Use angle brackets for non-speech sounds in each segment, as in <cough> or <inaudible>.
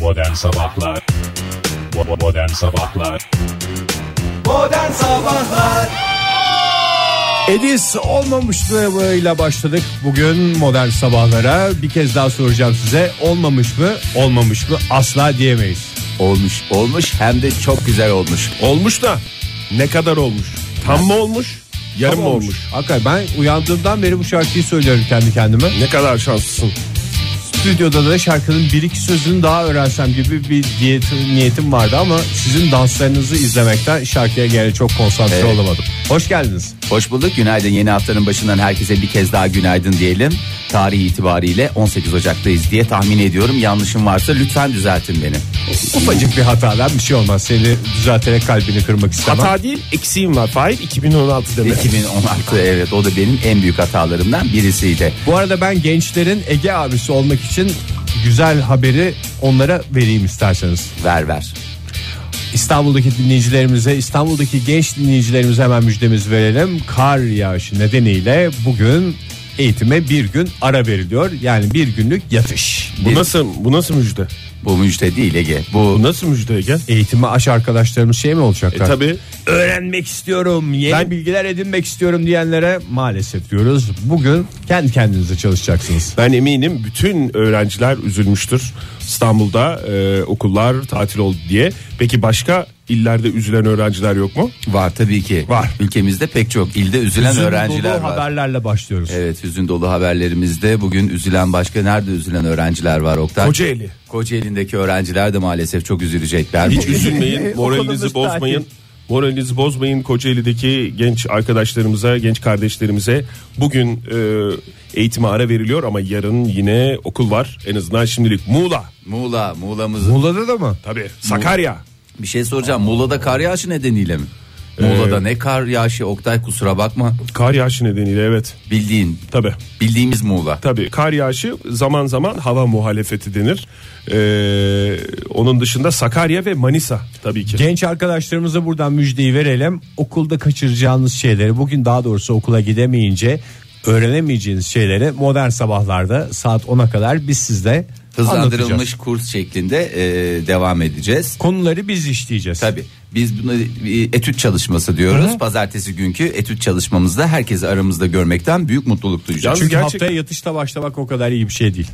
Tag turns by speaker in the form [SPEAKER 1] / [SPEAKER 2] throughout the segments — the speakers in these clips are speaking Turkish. [SPEAKER 1] Modern Sabahlar Bo- Modern Sabahlar
[SPEAKER 2] Modern Sabahlar
[SPEAKER 3] Edis olmamıştı ile başladık bugün modern sabahlara. Bir kez daha soracağım size olmamış mı olmamış mı asla diyemeyiz.
[SPEAKER 2] Olmuş olmuş hem de çok güzel olmuş
[SPEAKER 4] Olmuş da ne kadar olmuş? Tam mı olmuş? Yarım mı olmuş?
[SPEAKER 3] Hakikaten ben uyandığımdan beri bu şarkıyı söylüyorum kendi kendime.
[SPEAKER 4] Ne kadar şanslısın.
[SPEAKER 3] Stüdyoda da şarkının bir iki sözünü daha öğrensem gibi bir diyet, niyetim vardı ama sizin danslarınızı izlemekten şarkıya gene çok konsantre
[SPEAKER 2] Evet.
[SPEAKER 3] olamadım. Hoş geldiniz.
[SPEAKER 2] Hoş bulduk günaydın yeni haftanın başından herkese bir kez daha günaydın diyelim Tarih itibariyle 18 Ocak'tayız diye tahmin ediyorum yanlışım varsa lütfen düzeltin beni
[SPEAKER 3] Ufacık bir hatadan bir şey olmaz. Seni düzelterek kalbini kırmak istemem.
[SPEAKER 4] Hata değil eksiğim var. Fahir 2016 demek.
[SPEAKER 2] 2016 evet o da benim en büyük hatalarımdan birisiydi
[SPEAKER 3] Bu arada ben gençlerin Ege abisi olmak için güzel haberi onlara vereyim isterseniz.
[SPEAKER 2] Ver ver
[SPEAKER 3] İstanbul'daki dinleyicilerimize, İstanbul'daki genç dinleyicilerimize hemen müjdemizi verelim. Kar yağışı nedeniyle bugün eğitime bir gün ara veriliyor. Yani bir günlük yatış.
[SPEAKER 4] Bu nasıl bu nasıl müjde?
[SPEAKER 2] bu müjde değil Ege
[SPEAKER 4] Bu
[SPEAKER 2] bu
[SPEAKER 4] nasıl müjde Ege?
[SPEAKER 3] Eğitime aş arkadaşlarımız şey mi olacaklar?
[SPEAKER 4] E tabi
[SPEAKER 3] Öğrenmek istiyorum, yeni
[SPEAKER 4] Ben-
[SPEAKER 3] bilgiler edinmek istiyorum diyenlere maalesef diyoruz. Bugün kendi kendinize çalışacaksınız.
[SPEAKER 4] ben eminim bütün öğrenciler üzülmüştür. İstanbul'da e, okullar tatil oldu diye. Peki başka illerde üzülen öğrenciler yok mu?
[SPEAKER 2] var tabii ki
[SPEAKER 4] Var.
[SPEAKER 2] ülkemizde pek çok ilde üzülen
[SPEAKER 3] Hüzün
[SPEAKER 2] öğrenciler
[SPEAKER 3] dolu
[SPEAKER 2] var
[SPEAKER 3] haberlerle başlıyoruz.
[SPEAKER 2] Evet hüzün dolu haberlerimizde bugün üzülen başka nerede üzülen öğrenciler var Oktay?
[SPEAKER 4] Kocaeli.
[SPEAKER 2] Kocaeli'ndeki öğrenciler de maalesef çok üzülecekler.
[SPEAKER 4] Hiç
[SPEAKER 2] bugün.
[SPEAKER 4] üzülmeyin, moralinizi bozmayın. E, Moralinizi bozmayın Kocaeli'deki genç arkadaşlarımıza, genç kardeşlerimize. Bugün e, eğitime ara veriliyor ama yarın yine okul var. En azından şimdilik Muğla.
[SPEAKER 2] Muğla, Muğla'mız.
[SPEAKER 3] Muğla'da da mı?
[SPEAKER 4] Tabii Sakarya.
[SPEAKER 2] Bir şey soracağım. Muğla'da kar yağışı nedeniyle mi? Muğla'da
[SPEAKER 3] Ee,
[SPEAKER 2] ne kar yağışı Oktay kusura bakma.
[SPEAKER 4] Kar yağışı nedeniyle evet.
[SPEAKER 2] Bildiğin,
[SPEAKER 4] Tabii.
[SPEAKER 2] bildiğimiz Muğla.
[SPEAKER 4] Tabii kar yağışı zaman zaman hava muhalefeti denir. E, onun dışında Sakarya ve Manisa tabii ki.
[SPEAKER 3] Genç arkadaşlarımıza buradan müjdeyi verelim. Okulda kaçıracağınız şeyleri bugün daha doğrusu okula gidemeyince öğrenemeyeceğiniz şeyleri modern sabahlarda saat 10'a kadar biz sizde anlatacağız.
[SPEAKER 2] Hızlandırılmış kurs şeklinde e, devam edeceğiz.
[SPEAKER 3] Konuları biz işleyeceğiz.
[SPEAKER 2] Tabii. Biz buna e, etüt çalışması diyoruz. Pazartesi günkü etüt çalışmamızda herkesi aramızda görmekten büyük mutluluk duyacağız.
[SPEAKER 3] Çünkü
[SPEAKER 4] Gerçek-
[SPEAKER 3] haftaya yatışla başlamak o kadar iyi bir şey değil.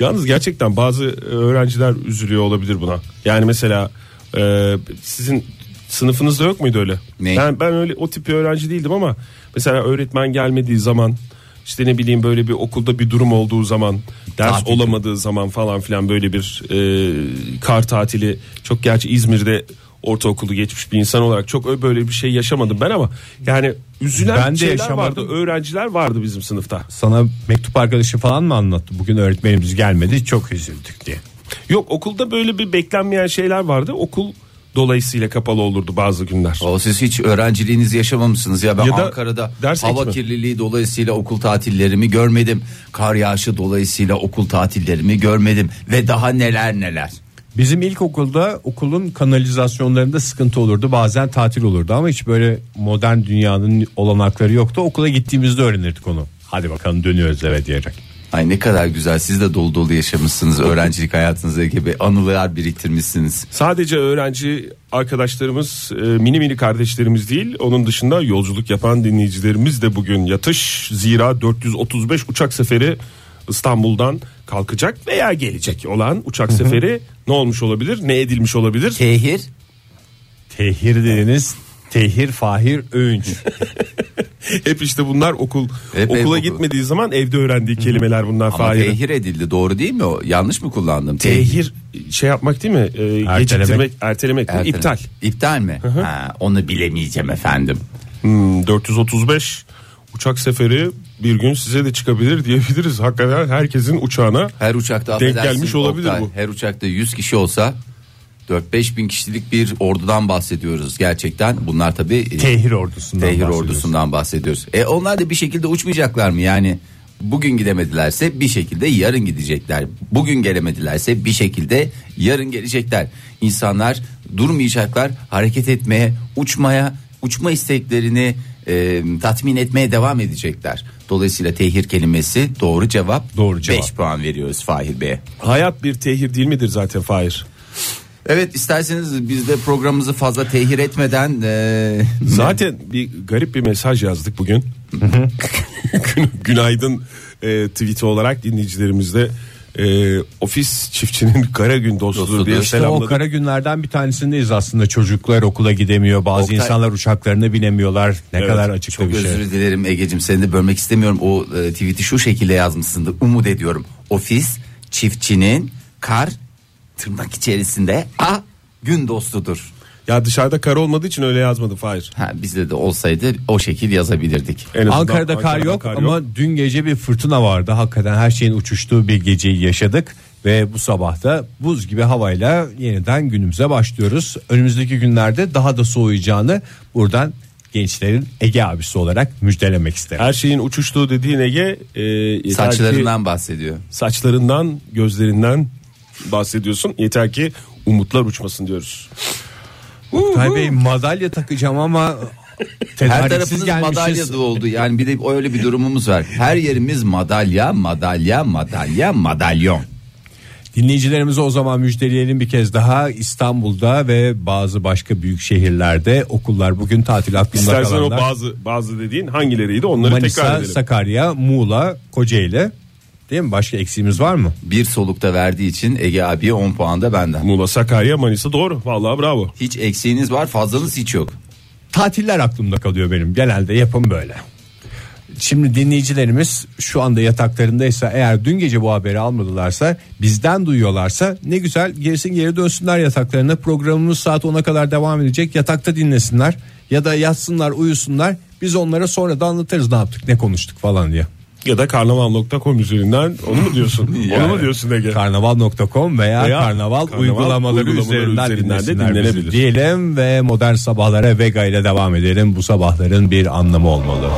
[SPEAKER 4] Yalnız gerçekten bazı e, öğrenciler üzülüyor olabilir buna. Yani mesela e, sizin sınıfınızda yok muydu öyle?
[SPEAKER 2] Ne?
[SPEAKER 4] Ben ben öyle o tip bir öğrenci değildim ama mesela öğretmen gelmediği zaman işte ne bileyim böyle bir okulda bir durum olduğu zaman ders
[SPEAKER 2] Tatil.
[SPEAKER 4] olamadığı zaman falan filan böyle bir e, kar tatili çok gerçi İzmir'de ortaokulu geçmiş bir insan olarak çok böyle bir şey yaşamadım ben ama yani üzülen
[SPEAKER 3] Ben de
[SPEAKER 4] şeyler
[SPEAKER 3] yaşamadım.
[SPEAKER 4] vardı öğrenciler vardı bizim sınıfta.
[SPEAKER 3] Sana mektup arkadaşı falan mı anlattı? Bugün öğretmenimiz gelmedi çok üzüldük diye.
[SPEAKER 4] Yok okulda böyle bir beklenmeyen şeyler vardı. Okul dolayısıyla kapalı olurdu bazı günler.
[SPEAKER 2] O siz hiç öğrenciliğinizi yaşamamışsınız ya ben
[SPEAKER 4] Ya da
[SPEAKER 2] Ankara'da
[SPEAKER 4] ders
[SPEAKER 2] hava
[SPEAKER 4] eğitimi.
[SPEAKER 2] kirliliği dolayısıyla okul tatillerimi görmedim. Kar yağışı dolayısıyla okul tatillerimi görmedim ve daha neler neler.
[SPEAKER 3] Bizim ilkokulda okulun kanalizasyonlarında sıkıntı olurdu. Bazen tatil olurdu ama hiç böyle modern dünyanın olanakları yoktu. Okula gittiğimizde öğrenirdik onu. Hadi bakalım dönüyoruz eve diyerek.
[SPEAKER 2] Ay ne kadar güzel siz de dolu dolu yaşamışsınız öğrencilik hayatınızda gibi anılar biriktirmişsiniz.
[SPEAKER 4] Sadece öğrenci arkadaşlarımız, e, mini mini kardeşlerimiz değil, onun dışında yolculuk yapan dinleyicilerimiz de bugün yatış. Zira 435 uçak seferi İstanbul'dan kalkacak veya gelecek olan uçak seferi ne olmuş olabilir, ne edilmiş olabilir?
[SPEAKER 2] Tehir
[SPEAKER 3] Tehir dediniz. Tehir Fahir Öğünç. <laughs>
[SPEAKER 4] Hep işte bunlar okul
[SPEAKER 2] Hep ev
[SPEAKER 4] okula
[SPEAKER 2] okulu.
[SPEAKER 4] gitmediği zaman evde öğrendiği kelimeler bunlar
[SPEAKER 2] ama
[SPEAKER 4] Fahir'in.
[SPEAKER 2] tehir edildi doğru değil mi o yanlış mı kullandım?
[SPEAKER 4] Tehir şey yapmak değil mi? E, geciktirmek, ertelemek, mi?
[SPEAKER 2] Ertele-
[SPEAKER 4] iptal.
[SPEAKER 2] İptal mi? Ha, onu bilemeyeceğim efendim.
[SPEAKER 4] Hmm, 435 uçak seferi bir gün size de çıkabilir diyebiliriz. Hakikaten herkesin uçağına
[SPEAKER 2] Her uçakta
[SPEAKER 4] Denk
[SPEAKER 2] affedersin
[SPEAKER 4] gelmiş olabilir
[SPEAKER 2] Oktay,
[SPEAKER 4] bu.
[SPEAKER 2] Her uçakta 100 kişi olsa 4-5 bin kişilik bir ordudan bahsediyoruz gerçekten. Bunlar tabii e,
[SPEAKER 3] Tehir ordusundan
[SPEAKER 2] tehir
[SPEAKER 3] bahsediyoruz.
[SPEAKER 2] ordusundan bahsediyoruz. E onlar da bir şekilde uçmayacaklar mı? Yani bugün gidemedilerse bir şekilde yarın gidecekler. Bugün gelemedilerse bir şekilde yarın gelecekler. İnsanlar durmayacaklar, hareket etmeye, uçmaya, uçma isteklerini e, tatmin etmeye devam edecekler. Dolayısıyla tehir kelimesi doğru cevap.
[SPEAKER 3] Doğru cevap.
[SPEAKER 2] 5 puan veriyoruz Fahir Bey'e.
[SPEAKER 4] Hayat bir tehir değil midir zaten Fahir?
[SPEAKER 2] Evet isterseniz biz de programımızı fazla tehir etmeden e,
[SPEAKER 4] Zaten bir garip bir mesaj yazdık bugün. Gün- Günaydın e, tweet'i olarak dinleyicilerimizde e, ofis çiftçinin kara gün dostudur,
[SPEAKER 2] Dostudur.
[SPEAKER 4] diye
[SPEAKER 2] İşte
[SPEAKER 3] İşte
[SPEAKER 4] selamladık.
[SPEAKER 3] o kara günlerden bir tanesindeyiz aslında çocuklar okula gidemiyor bazı
[SPEAKER 2] Oktay-
[SPEAKER 3] insanlar uçaklarına binemiyorlar ne
[SPEAKER 4] Evet,
[SPEAKER 3] kadar açık
[SPEAKER 2] Çok
[SPEAKER 3] bir şey.
[SPEAKER 2] özür dilerim Ege'cim seni de bölmek istemiyorum. O e, tweet'i şu şekilde yazmışsındır. Umut ediyorum. Ofis çiftçinin kar tırnak içerisinde a gün dostudur.
[SPEAKER 4] Ya dışarıda kar olmadığı için öyle yazmadı Fahir.
[SPEAKER 2] Ha, bizde de olsaydı o şekil yazabilirdik.
[SPEAKER 4] En azından
[SPEAKER 3] Ankara'da kar yok ama dün gece bir fırtına vardı. Hakikaten her şeyin uçuştuğu bir geceyi yaşadık ve bu sabah da buz gibi havayla yeniden günümüze başlıyoruz. Önümüzdeki günlerde daha da soğuyacağını buradan gençlerin Ege abisi olarak müjdelemek isterim.
[SPEAKER 4] her şeyin uçuştuğu dediğin Ege e, yeter ki-
[SPEAKER 2] Saçlarından bahsediyor.
[SPEAKER 4] saçlarından, gözlerinden bahsediyorsun. Yeter ki umutlar uçmasın diyoruz.
[SPEAKER 3] Oktay Bey madalya takacağım ama
[SPEAKER 2] Her
[SPEAKER 3] <laughs> tedariksiz
[SPEAKER 2] tarafınız
[SPEAKER 3] gelmişiz.
[SPEAKER 2] madalya da oldu. Yani bir de öyle bir durumumuz var. Her yerimiz madalya, madalya, madalya, madalyon.
[SPEAKER 3] Dinleyicilerimize o zaman müjdeleyelim bir kez daha İstanbul'da ve bazı başka büyük şehirlerde okullar bugün tatil aklında
[SPEAKER 4] İstersen o
[SPEAKER 3] kalanlar.
[SPEAKER 4] bazı bazı dediğin hangileriydi onları tekrar
[SPEAKER 3] Manisa,
[SPEAKER 4] edelim.
[SPEAKER 3] Sakarya, Muğla, Kocaeli. Değil mi? Başka eksiğimiz var mı?
[SPEAKER 2] Bir solukta verdiği için Ege abiye 10 puan da benden.
[SPEAKER 4] Muğla, Sakarya, Manisa doğru. Vallahi bravo.
[SPEAKER 2] Hiç eksiğiniz var fazlanız hiç yok.
[SPEAKER 3] Tatiller aklımda kalıyor benim. Genelde yapım böyle. Şimdi dinleyicilerimiz şu anda yataklarındaysa eğer dün gece bu haberi almadılarsa bizden duyuyorlarsa ne güzel gerisin geri dönsünler yataklarına programımız saat 10'a kadar devam edecek yatakta dinlesinler ya da yatsınlar uyusunlar biz onlara sonra da anlatırız ne yaptık ne konuştuk falan diye.
[SPEAKER 4] Ya da karnaval.com üzerinden onu mu diyorsun? onu mu diyorsun Ege?
[SPEAKER 3] Karnaval.com veya,
[SPEAKER 4] Veya
[SPEAKER 3] karnaval,
[SPEAKER 4] karnaval
[SPEAKER 3] uygulamaları,
[SPEAKER 4] uygulamaları
[SPEAKER 3] üzerinden,
[SPEAKER 4] üzerinden de
[SPEAKER 3] dinlesinler bizi
[SPEAKER 4] dinlenebilir.
[SPEAKER 3] Diyelim ve modern sabahlara Vega ile devam edelim. Bu sabahların bir anlamı olmalı.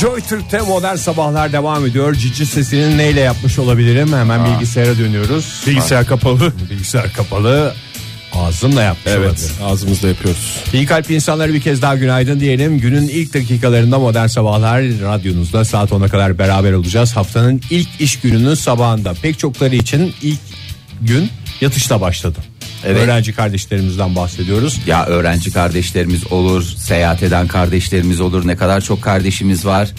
[SPEAKER 3] Joy Türk'te modern sabahlar devam ediyor. Cici sesini neyle yapmış olabilirim? Hemen bilgisayara dönüyoruz.
[SPEAKER 4] Bilgisayar kapalı.
[SPEAKER 3] Bilgisayar kapalı. Ağzımla yapmış
[SPEAKER 4] Evet
[SPEAKER 3] olabilirim.
[SPEAKER 4] ağzımızda yapıyoruz.
[SPEAKER 3] İyi kalp insanlara bir kez daha günaydın diyelim. Günün ilk dakikalarında modern sabahlar radyonuzda saat 10'a kadar beraber olacağız. Haftanın ilk iş gününün sabahında pek çokları için ilk gün yatışla başladı.
[SPEAKER 2] Evet.
[SPEAKER 3] Öğrenci kardeşlerimizden bahsediyoruz.
[SPEAKER 2] Ya öğrenci kardeşlerimiz olur, seyahat eden kardeşlerimiz olur. Ne kadar çok kardeşimiz var.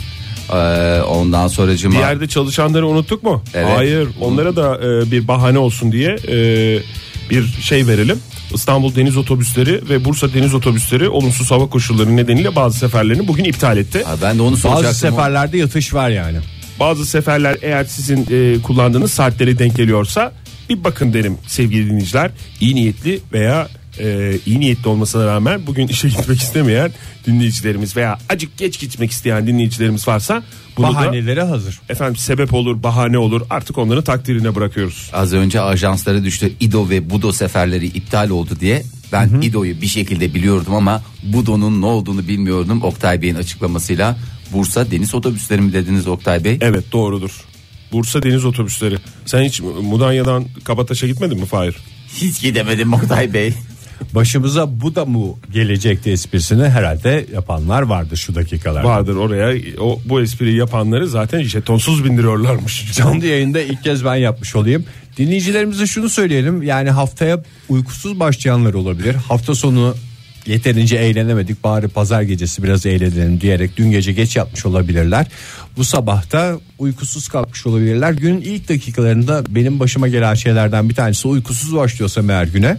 [SPEAKER 2] Ee, ondan sonracıma
[SPEAKER 4] Bir yerde çalışanları unuttuk mu?
[SPEAKER 2] Evet.
[SPEAKER 4] Hayır. Onlara da e, bir bahane olsun diye e, bir şey verelim. İstanbul Deniz Otobüsleri ve Bursa Deniz Otobüsleri olumsuz hava koşulları nedeniyle bazı seferlerini bugün iptal etti.
[SPEAKER 2] Ha, ben de onu soracaktım.
[SPEAKER 3] Bazı seferlerde yatış var yani.
[SPEAKER 4] Bazı seferler eğer sizin e, kullandığınız saatlere denk geliyorsa bir bakın derim sevgili dinleyiciler. İyi niyetli veya e, iyi niyetli olmasına rağmen bugün işe gitmek istemeyen dinleyicilerimiz veya acık geç gitmek isteyen dinleyicilerimiz varsa bunu da
[SPEAKER 3] Bahanelere hazır.
[SPEAKER 4] efendim sebep olur, bahane olur. Artık onların takdirine bırakıyoruz.
[SPEAKER 2] Az önce ajanslara düştü İdo ve Budo seferleri iptal oldu diye. Ben İdo'yu bir şekilde biliyordum ama Budo'nun ne olduğunu bilmiyordum. Oktay Bey'in açıklamasıyla Bursa Deniz Otobüsleri mi dediniz Oktay Bey?
[SPEAKER 4] Evet doğrudur. Bursa Deniz Otobüsleri. Sen hiç Mudanya'dan Kabataş'a gitmedin mi Fahir?
[SPEAKER 2] Hiç gidemedim Oktay Bey.
[SPEAKER 3] Başımıza bu da mı gelecekti esprisini herhalde yapanlar vardı şu dakikalarda.
[SPEAKER 4] Vardır oraya. O, bu espriyi yapanları zaten jetonsuz bindiriyorlarmış.
[SPEAKER 3] <laughs> Canlı yayında ilk kez ben yapmış olayım. Dinleyicilerimize şunu söyleyelim. Yani haftaya uykusuz başlayanlar olabilir. Hafta sonu yeterince eğlenemedik. Bari pazar gecesi biraz eğlenelim diyerek dün gece geç yapmış olabilirler. Bu sabah da uykusuz kalkmış olabilirler. Günün ilk dakikalarında benim başıma gelen şeylerden bir tanesi uykusuz başlıyorsam eğer güne.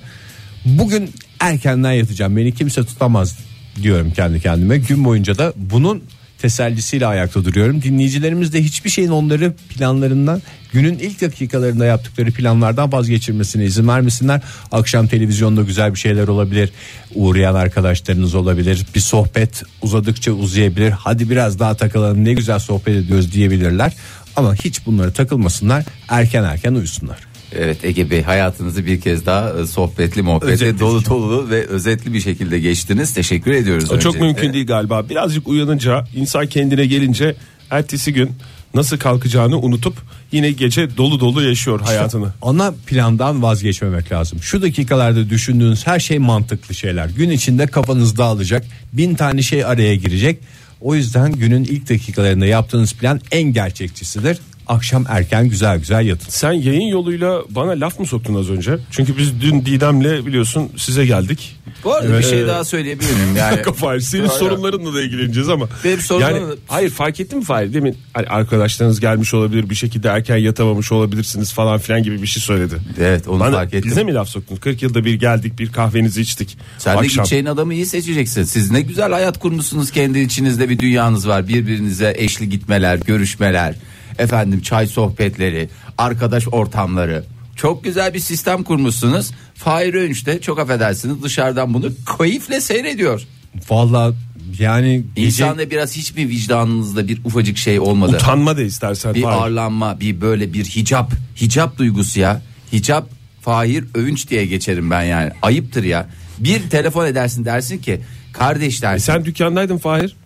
[SPEAKER 3] Bugün erkenden yatacağım. Beni kimse tutamaz diyorum kendi kendime. Gün boyunca da bunun tesellisiyle ayakta duruyorum. Dinleyicilerimiz de hiçbir şeyin onları planlarından günün ilk dakikalarında yaptıkları planlardan vazgeçirmesine izin vermesinler. Akşam televizyonda güzel bir şeyler olabilir. Uğrayan arkadaşlarınız olabilir. Bir sohbet uzadıkça uzayabilir. Hadi biraz daha takılalım ne güzel sohbet ediyoruz diyebilirler. Ama hiç bunlara takılmasınlar. Erken erken uyusunlar.
[SPEAKER 2] Evet Ege Bey hayatınızı bir kez daha e, sohbetli muhabbete
[SPEAKER 3] Özetledik.
[SPEAKER 2] dolu dolu ve özetli bir şekilde geçtiniz. Teşekkür ediyoruz.
[SPEAKER 4] O çok
[SPEAKER 2] öncelikle.
[SPEAKER 4] mümkün değil galiba. Birazcık uyanınca insan kendine gelince ertesi gün nasıl kalkacağını unutup yine gece dolu dolu yaşıyor hayatını.
[SPEAKER 3] Ana plandan vazgeçmemek lazım. Şu dakikalarda düşündüğünüz her şey mantıklı şeyler. Gün içinde kafanız dağılacak. Bin tane şey araya girecek. O yüzden günün ilk dakikalarında yaptığınız plan en gerçekçisidir. Akşam erken güzel güzel yatın.
[SPEAKER 4] Sen yayın yoluyla bana laf mı soktun az önce? Çünkü biz dün Didem'le biliyorsun size geldik.
[SPEAKER 2] Bu arada bir şey
[SPEAKER 4] <laughs>
[SPEAKER 2] daha söyleyebilir miyim? Yani
[SPEAKER 4] Fahir senin sorunlarınla da ilgileneceğiz ama.
[SPEAKER 2] Benim sorunlarım-
[SPEAKER 4] hayır fark ettin mi Fahir demin hani arkadaşlarınız gelmiş olabilir bir şekilde erken yatamamış olabilirsiniz falan filan gibi bir şey söyledi.
[SPEAKER 2] Evet, onu
[SPEAKER 4] Bana-
[SPEAKER 2] fark ettim.
[SPEAKER 4] Bize mi laf soktun? 40 yılda bir geldik bir kahvenizi içtik.
[SPEAKER 2] sen de şey gideceğin adamı iyi seçeceksin. Siz ne güzel hayat kurmuşsunuz kendi içinizde bir dünyanız var. Birbirinize eşli gitmeler, görüşmeler, efendim çay sohbetleri, arkadaş ortamları. Çok güzel bir sistem kurmuşsunuz. Fahir Öğünç de çok affedersiniz dışarıdan bunu keyifle seyrediyor.
[SPEAKER 3] Vallahi yani gece
[SPEAKER 2] İnsanda biraz hiç mi vicdanınızda bir ufacık şey olmadı?
[SPEAKER 4] Utanma da istersen.
[SPEAKER 2] bir
[SPEAKER 4] Fahir.
[SPEAKER 2] arlanma bir böyle bir hicap hicap duygusu ya hicap Fahir Övünç diye geçerim ben yani ayıptır ya bir telefon edersin dersin ki kardeş dersin
[SPEAKER 4] E sen dükkandaydın Fahir.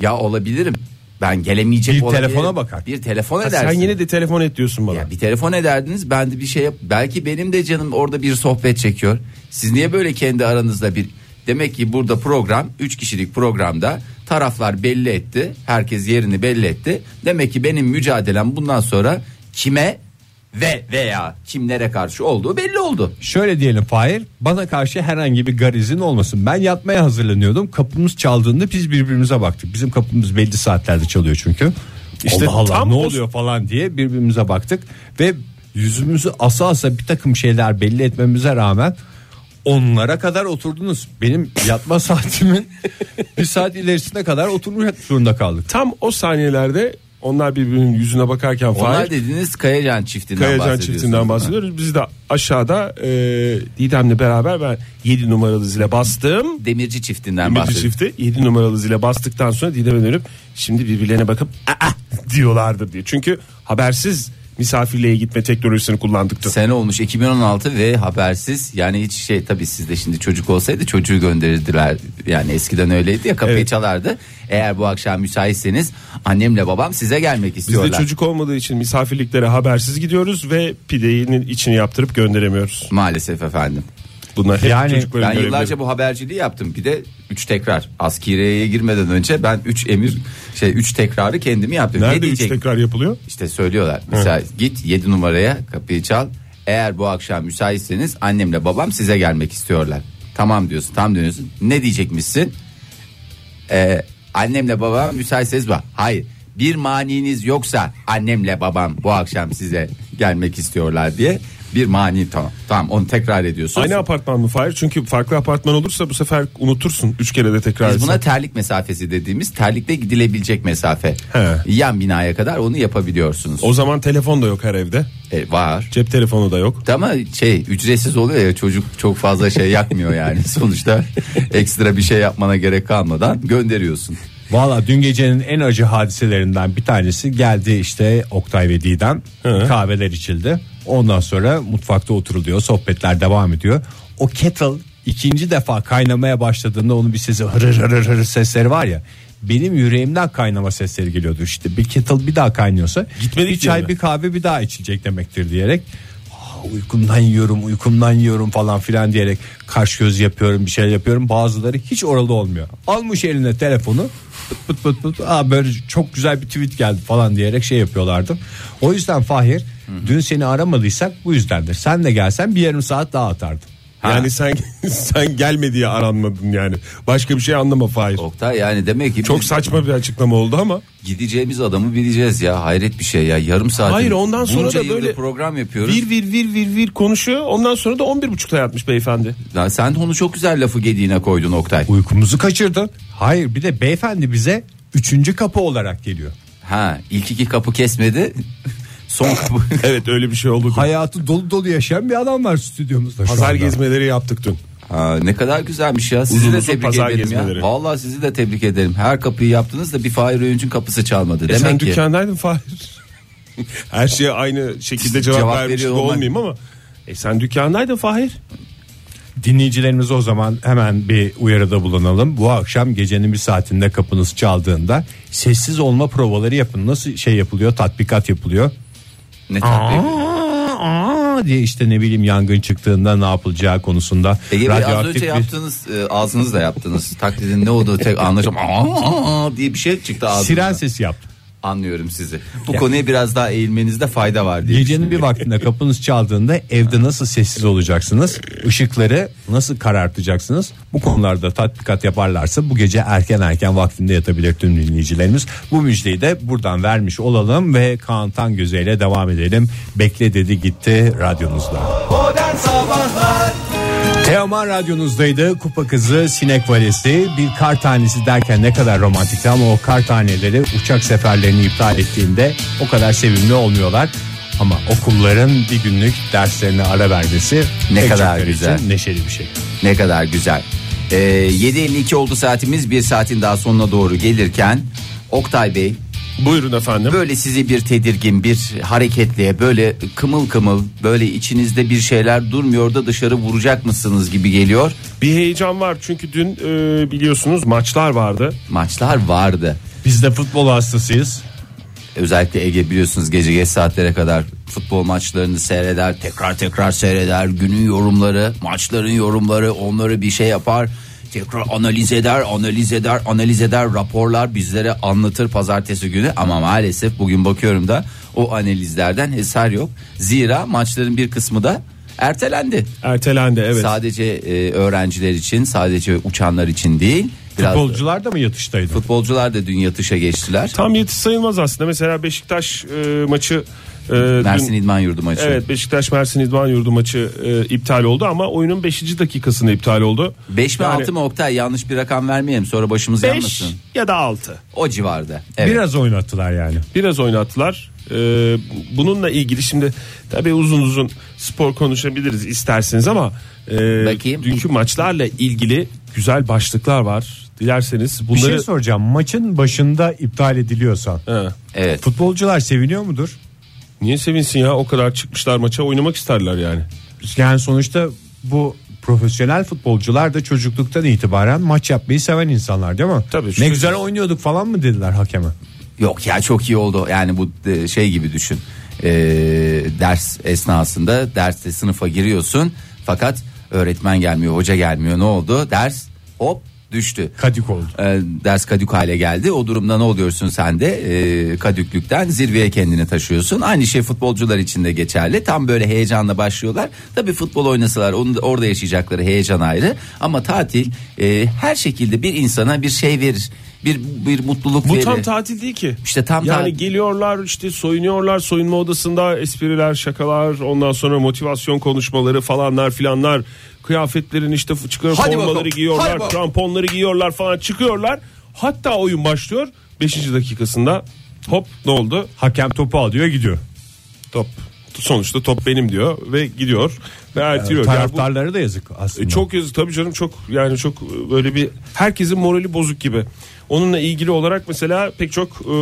[SPEAKER 2] ya olabilirim ben gelemeyecek
[SPEAKER 3] Bir
[SPEAKER 2] olabilirim."
[SPEAKER 3] telefona bakar.
[SPEAKER 2] bir telefon
[SPEAKER 4] Ha,
[SPEAKER 2] edersin
[SPEAKER 4] sen yine de telefon et diyorsun bana.
[SPEAKER 2] ya bir telefon ederdiniz ben de bir şey yap belki benim de canım orada bir sohbet çekiyor siz niye böyle kendi aranızda bir demek ki burada program 3 kişilik programda taraflar belli etti herkes yerini belli etti demek ki benim mücadelem bundan sonra kime ve veya kimlere karşı olduğu belli oldu
[SPEAKER 3] Şöyle diyelim Fahir bana karşı herhangi bir garizin olmasın. Ben yatmaya hazırlanıyordum. Kapımız çaldığında biz birbirimize baktık. Bizim kapımız belli saatlerde çalıyor çünkü.
[SPEAKER 4] İşte
[SPEAKER 3] Allah Allah
[SPEAKER 4] tam
[SPEAKER 3] ne
[SPEAKER 4] o-
[SPEAKER 3] oluyor falan diye birbirimize baktık. Ve yüzümüzü asa asa bir takım şeyler belli etmemize rağmen onlara kadar oturdunuz. Benim yatma <laughs> saatimin bir saat ilerisine kadar oturmak zorunda kaldık.
[SPEAKER 4] Tam o saniyelerde onlar birbirinin yüzüne bakarken Fahir.
[SPEAKER 2] onlar dediniz Kayacan çiftinden
[SPEAKER 4] Kayacan
[SPEAKER 2] bahsediyorsunuz.
[SPEAKER 4] çiftinden bahsediyoruz. Biz de aşağıda e, Didem'le beraber ben 7 numaralı zile bastım.
[SPEAKER 2] Demirci çiftinden
[SPEAKER 4] Demirci
[SPEAKER 2] bahsediyoruz.
[SPEAKER 4] çifti 7 numaralı zile bastıktan sonra Didem'e dönüp şimdi birbirlerine bakıp aa diyorlardır diye. Çünkü habersiz misafirliğe gitme teknolojisini kullandıktı.
[SPEAKER 2] Sene olmuş 2016 ve habersiz yani hiç şey tabii sizde şimdi çocuk olsaydı çocuğu gönderirdiler yani eskiden öyleydi ya kapıyı
[SPEAKER 4] Evet.
[SPEAKER 2] çalardı eğer bu akşam müsaitseniz annemle babam size gelmek
[SPEAKER 4] Biz de
[SPEAKER 2] istiyorlar
[SPEAKER 4] çocuk olmadığı için misafirliklere habersiz gidiyoruz ve pidenin içini yaptırıp gönderemiyoruz.
[SPEAKER 2] maalesef efendim
[SPEAKER 4] Bunlar hep
[SPEAKER 3] Yani
[SPEAKER 4] çocukların
[SPEAKER 2] ben
[SPEAKER 4] görevleri.
[SPEAKER 2] yıllarca bu haberciliği yaptım bir de 3 tekrar askeriye girmeden önce ben 3 emir şey 3 tekrarı kendimi yaptım
[SPEAKER 4] Nerede üç
[SPEAKER 2] diyecek?
[SPEAKER 4] tekrar yapılıyor?
[SPEAKER 2] İşte söylüyorlar. Mesela git 7 numaraya kapıyı çal. Eğer bu akşam müsaitseniz annemle babam size gelmek istiyorlar. Tamam diyorsun tam dönüyorsun. Ne diyecekmişsin? Ee, annemle babam müsaitseniz bak. Hayır bir maniniz yoksa annemle babam bu akşam size gelmek istiyorlar diye bir mani tamam. Tamam onu tekrar ediyorsun.
[SPEAKER 4] Aynı apartman mı Fahir? Çünkü farklı apartman olursa bu sefer unutursun. Üç kere de tekrar
[SPEAKER 2] Biz
[SPEAKER 4] etsen.
[SPEAKER 2] buna terlik mesafesi dediğimiz terlikte gidilebilecek mesafe.
[SPEAKER 4] He.
[SPEAKER 2] Yan binaya kadar onu yapabiliyorsunuz.
[SPEAKER 4] O zaman telefon da yok her evde.
[SPEAKER 2] E, var.
[SPEAKER 4] Cep telefonu da yok.
[SPEAKER 2] Ama şey ücretsiz oluyor ya çocuk çok fazla şey yakmıyor
[SPEAKER 4] <laughs>
[SPEAKER 2] yani sonuçta ekstra bir şey yapmana gerek kalmadan gönderiyorsun.
[SPEAKER 3] Valla dün gecenin en acı hadiselerinden bir tanesi geldi işte Oktay ve Didem kahveler içildi. Ondan sonra mutfakta oturuluyor sohbetler devam ediyor. O kettle ikinci defa kaynamaya başladığında onun bir sesi hırır hırır hırır sesleri var ya. Benim yüreğimden kaynama sesleri geliyordu işte bir kettle bir daha kaynıyorsa
[SPEAKER 4] Gitmedik
[SPEAKER 3] bir çay
[SPEAKER 4] diye mi?
[SPEAKER 3] bir kahve bir daha içilecek demektir diyerek "Aa, uykumdan yiyorum uykumdan yiyorum falan filan diyerek kaş göz yapıyorum bir şey yapıyorum bazıları hiç oralı olmuyor almış eline telefonu pıt pıt pıt pıt Aa, böyle çok güzel bir tweet geldi falan diyerek şey yapıyorlardı o yüzden Fahir dün seni aramadıysak bu yüzdendir sen de gelsen bir yarım saat daha atardım
[SPEAKER 4] Yani sen <laughs> sen gelme diye aranmadın yani. Başka bir şey anlama Fahir.
[SPEAKER 2] Oktay yani demek ki
[SPEAKER 4] Çok
[SPEAKER 2] biz
[SPEAKER 4] saçma bir açıklama oldu ama.
[SPEAKER 2] gideceğimiz adamı bileceğiz ya hayret bir şey ya yarım saat.
[SPEAKER 4] Hayır, ondan sonra
[SPEAKER 2] bunca
[SPEAKER 4] da
[SPEAKER 2] yıldır
[SPEAKER 4] böyle
[SPEAKER 2] program yapıyoruz.
[SPEAKER 4] Vir vir vir vir vir konuşuyor. Ondan sonra da 11.30'da yatmış beyefendi.
[SPEAKER 2] Lan sen onu çok güzel lafı gediğine koydun Oktay.
[SPEAKER 3] uykumuzu kaçırdın hayır bir de beyefendi bize üçüncü kapı olarak geliyor
[SPEAKER 2] Ha ilk iki kapı kesmedi son
[SPEAKER 4] <laughs>
[SPEAKER 2] kapı.
[SPEAKER 4] Evet öyle bir şey oldu.
[SPEAKER 3] hayatı dolu dolu yaşayan bir adam var stüdyomuzda şu
[SPEAKER 4] Pazar
[SPEAKER 3] anda.
[SPEAKER 4] gezmeleri yaptık dün.
[SPEAKER 2] Ha, ne kadar güzelmiş ya. Sizi
[SPEAKER 4] Uzun
[SPEAKER 2] de
[SPEAKER 4] uzun
[SPEAKER 2] tebrik
[SPEAKER 4] pazar
[SPEAKER 2] ederim
[SPEAKER 4] gezmeleri.
[SPEAKER 2] ya. Vallahi sizi de tebrik ederim. Her kapıyı yaptınız da bir Fahir Öğüncü'nün kapısı çalmadı.
[SPEAKER 4] E
[SPEAKER 2] Demek
[SPEAKER 4] sen
[SPEAKER 2] ki
[SPEAKER 4] dükkandaydın Fahir. <laughs> Her şeye aynı şekilde cevap,
[SPEAKER 2] Cevap
[SPEAKER 4] vermiş
[SPEAKER 2] veriyor
[SPEAKER 4] de
[SPEAKER 2] olmak.
[SPEAKER 4] olmayayım ama. E sen dükkandaydın Fahir.
[SPEAKER 3] Dinleyicilerimize o zaman hemen bir uyarıda bulunalım. Bu akşam gecenin bir saatinde kapınız çaldığında sessiz olma provaları yapın. Nasıl şey yapılıyor? Tatbikat yapılıyor. Ee,
[SPEAKER 2] Ne tatlı.
[SPEAKER 3] Aa, aa diye işte ne bileyim yangın çıktığında ne yapılacağı konusunda
[SPEAKER 2] Ege Bey az
[SPEAKER 3] radyoaktif
[SPEAKER 2] önce
[SPEAKER 3] bir-
[SPEAKER 2] yaptığınız e, ağzınızla yaptınız. Taklidin ne olduğu tek anlaşım. Aa, aa diye bir şey çıktı ağzınızdan.
[SPEAKER 3] siren sesi yaptım.
[SPEAKER 2] Anlıyorum sizi. Bu konuya biraz daha eğilmenizde fayda var diye.
[SPEAKER 3] Gecenin bir vaktinde kapınız çaldığında evde nasıl sessiz olacaksınız? Işıkları nasıl karartacaksınız? Bu konularda tatbikat yaparlarsa bu gece erken erken vaktinde yatabilir tüm dinleyicilerimiz. Bu müjdeyi de buradan vermiş olalım ve Kaan Tangöze ile devam edelim. Bekle dedi gitti radyonuzda. Teoman radyonuzdaydı. Kupa kızı sinek valesi bir kar tanesi derken ne kadar romantikti ama o kar taneleri uçak seferlerini iptal ettiğinde o kadar sevimli olmuyorlar. Ama okulların bir günlük derslerine ara vermesi
[SPEAKER 2] Ne
[SPEAKER 3] pek
[SPEAKER 2] kadar
[SPEAKER 3] çokları için
[SPEAKER 2] güzel.
[SPEAKER 3] neşeli bir şey.
[SPEAKER 2] Ne kadar güzel. Ee, 7.52 oldu saatimiz. Bir saatin daha sonuna doğru gelirken Oktay Bey
[SPEAKER 4] Buyurun efendim.
[SPEAKER 2] böyle sizi bir tedirgin bir hareketliğe böyle kımıl kımıl böyle içinizde bir şeyler durmuyor da dışarı vuracak mısınız gibi geliyor.
[SPEAKER 4] Bir heyecan var çünkü dün e, biliyorsunuz maçlar vardı.
[SPEAKER 2] Maçlar vardı.
[SPEAKER 3] Biz de futbol hastasıyız.
[SPEAKER 2] Özellikle Ege biliyorsunuz gece geç saatlere kadar futbol maçlarını seyreder, tekrar tekrar seyreder, günün yorumları, maçların yorumları, onları bir şey yapar, tekrar analiz eder, analiz eder, analiz eder, raporlar bizlere anlatır pazartesi günü ama maalesef bugün bakıyorum da o analizlerden eser yok. Zira maçların bir kısmı da ertelendi.
[SPEAKER 4] Ertelendi evet.
[SPEAKER 2] Sadece e, öğrenciler için, sadece uçanlar için değil. Biraz
[SPEAKER 3] Futbolcular da mı yatıştaydı?
[SPEAKER 2] futbolcular da dün yatışa geçtiler.
[SPEAKER 4] Tam yetiş sayılmaz aslında. Mesela Beşiktaş e, maçı e,
[SPEAKER 2] Mersin
[SPEAKER 4] dün-
[SPEAKER 2] İdman Yurdu maçı.
[SPEAKER 4] Evet Beşiktaş Mersin İdman Yurdu maçı e, iptal oldu ama oyunun 5. dakikasında iptal oldu.
[SPEAKER 2] 5 mi
[SPEAKER 4] Yani
[SPEAKER 2] 6 mı Oktay yanlış bir rakam vermeyelim sonra başımız
[SPEAKER 4] Beş
[SPEAKER 2] yanmasın.
[SPEAKER 4] ya da 6.
[SPEAKER 2] O civarda. Evet.
[SPEAKER 3] Biraz oynattılar yani.
[SPEAKER 4] Biraz oynattılar. E, bununla ilgili şimdi tabii uzun uzun spor konuşabiliriz isterseniz ama e,
[SPEAKER 2] Bakayım.
[SPEAKER 4] dünkü maçlarla ilgili güzel başlıklar var. Dilerseniz
[SPEAKER 3] Bir
[SPEAKER 4] bunları
[SPEAKER 3] şey soracağım. Maçın başında iptal ediliyorsa
[SPEAKER 4] He.
[SPEAKER 2] Evet.
[SPEAKER 3] futbolcular seviniyor mudur?
[SPEAKER 4] Niye sevinsin ya o kadar çıkmışlar maça oynamak isterler yani.
[SPEAKER 3] Yani sonuçta bu profesyonel futbolcular da çocukluktan itibaren maç yapmayı seven insanlar değil mi?
[SPEAKER 4] Tabii.
[SPEAKER 3] Ne güzel oynuyorduk falan mı dediler hakeme?
[SPEAKER 2] Yok ya çok iyi oldu. Yani bu e, şey gibi düşün. Ee, ders esnasında derste sınıfa giriyorsun fakat öğretmen gelmiyor, hoca gelmiyor. Ne oldu? Ders hop düştü.
[SPEAKER 3] Kadık oldu.
[SPEAKER 2] Ee, ders kadük hale geldi. O durumda ne oluyorsun sen de? Ee, kadüklükten zirveye kendini taşıyorsun. Aynı şey futbolcular için de geçerli. Tam böyle heyecanla başlıyorlar. Tabii futbol oynasalar onu da- orada yaşayacakları heyecan ayrı. Ama tatil e, her şekilde bir insana bir şey verir. Bir, bir mutluluk
[SPEAKER 4] Bu
[SPEAKER 2] verir.
[SPEAKER 4] tam tatil değil ki.
[SPEAKER 2] İşte tam
[SPEAKER 4] yani
[SPEAKER 2] tatil.
[SPEAKER 4] geliyorlar işte soyunuyorlar soyunma odasında espriler şakalar ondan sonra motivasyon konuşmaları falanlar filanlar kıyafetlerin işte çıkıyor
[SPEAKER 2] Hadi
[SPEAKER 4] formaları
[SPEAKER 2] bakalım, hadi
[SPEAKER 4] giyiyorlar
[SPEAKER 2] bakalım.
[SPEAKER 4] kramponları giyiyorlar falan çıkıyorlar. Hatta oyun başlıyor 5. dakikasında hop ne oldu
[SPEAKER 3] Hakem topu alıyor gidiyor.
[SPEAKER 4] top sonuçta top benim diyor ve gidiyor ve erteliyor. Yani bu-
[SPEAKER 3] Taraftarlara da yazık aslında.
[SPEAKER 4] E, Çok yazık tabii canım çok yani çok e, böyle bir herkesin morali bozuk gibi. Onunla ilgili olarak mesela pek çok e,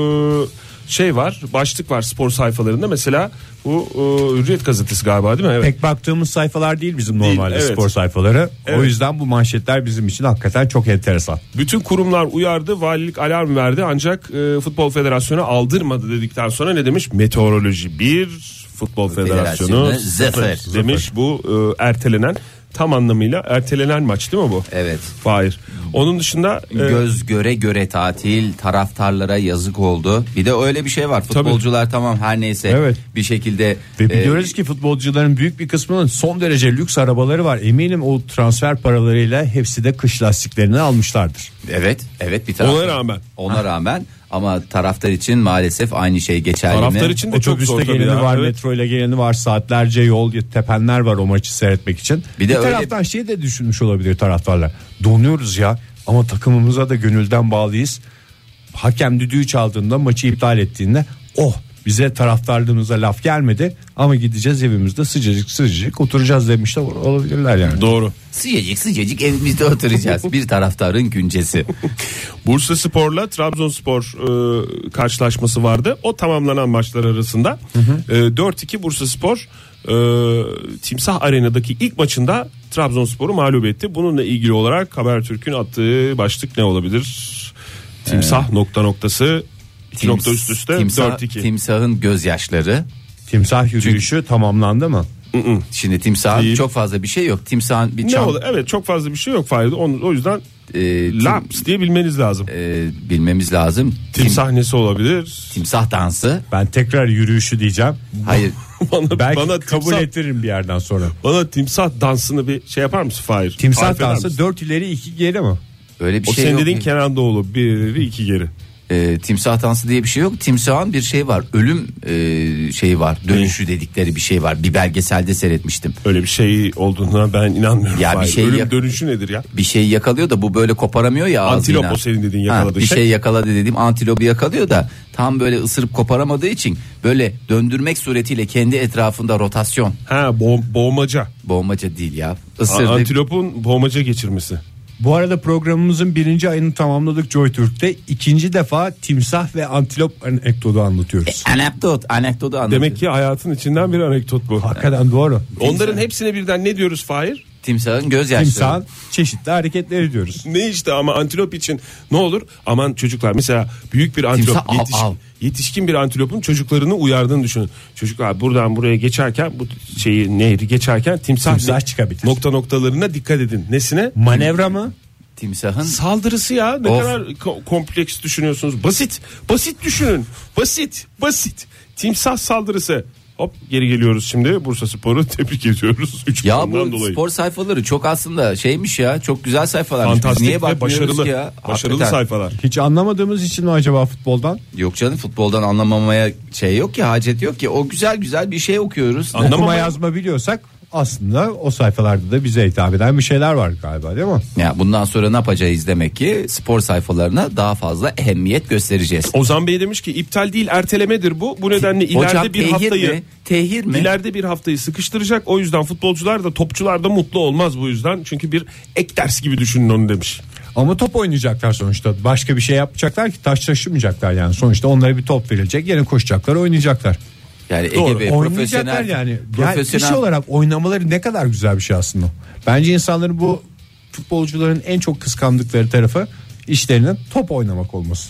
[SPEAKER 4] şey var başlık var spor sayfalarında mesela bu e, Hürriyet gazetesi galiba değil mi? Evet.
[SPEAKER 3] pek baktığımız sayfalar değil bizim
[SPEAKER 4] Değil,
[SPEAKER 3] normalde
[SPEAKER 4] evet.
[SPEAKER 3] spor sayfaları. O
[SPEAKER 4] Evet.
[SPEAKER 3] yüzden bu manşetler bizim için hakikaten çok enteresan.
[SPEAKER 4] Bütün kurumlar uyardı valilik alarm verdi ancak e, Futbol Federasyonu aldırmadı dedikten sonra ne demiş? Meteoroloji 1 Futbol Federasyonu
[SPEAKER 2] Federasyonu sıfır.
[SPEAKER 4] sıfır demiş bu e, ertelenen tam anlamıyla ertelenen maç değil mi bu?
[SPEAKER 2] Evet.
[SPEAKER 4] Hayır. Onun dışında e,
[SPEAKER 2] Göz göre göre tatil taraftarlara yazık oldu. Bir de öyle bir şey var. Futbolcular tamam her neyse
[SPEAKER 3] Evet.
[SPEAKER 2] bir şekilde
[SPEAKER 3] Ve
[SPEAKER 2] e,
[SPEAKER 3] biliyoruz ki futbolcuların büyük bir kısmının son derece lüks arabaları var. Eminim o transfer paralarıyla hepsi de kış lastiklerini almışlardır.
[SPEAKER 2] Evet, evet bir taraf.
[SPEAKER 4] Ona rağmen.
[SPEAKER 2] Ona rağmen ama taraftar için maalesef aynı şey geçerli
[SPEAKER 4] Taraftar
[SPEAKER 2] mi?
[SPEAKER 4] için de çok zor
[SPEAKER 3] Otobüste
[SPEAKER 4] tabii
[SPEAKER 3] geleni
[SPEAKER 4] ya.
[SPEAKER 3] var,
[SPEAKER 4] Evet.
[SPEAKER 3] metroyla geleni var, saatlerce yol tepenler var o maçı seyretmek için.
[SPEAKER 2] Bir
[SPEAKER 3] Bir,
[SPEAKER 2] de öyle-
[SPEAKER 3] taraftan şey de düşünmüş olabilir taraftarlar. Donuyoruz ya ama takımımıza da gönülden bağlıyız. Hakem düdüğü çaldığında maçı iptal ettiğinde oh bize taraftarlığımıza laf gelmedi ama gideceğiz evimizde sıcacık sıcacık oturacağız demişler olabilirler yani.
[SPEAKER 4] Doğru.
[SPEAKER 2] Sıcacık sıcacık evimizde oturacağız. bir taraftarın
[SPEAKER 4] <laughs>
[SPEAKER 2] güncesi.
[SPEAKER 4] Bursa Spor'la Trabzonspor e, karşılaşması vardı. O tamamlanan maçlar arasında e, 4-2 Bursa Spor e, Timsah Arena'daki ilk maçında Trabzonspor'u mağlup etti. Bununla ilgili olarak Habertürk'ün attığı başlık ne olabilir? Timsah nokta noktası 2
[SPEAKER 2] Tims-
[SPEAKER 4] nokta üst üste
[SPEAKER 2] timsah-
[SPEAKER 4] 4-2.
[SPEAKER 2] Timsahın gözyaşları.
[SPEAKER 3] Timsah yürüyüşü tamamlandı mı?
[SPEAKER 2] Şimdi timsahın
[SPEAKER 4] Değil.
[SPEAKER 2] çok fazla bir şey yok. Timsahın bir
[SPEAKER 4] ne
[SPEAKER 2] çam,
[SPEAKER 4] oldu? Evet çok fazla bir şey yok Fahir. Onun- O yüzden
[SPEAKER 2] e, tim-
[SPEAKER 4] laps diye bilmeniz lazım.
[SPEAKER 2] e, bilmemiz lazım. Tim-
[SPEAKER 4] Tim sahnesi olabilir.
[SPEAKER 2] timsah dansı.
[SPEAKER 3] Ben tekrar yürüyüşü diyeceğim.
[SPEAKER 2] Hayır.
[SPEAKER 4] <laughs> bana,
[SPEAKER 3] Belki
[SPEAKER 4] bana
[SPEAKER 3] kabul
[SPEAKER 4] timsah,
[SPEAKER 3] ettiririm bir yerden sonra.
[SPEAKER 4] Bana timsah dansını bir şey yapar mısın Fahir?
[SPEAKER 3] Timsah
[SPEAKER 4] Tarif eder
[SPEAKER 3] dansı
[SPEAKER 4] misin?
[SPEAKER 3] 4 ileri 2 geri mi?
[SPEAKER 2] Öyle bir
[SPEAKER 4] O
[SPEAKER 2] şey
[SPEAKER 4] senin
[SPEAKER 2] yok.
[SPEAKER 4] dediğin Kenan Doğulu bir ileri iki geri.
[SPEAKER 2] E, timsah dansı diye bir şey yok. Timsahın bir şey var. Ölüm e, şeyi var. Dönüşü dedikleri bir şey var. Bir belgeselde seyretmiştim.
[SPEAKER 4] Öyle bir şey olduğuna ben inanmıyorum.
[SPEAKER 2] Ya bir
[SPEAKER 4] Fahir.
[SPEAKER 2] şey
[SPEAKER 4] Ölüm
[SPEAKER 2] yap-
[SPEAKER 4] dönüşü nedir ya?
[SPEAKER 2] bir şeyi yakalıyor da bu böyle koparamıyor ya ağzıyla.
[SPEAKER 4] Antilop o senin dediğin yakaladığı
[SPEAKER 2] bir
[SPEAKER 4] şey.
[SPEAKER 2] şey yakaladı dediğim antilopu yakalıyor da tam böyle ısırıp koparamadığı için böyle döndürmek suretiyle kendi etrafında rotasyon.
[SPEAKER 4] Ha bo- boğmaca.
[SPEAKER 2] Boğmaca değil ya.
[SPEAKER 4] A-
[SPEAKER 2] Isırdı.
[SPEAKER 4] Antilopun boğmaca geçirmesi.
[SPEAKER 3] Bu arada programımızın birinci ayını tamamladık Joy Türk'te. İkinci defa timsah ve antilop anekdotu
[SPEAKER 2] E,
[SPEAKER 3] anlatıyoruz.
[SPEAKER 2] Anekdot, anekdotu anlatıyor.
[SPEAKER 4] Demek ki hayatın içinden bir anekdot bu.
[SPEAKER 3] Hakikaten doğru.
[SPEAKER 4] Onların hepsine birden ne diyoruz Fahir?
[SPEAKER 2] timsahın gözyaşları.
[SPEAKER 3] Timsahın çeşitli hareketleri diyoruz.
[SPEAKER 4] Ne işte ama antilop için ne olur? Aman çocuklar mesela büyük bir antilop
[SPEAKER 2] Timsah, al,
[SPEAKER 4] yetiş-
[SPEAKER 2] al.
[SPEAKER 4] yetişkin bir antilopun çocuklarını uyardığını düşünün. Çocuklar buradan buraya geçerken bu şeyi nehri geçerken timsah,
[SPEAKER 3] Timsah çıkabilir.
[SPEAKER 4] Nokta noktalarına dikkat edin. Nesine?
[SPEAKER 3] Manevra mı?
[SPEAKER 2] Timsahın
[SPEAKER 4] Saldırısı ya ne
[SPEAKER 2] Of.
[SPEAKER 4] kadar ko- kompleks düşünüyorsunuz. Basit. Basit düşünün. Basit. Basit. Timsah saldırısı. Hop geri geliyoruz şimdi. Bursa Spor'u <laughs> tebrik ediyoruz. 3
[SPEAKER 2] ya bu
[SPEAKER 4] puandan dolayı.
[SPEAKER 2] spor sayfaları çok aslında şeymiş ya. Çok güzel sayfalarmış. Biz
[SPEAKER 4] Fantastik
[SPEAKER 2] Niye
[SPEAKER 4] ve
[SPEAKER 2] bakmıyoruz
[SPEAKER 4] başarılı.
[SPEAKER 2] ki ya?
[SPEAKER 4] Başarılı
[SPEAKER 2] Hakikaten.
[SPEAKER 4] sayfalar.
[SPEAKER 3] Hiç anlamadığımız için mi acaba futboldan?
[SPEAKER 2] Yok canım futboldan anlamamaya şey yok ki hacet yok ki. O güzel güzel bir şey okuyoruz.
[SPEAKER 4] Anlamamaya-
[SPEAKER 2] <laughs>
[SPEAKER 3] Okuma yazma biliyorsak aslında o sayfalarda da bize hitap eden bir şeyler var galiba değil mi?
[SPEAKER 2] Ya bundan sonra ne yapacağız demek ki spor sayfalarına daha fazla ehemmiyet göstereceğiz.
[SPEAKER 4] Ozan Bey demiş ki iptal değil ertelemedir bu. Bu nedenle ileride
[SPEAKER 2] Hocam
[SPEAKER 4] bir
[SPEAKER 2] tehir
[SPEAKER 4] haftayı
[SPEAKER 2] mi? Tehir mi?
[SPEAKER 4] ileride bir haftayı sıkıştıracak. O yüzden futbolcular da topçular da mutlu olmaz bu yüzden. Çünkü bir ek ders gibi düşünün onu demiş.
[SPEAKER 3] Ama top oynayacaklar sonuçta. Başka bir şey yapacaklar ki taş taşımayacaklar yani. Sonuçta onlara bir top verilecek. Yine koşacaklar, oynayacaklar.
[SPEAKER 2] Yani Ege
[SPEAKER 4] Doğru,
[SPEAKER 2] Bey
[SPEAKER 3] Oynayacaklar
[SPEAKER 2] profesyonel
[SPEAKER 3] yani. yani
[SPEAKER 2] profesyonel
[SPEAKER 3] iş olarak oynamaları ne kadar güzel bir şey aslında. Bence insanların bu futbolcuların en çok kıskandıkları tarafı işlerinin top oynamak olması.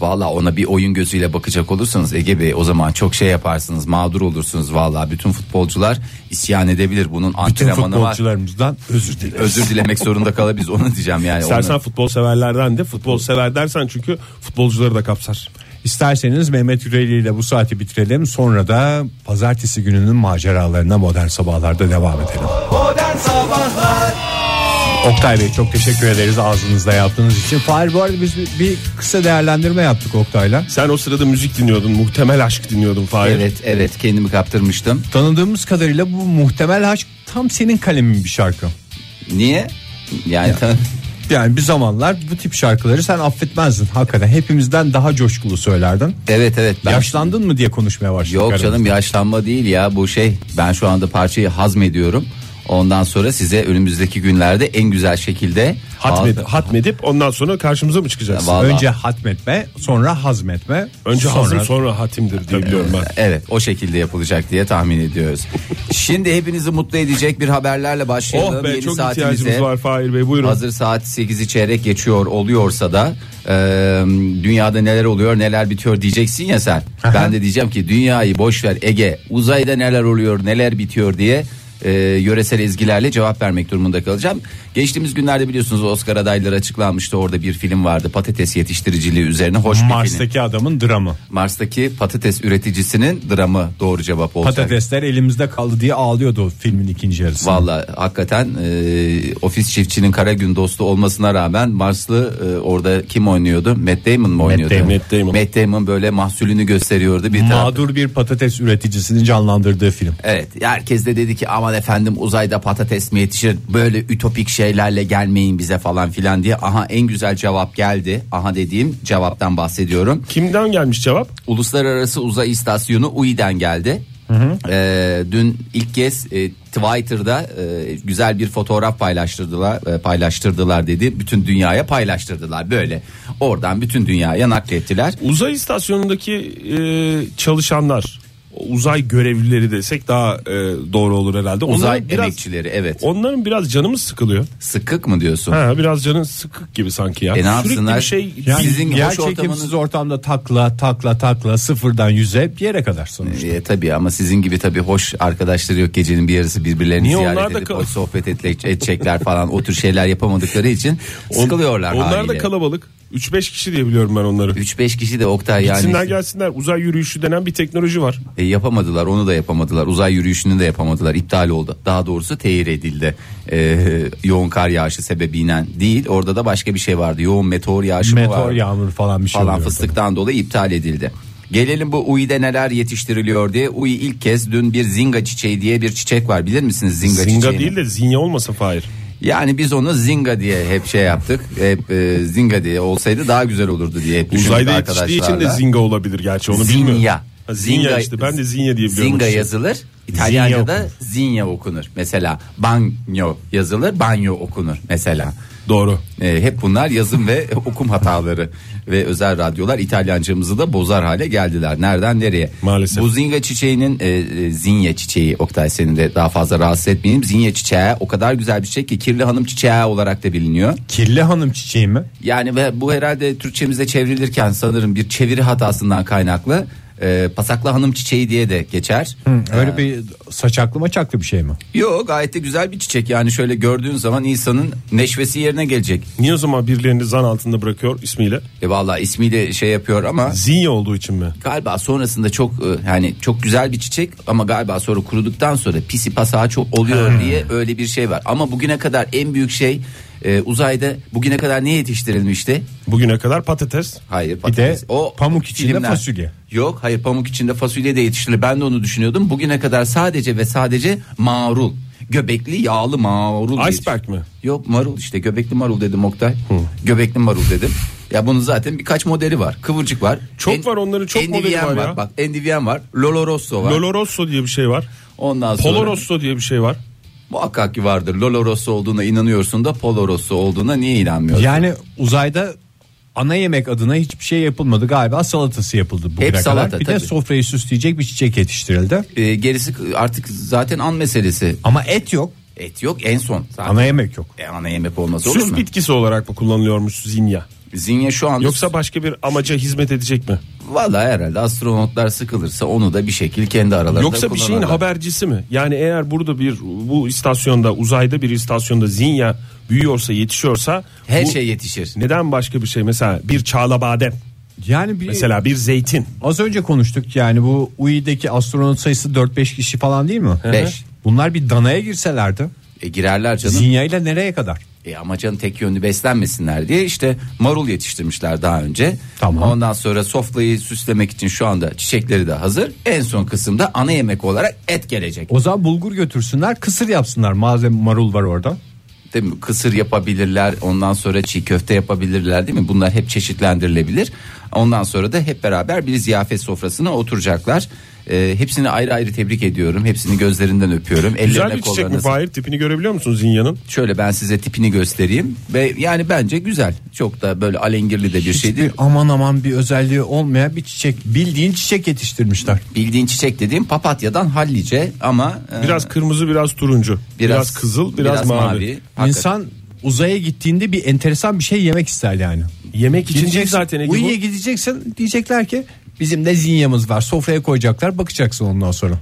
[SPEAKER 2] Valla ona bir oyun gözüyle bakacak olursanız Ege Bey o zaman çok şey yaparsınız mağdur olursunuz valla bütün futbolcular isyan edebilir bunun
[SPEAKER 3] Bütün
[SPEAKER 2] antrenmanı var
[SPEAKER 3] futbolcularımızdan özür dileriz.
[SPEAKER 2] özür dilemek zorunda kalabiliriz onu diyeceğim yani
[SPEAKER 4] İstersen
[SPEAKER 2] Onu-
[SPEAKER 4] futbol severlerden de futbol sever dersen çünkü futbolcuları da kapsar.
[SPEAKER 3] İsterseniz Mehmet Yüreli ile bu saati bitirelim. Sonra da pazartesi gününün maceralarına modern sabahlarda devam edelim. Oktay Bey çok teşekkür ederiz ağzınızda yaptığınız için. Fahir bu arada biz bir, bir kısa değerlendirme yaptık Oktay'la.
[SPEAKER 4] Sen o sırada müzik dinliyordun. Muhtemel aşk dinliyordun Fahir.
[SPEAKER 2] evet evet kendimi kaptırmıştım
[SPEAKER 3] Tanıdığımız kadarıyla bu muhtemel aşk tam senin kalemin bir şarkı.
[SPEAKER 2] niye yani tan-
[SPEAKER 3] Yani bir zamanlar bu tip şarkıları sen affetmezdin hakikaten. Hepimizden daha coşkulu söylerdin.
[SPEAKER 2] <laughs> evet evet ben
[SPEAKER 3] Yaşlandın mı diye konuşmaya başladık.
[SPEAKER 2] Yok
[SPEAKER 3] aramızda.
[SPEAKER 2] canım yaşlanma değil ya bu şey ben şu anda parçayı hazmediyorum. Ondan sonra size önümüzdeki günlerde en güzel şekilde
[SPEAKER 4] Hatmed,
[SPEAKER 2] Ağzı-
[SPEAKER 4] hatmedip ondan sonra karşımıza mı çıkacaksın?
[SPEAKER 2] Vallahi.
[SPEAKER 3] Önce hatmetme, sonra hazmetme,
[SPEAKER 4] Önce
[SPEAKER 3] sonra
[SPEAKER 4] hazım sonra hatimdir diye biliyorum ben.
[SPEAKER 2] Evet o şekilde yapılacak diye tahmin
[SPEAKER 4] <laughs>
[SPEAKER 2] ediyoruz. Şimdi hepinizi mutlu edecek bir haberlerle başlayalım.
[SPEAKER 4] Oh be
[SPEAKER 2] Yeni
[SPEAKER 4] çok
[SPEAKER 2] saatimize.
[SPEAKER 4] ihtiyacımız var Fahir Bey buyurun.
[SPEAKER 2] Hazır saat 8'i çeyrek geçiyor oluyorsa da e, dünyada neler oluyor neler bitiyor diyeceksin ya sen. ben de diyeceğim ki dünyayı boş ver Ege uzayda neler oluyor neler bitiyor diye e, yöresel ezgilerle cevap vermek durumunda kalacağım. Geçtiğimiz günlerde biliyorsunuz Oscar adayları açıklanmıştı orada bir film vardı patates yetiştiriciliği üzerine hoş bir film.
[SPEAKER 3] Mars'taki adamın dramı.
[SPEAKER 2] Mars'taki patates üreticisinin dramı doğru cevap olacak.
[SPEAKER 3] Patatesler elimizde kaldı diye ağlıyordu o filmin ikinci yarısı.
[SPEAKER 2] Valla hakikaten e, ofis çiftçinin kara gün dostu olmasına rağmen Marslı e, orada kim oynuyordu? Matt Damon mu oynuyordu?
[SPEAKER 3] Damon,
[SPEAKER 4] Matt Damon.
[SPEAKER 2] Matt Damon böyle mahsulünü gösteriyordu bir taraf-
[SPEAKER 3] Mağdur bir patates üreticisini canlandırdığı film.
[SPEAKER 2] Evet herkes de dedi ki aman efendim uzayda patates mi yetişir böyle ütopik şeylerle gelmeyin bize falan filan diye. Aha en güzel cevap geldi. Aha dediğim cevaptan bahsediyorum.
[SPEAKER 4] Kimden gelmiş cevap?
[SPEAKER 2] Uluslararası Uzay İstasyonu UI'den geldi. Ee, dün ilk kez e, Twitter'da e, güzel bir fotoğraf paylaştırdılar e, paylaştırdılar dedi. Bütün dünyaya paylaştırdılar böyle. Oradan bütün dünyaya naklettiler.
[SPEAKER 4] Uzay istasyonundaki e, çalışanlar uzay görevlileri desek daha e, doğru olur herhalde. Onların
[SPEAKER 2] Uzay
[SPEAKER 4] biraz-
[SPEAKER 2] emekçileri evet.
[SPEAKER 4] Onların biraz canımız sıkılıyor.
[SPEAKER 2] Sıkık mı diyorsun?
[SPEAKER 4] Ha, biraz canın sıkık gibi sanki ya.
[SPEAKER 2] E ne
[SPEAKER 4] Sürekli
[SPEAKER 2] yapsınlar?
[SPEAKER 4] bir şey
[SPEAKER 2] Yani
[SPEAKER 3] Sizin
[SPEAKER 2] Sizin
[SPEAKER 3] yer
[SPEAKER 2] hoş
[SPEAKER 3] çekimsiz
[SPEAKER 2] ortamınız-
[SPEAKER 3] ortamda takla takla takla sıfırdan yüze bir yere kadar sonuçta.
[SPEAKER 2] E, tabii ama sizin gibi tabii hoş arkadaşları yok gecenin bir yarısı birbirlerini
[SPEAKER 4] Niye onlar
[SPEAKER 2] ziyaret
[SPEAKER 4] da
[SPEAKER 2] edip
[SPEAKER 4] kal-
[SPEAKER 2] hoş sohbet etmek- edecekler falan o tür şeyler yapamadıkları
[SPEAKER 4] <laughs>
[SPEAKER 2] için sıkılıyorlar
[SPEAKER 4] Onlar da
[SPEAKER 2] haliyle.
[SPEAKER 4] kalabalık. 3-5 kişi diye biliyorum ben onları.
[SPEAKER 2] 3-5 kişi de Oktay yani
[SPEAKER 4] Gitsinler gelsinler. Uzay yürüyüşü denen bir teknoloji var.
[SPEAKER 2] E, yapamadılar onu da yapamadılar uzay yürüyüşünü de yapamadılar iptal oldu daha doğrusu tehir edildi E, yoğun kar yağışı sebebiyle değil orada da başka bir şey vardı yoğun meteor yağışı mı
[SPEAKER 3] Meteor
[SPEAKER 2] vardı?
[SPEAKER 3] yağmur falan bir şey
[SPEAKER 2] falan
[SPEAKER 3] oluyor.
[SPEAKER 2] fıstıktan dolayı iptal edildi. Gelelim bu Uİ'de neler yetiştiriliyor diye. UI ilk kez dün bir zinga çiçeği diye bir çiçek var bilir misiniz zinga,
[SPEAKER 4] Zinga
[SPEAKER 2] çiçeğini?
[SPEAKER 4] değil de zinya olmasın Fahir.
[SPEAKER 2] Yani biz onu zinga diye hep şey yaptık. Hep e, zinga diye olsaydı daha güzel olurdu diye hep düşündük
[SPEAKER 4] Uzayda yetiştiği için
[SPEAKER 2] arkadaşlar.
[SPEAKER 4] de
[SPEAKER 2] da.
[SPEAKER 4] zinga olabilir gerçi onu
[SPEAKER 2] Zinya.
[SPEAKER 4] bilmiyorum. Ha, Zinya. işte ben de zinya diye biliyorum.
[SPEAKER 2] Zinga
[SPEAKER 4] İşte.
[SPEAKER 2] yazılır. İtalyanca'da
[SPEAKER 4] okunur.
[SPEAKER 2] zinga, okunur. Mesela banyo yazılır, banyo okunur mesela.
[SPEAKER 4] Doğru.
[SPEAKER 2] E, hep bunlar yazım ve <laughs> okum hataları ve özel radyolar İtalyancamızı da bozar hale geldiler. Nereden nereye?
[SPEAKER 4] Maalesef.
[SPEAKER 2] Bu zinga çiçeğinin e, e, zinya çiçeği Oktay seni de daha fazla rahatsız etmeyeyim. Zinya çiçeği o kadar güzel bir çiçek ki kirli hanım çiçeği olarak da biliniyor.
[SPEAKER 3] Kirli hanım çiçeği mi?
[SPEAKER 2] Yani ve bu herhalde Türkçemize çevrilirken sanırım bir çeviri hatasından kaynaklı. e, pasaklı hanım çiçeği diye de geçer.
[SPEAKER 3] Öyle bir saçaklı maçaklı bir şey mi?
[SPEAKER 2] Yok gayet de güzel bir çiçek yani şöyle gördüğün zaman insanın neşvesi yerine gelecek.
[SPEAKER 4] Niye o zaman birilerini zan altında bırakıyor ismiyle?
[SPEAKER 2] E valla ismiyle şey yapıyor ama
[SPEAKER 4] Zinya olduğu için mi?
[SPEAKER 2] galiba sonrasında çok e, yani çok güzel bir çiçek ama galiba sonra kuruduktan sonra pisi pasağı çok oluyor diye öyle bir şey var. Ama bugüne kadar en büyük şey e, uzayda bugüne kadar ne yetiştirilmişti?
[SPEAKER 4] Bugüne kadar patates.
[SPEAKER 2] Hayır patates.
[SPEAKER 3] de pamuk içinde
[SPEAKER 2] filmler.
[SPEAKER 3] fasulye.
[SPEAKER 2] Yok hayır pamuk içinde fasulye de yetiştirilir. Ben de onu düşünüyordum. Bugüne kadar sadece ve sadece marul. Göbekli yağlı marul.
[SPEAKER 4] Iceberg
[SPEAKER 2] yetiştir-
[SPEAKER 4] mi?
[SPEAKER 2] Yok marul işte göbekli marul dedim Oktay. Göbekli marul dedim. Ya bunun zaten birkaç modeli var. Kıvırcık var.
[SPEAKER 4] Çok var onların, çok
[SPEAKER 2] Endivyen
[SPEAKER 4] modeli var ya.
[SPEAKER 2] Bak endivyen var. Lolorosso var.
[SPEAKER 4] Lolorosso diye bir şey var.
[SPEAKER 2] Ondan sonra
[SPEAKER 4] Polorosso diye bir şey var.
[SPEAKER 2] muhakkak ki vardır. Lolorosso olduğuna inanıyorsun da Polorosso olduğuna niye inanmıyorsun?
[SPEAKER 3] Yani uzayda ana yemek adına hiçbir şey yapılmadı galiba salatası yapıldı bugüne
[SPEAKER 2] Hep salata,
[SPEAKER 3] kadar. Bir de
[SPEAKER 2] tabii.
[SPEAKER 3] sofrayı süsleyecek bir çiçek yetiştirildi.
[SPEAKER 2] Ee, gerisi artık zaten an meselesi.
[SPEAKER 3] Ama et yok.
[SPEAKER 2] Et yok en son. Zaten
[SPEAKER 3] Ana yemek yok.
[SPEAKER 2] E, ana yemek olmaz olur
[SPEAKER 4] Süs
[SPEAKER 2] mu?
[SPEAKER 4] bitkisi olarak mı kullanılıyormuş zinya?
[SPEAKER 2] Zinya şu anda
[SPEAKER 4] Yoksa başka bir amaca hizmet edecek mi?
[SPEAKER 2] valla herhalde astronotlar sıkılırsa onu da bir şekil kendi aralarında
[SPEAKER 4] Yoksa bir şeyin
[SPEAKER 2] kullanırlar.
[SPEAKER 4] habercisi mi? Yani eğer burada bir bu istasyonda uzayda bir istasyonda zinya büyüyorsa yetişiyorsa
[SPEAKER 2] her
[SPEAKER 4] bu-
[SPEAKER 2] şey yetişir.
[SPEAKER 4] neden başka bir şey mesela bir çağla badem
[SPEAKER 3] Yani bir
[SPEAKER 4] mesela bir zeytin
[SPEAKER 3] Az önce konuştuk yani bu UI'deki astronot sayısı 4-5 kişi falan değil mi?
[SPEAKER 2] Beş.
[SPEAKER 3] Bunlar bir danaya girselerdi.
[SPEAKER 2] E, girerler canım.
[SPEAKER 3] Zinya ile nereye kadar?
[SPEAKER 2] E ama canım tek yönlü beslenmesinler diye işte marul yetiştirmişler daha önce.
[SPEAKER 3] Tamam.
[SPEAKER 2] Ondan sonra sofrayı süslemek için şu anda çiçekleri de hazır. En son kısımda ana yemek olarak et gelecek.
[SPEAKER 3] O zaman bulgur götürsünler kısır yapsınlar. Malzeme marul var orada.
[SPEAKER 2] Değil mi? Kısır yapabilirler, ondan sonra çiğ köfte yapabilirler değil mi? Bunlar hep çeşitlendirilebilir. Ondan sonra da hep beraber bir ziyafet sofrasına oturacaklar. Ee, hepsini ayrı ayrı tebrik ediyorum. Hepsini gözlerinden öpüyorum.
[SPEAKER 4] güzel
[SPEAKER 2] Ellerine,
[SPEAKER 4] bir çiçek mi
[SPEAKER 2] kollarına-
[SPEAKER 4] Fahir tipini görebiliyor musun zinyanın
[SPEAKER 2] Şöyle ben size tipini göstereyim ve yani bence güzel. Çok da böyle alengirli de bir şey değil.
[SPEAKER 3] Hiçbir aman aman bir özelliği olmayan bir çiçek. Bildiğin çiçek yetiştirmişler.
[SPEAKER 2] Bildiğin çiçek dediğim papatyadan hallice ama e,
[SPEAKER 4] biraz kırmızı biraz turuncu biraz, kızıl biraz, mavi.
[SPEAKER 2] Hakikaten.
[SPEAKER 3] İnsan uzaya gittiğinde bir enteresan bir şey yemek ister yani.
[SPEAKER 4] yemek için değil
[SPEAKER 3] Gideceksin,
[SPEAKER 4] zaten Ege bu.
[SPEAKER 3] UI'ye gideceksin diyecekler ki bizim de zinyamız var. Sofraya koyacaklar bakacaksın ondan sonra.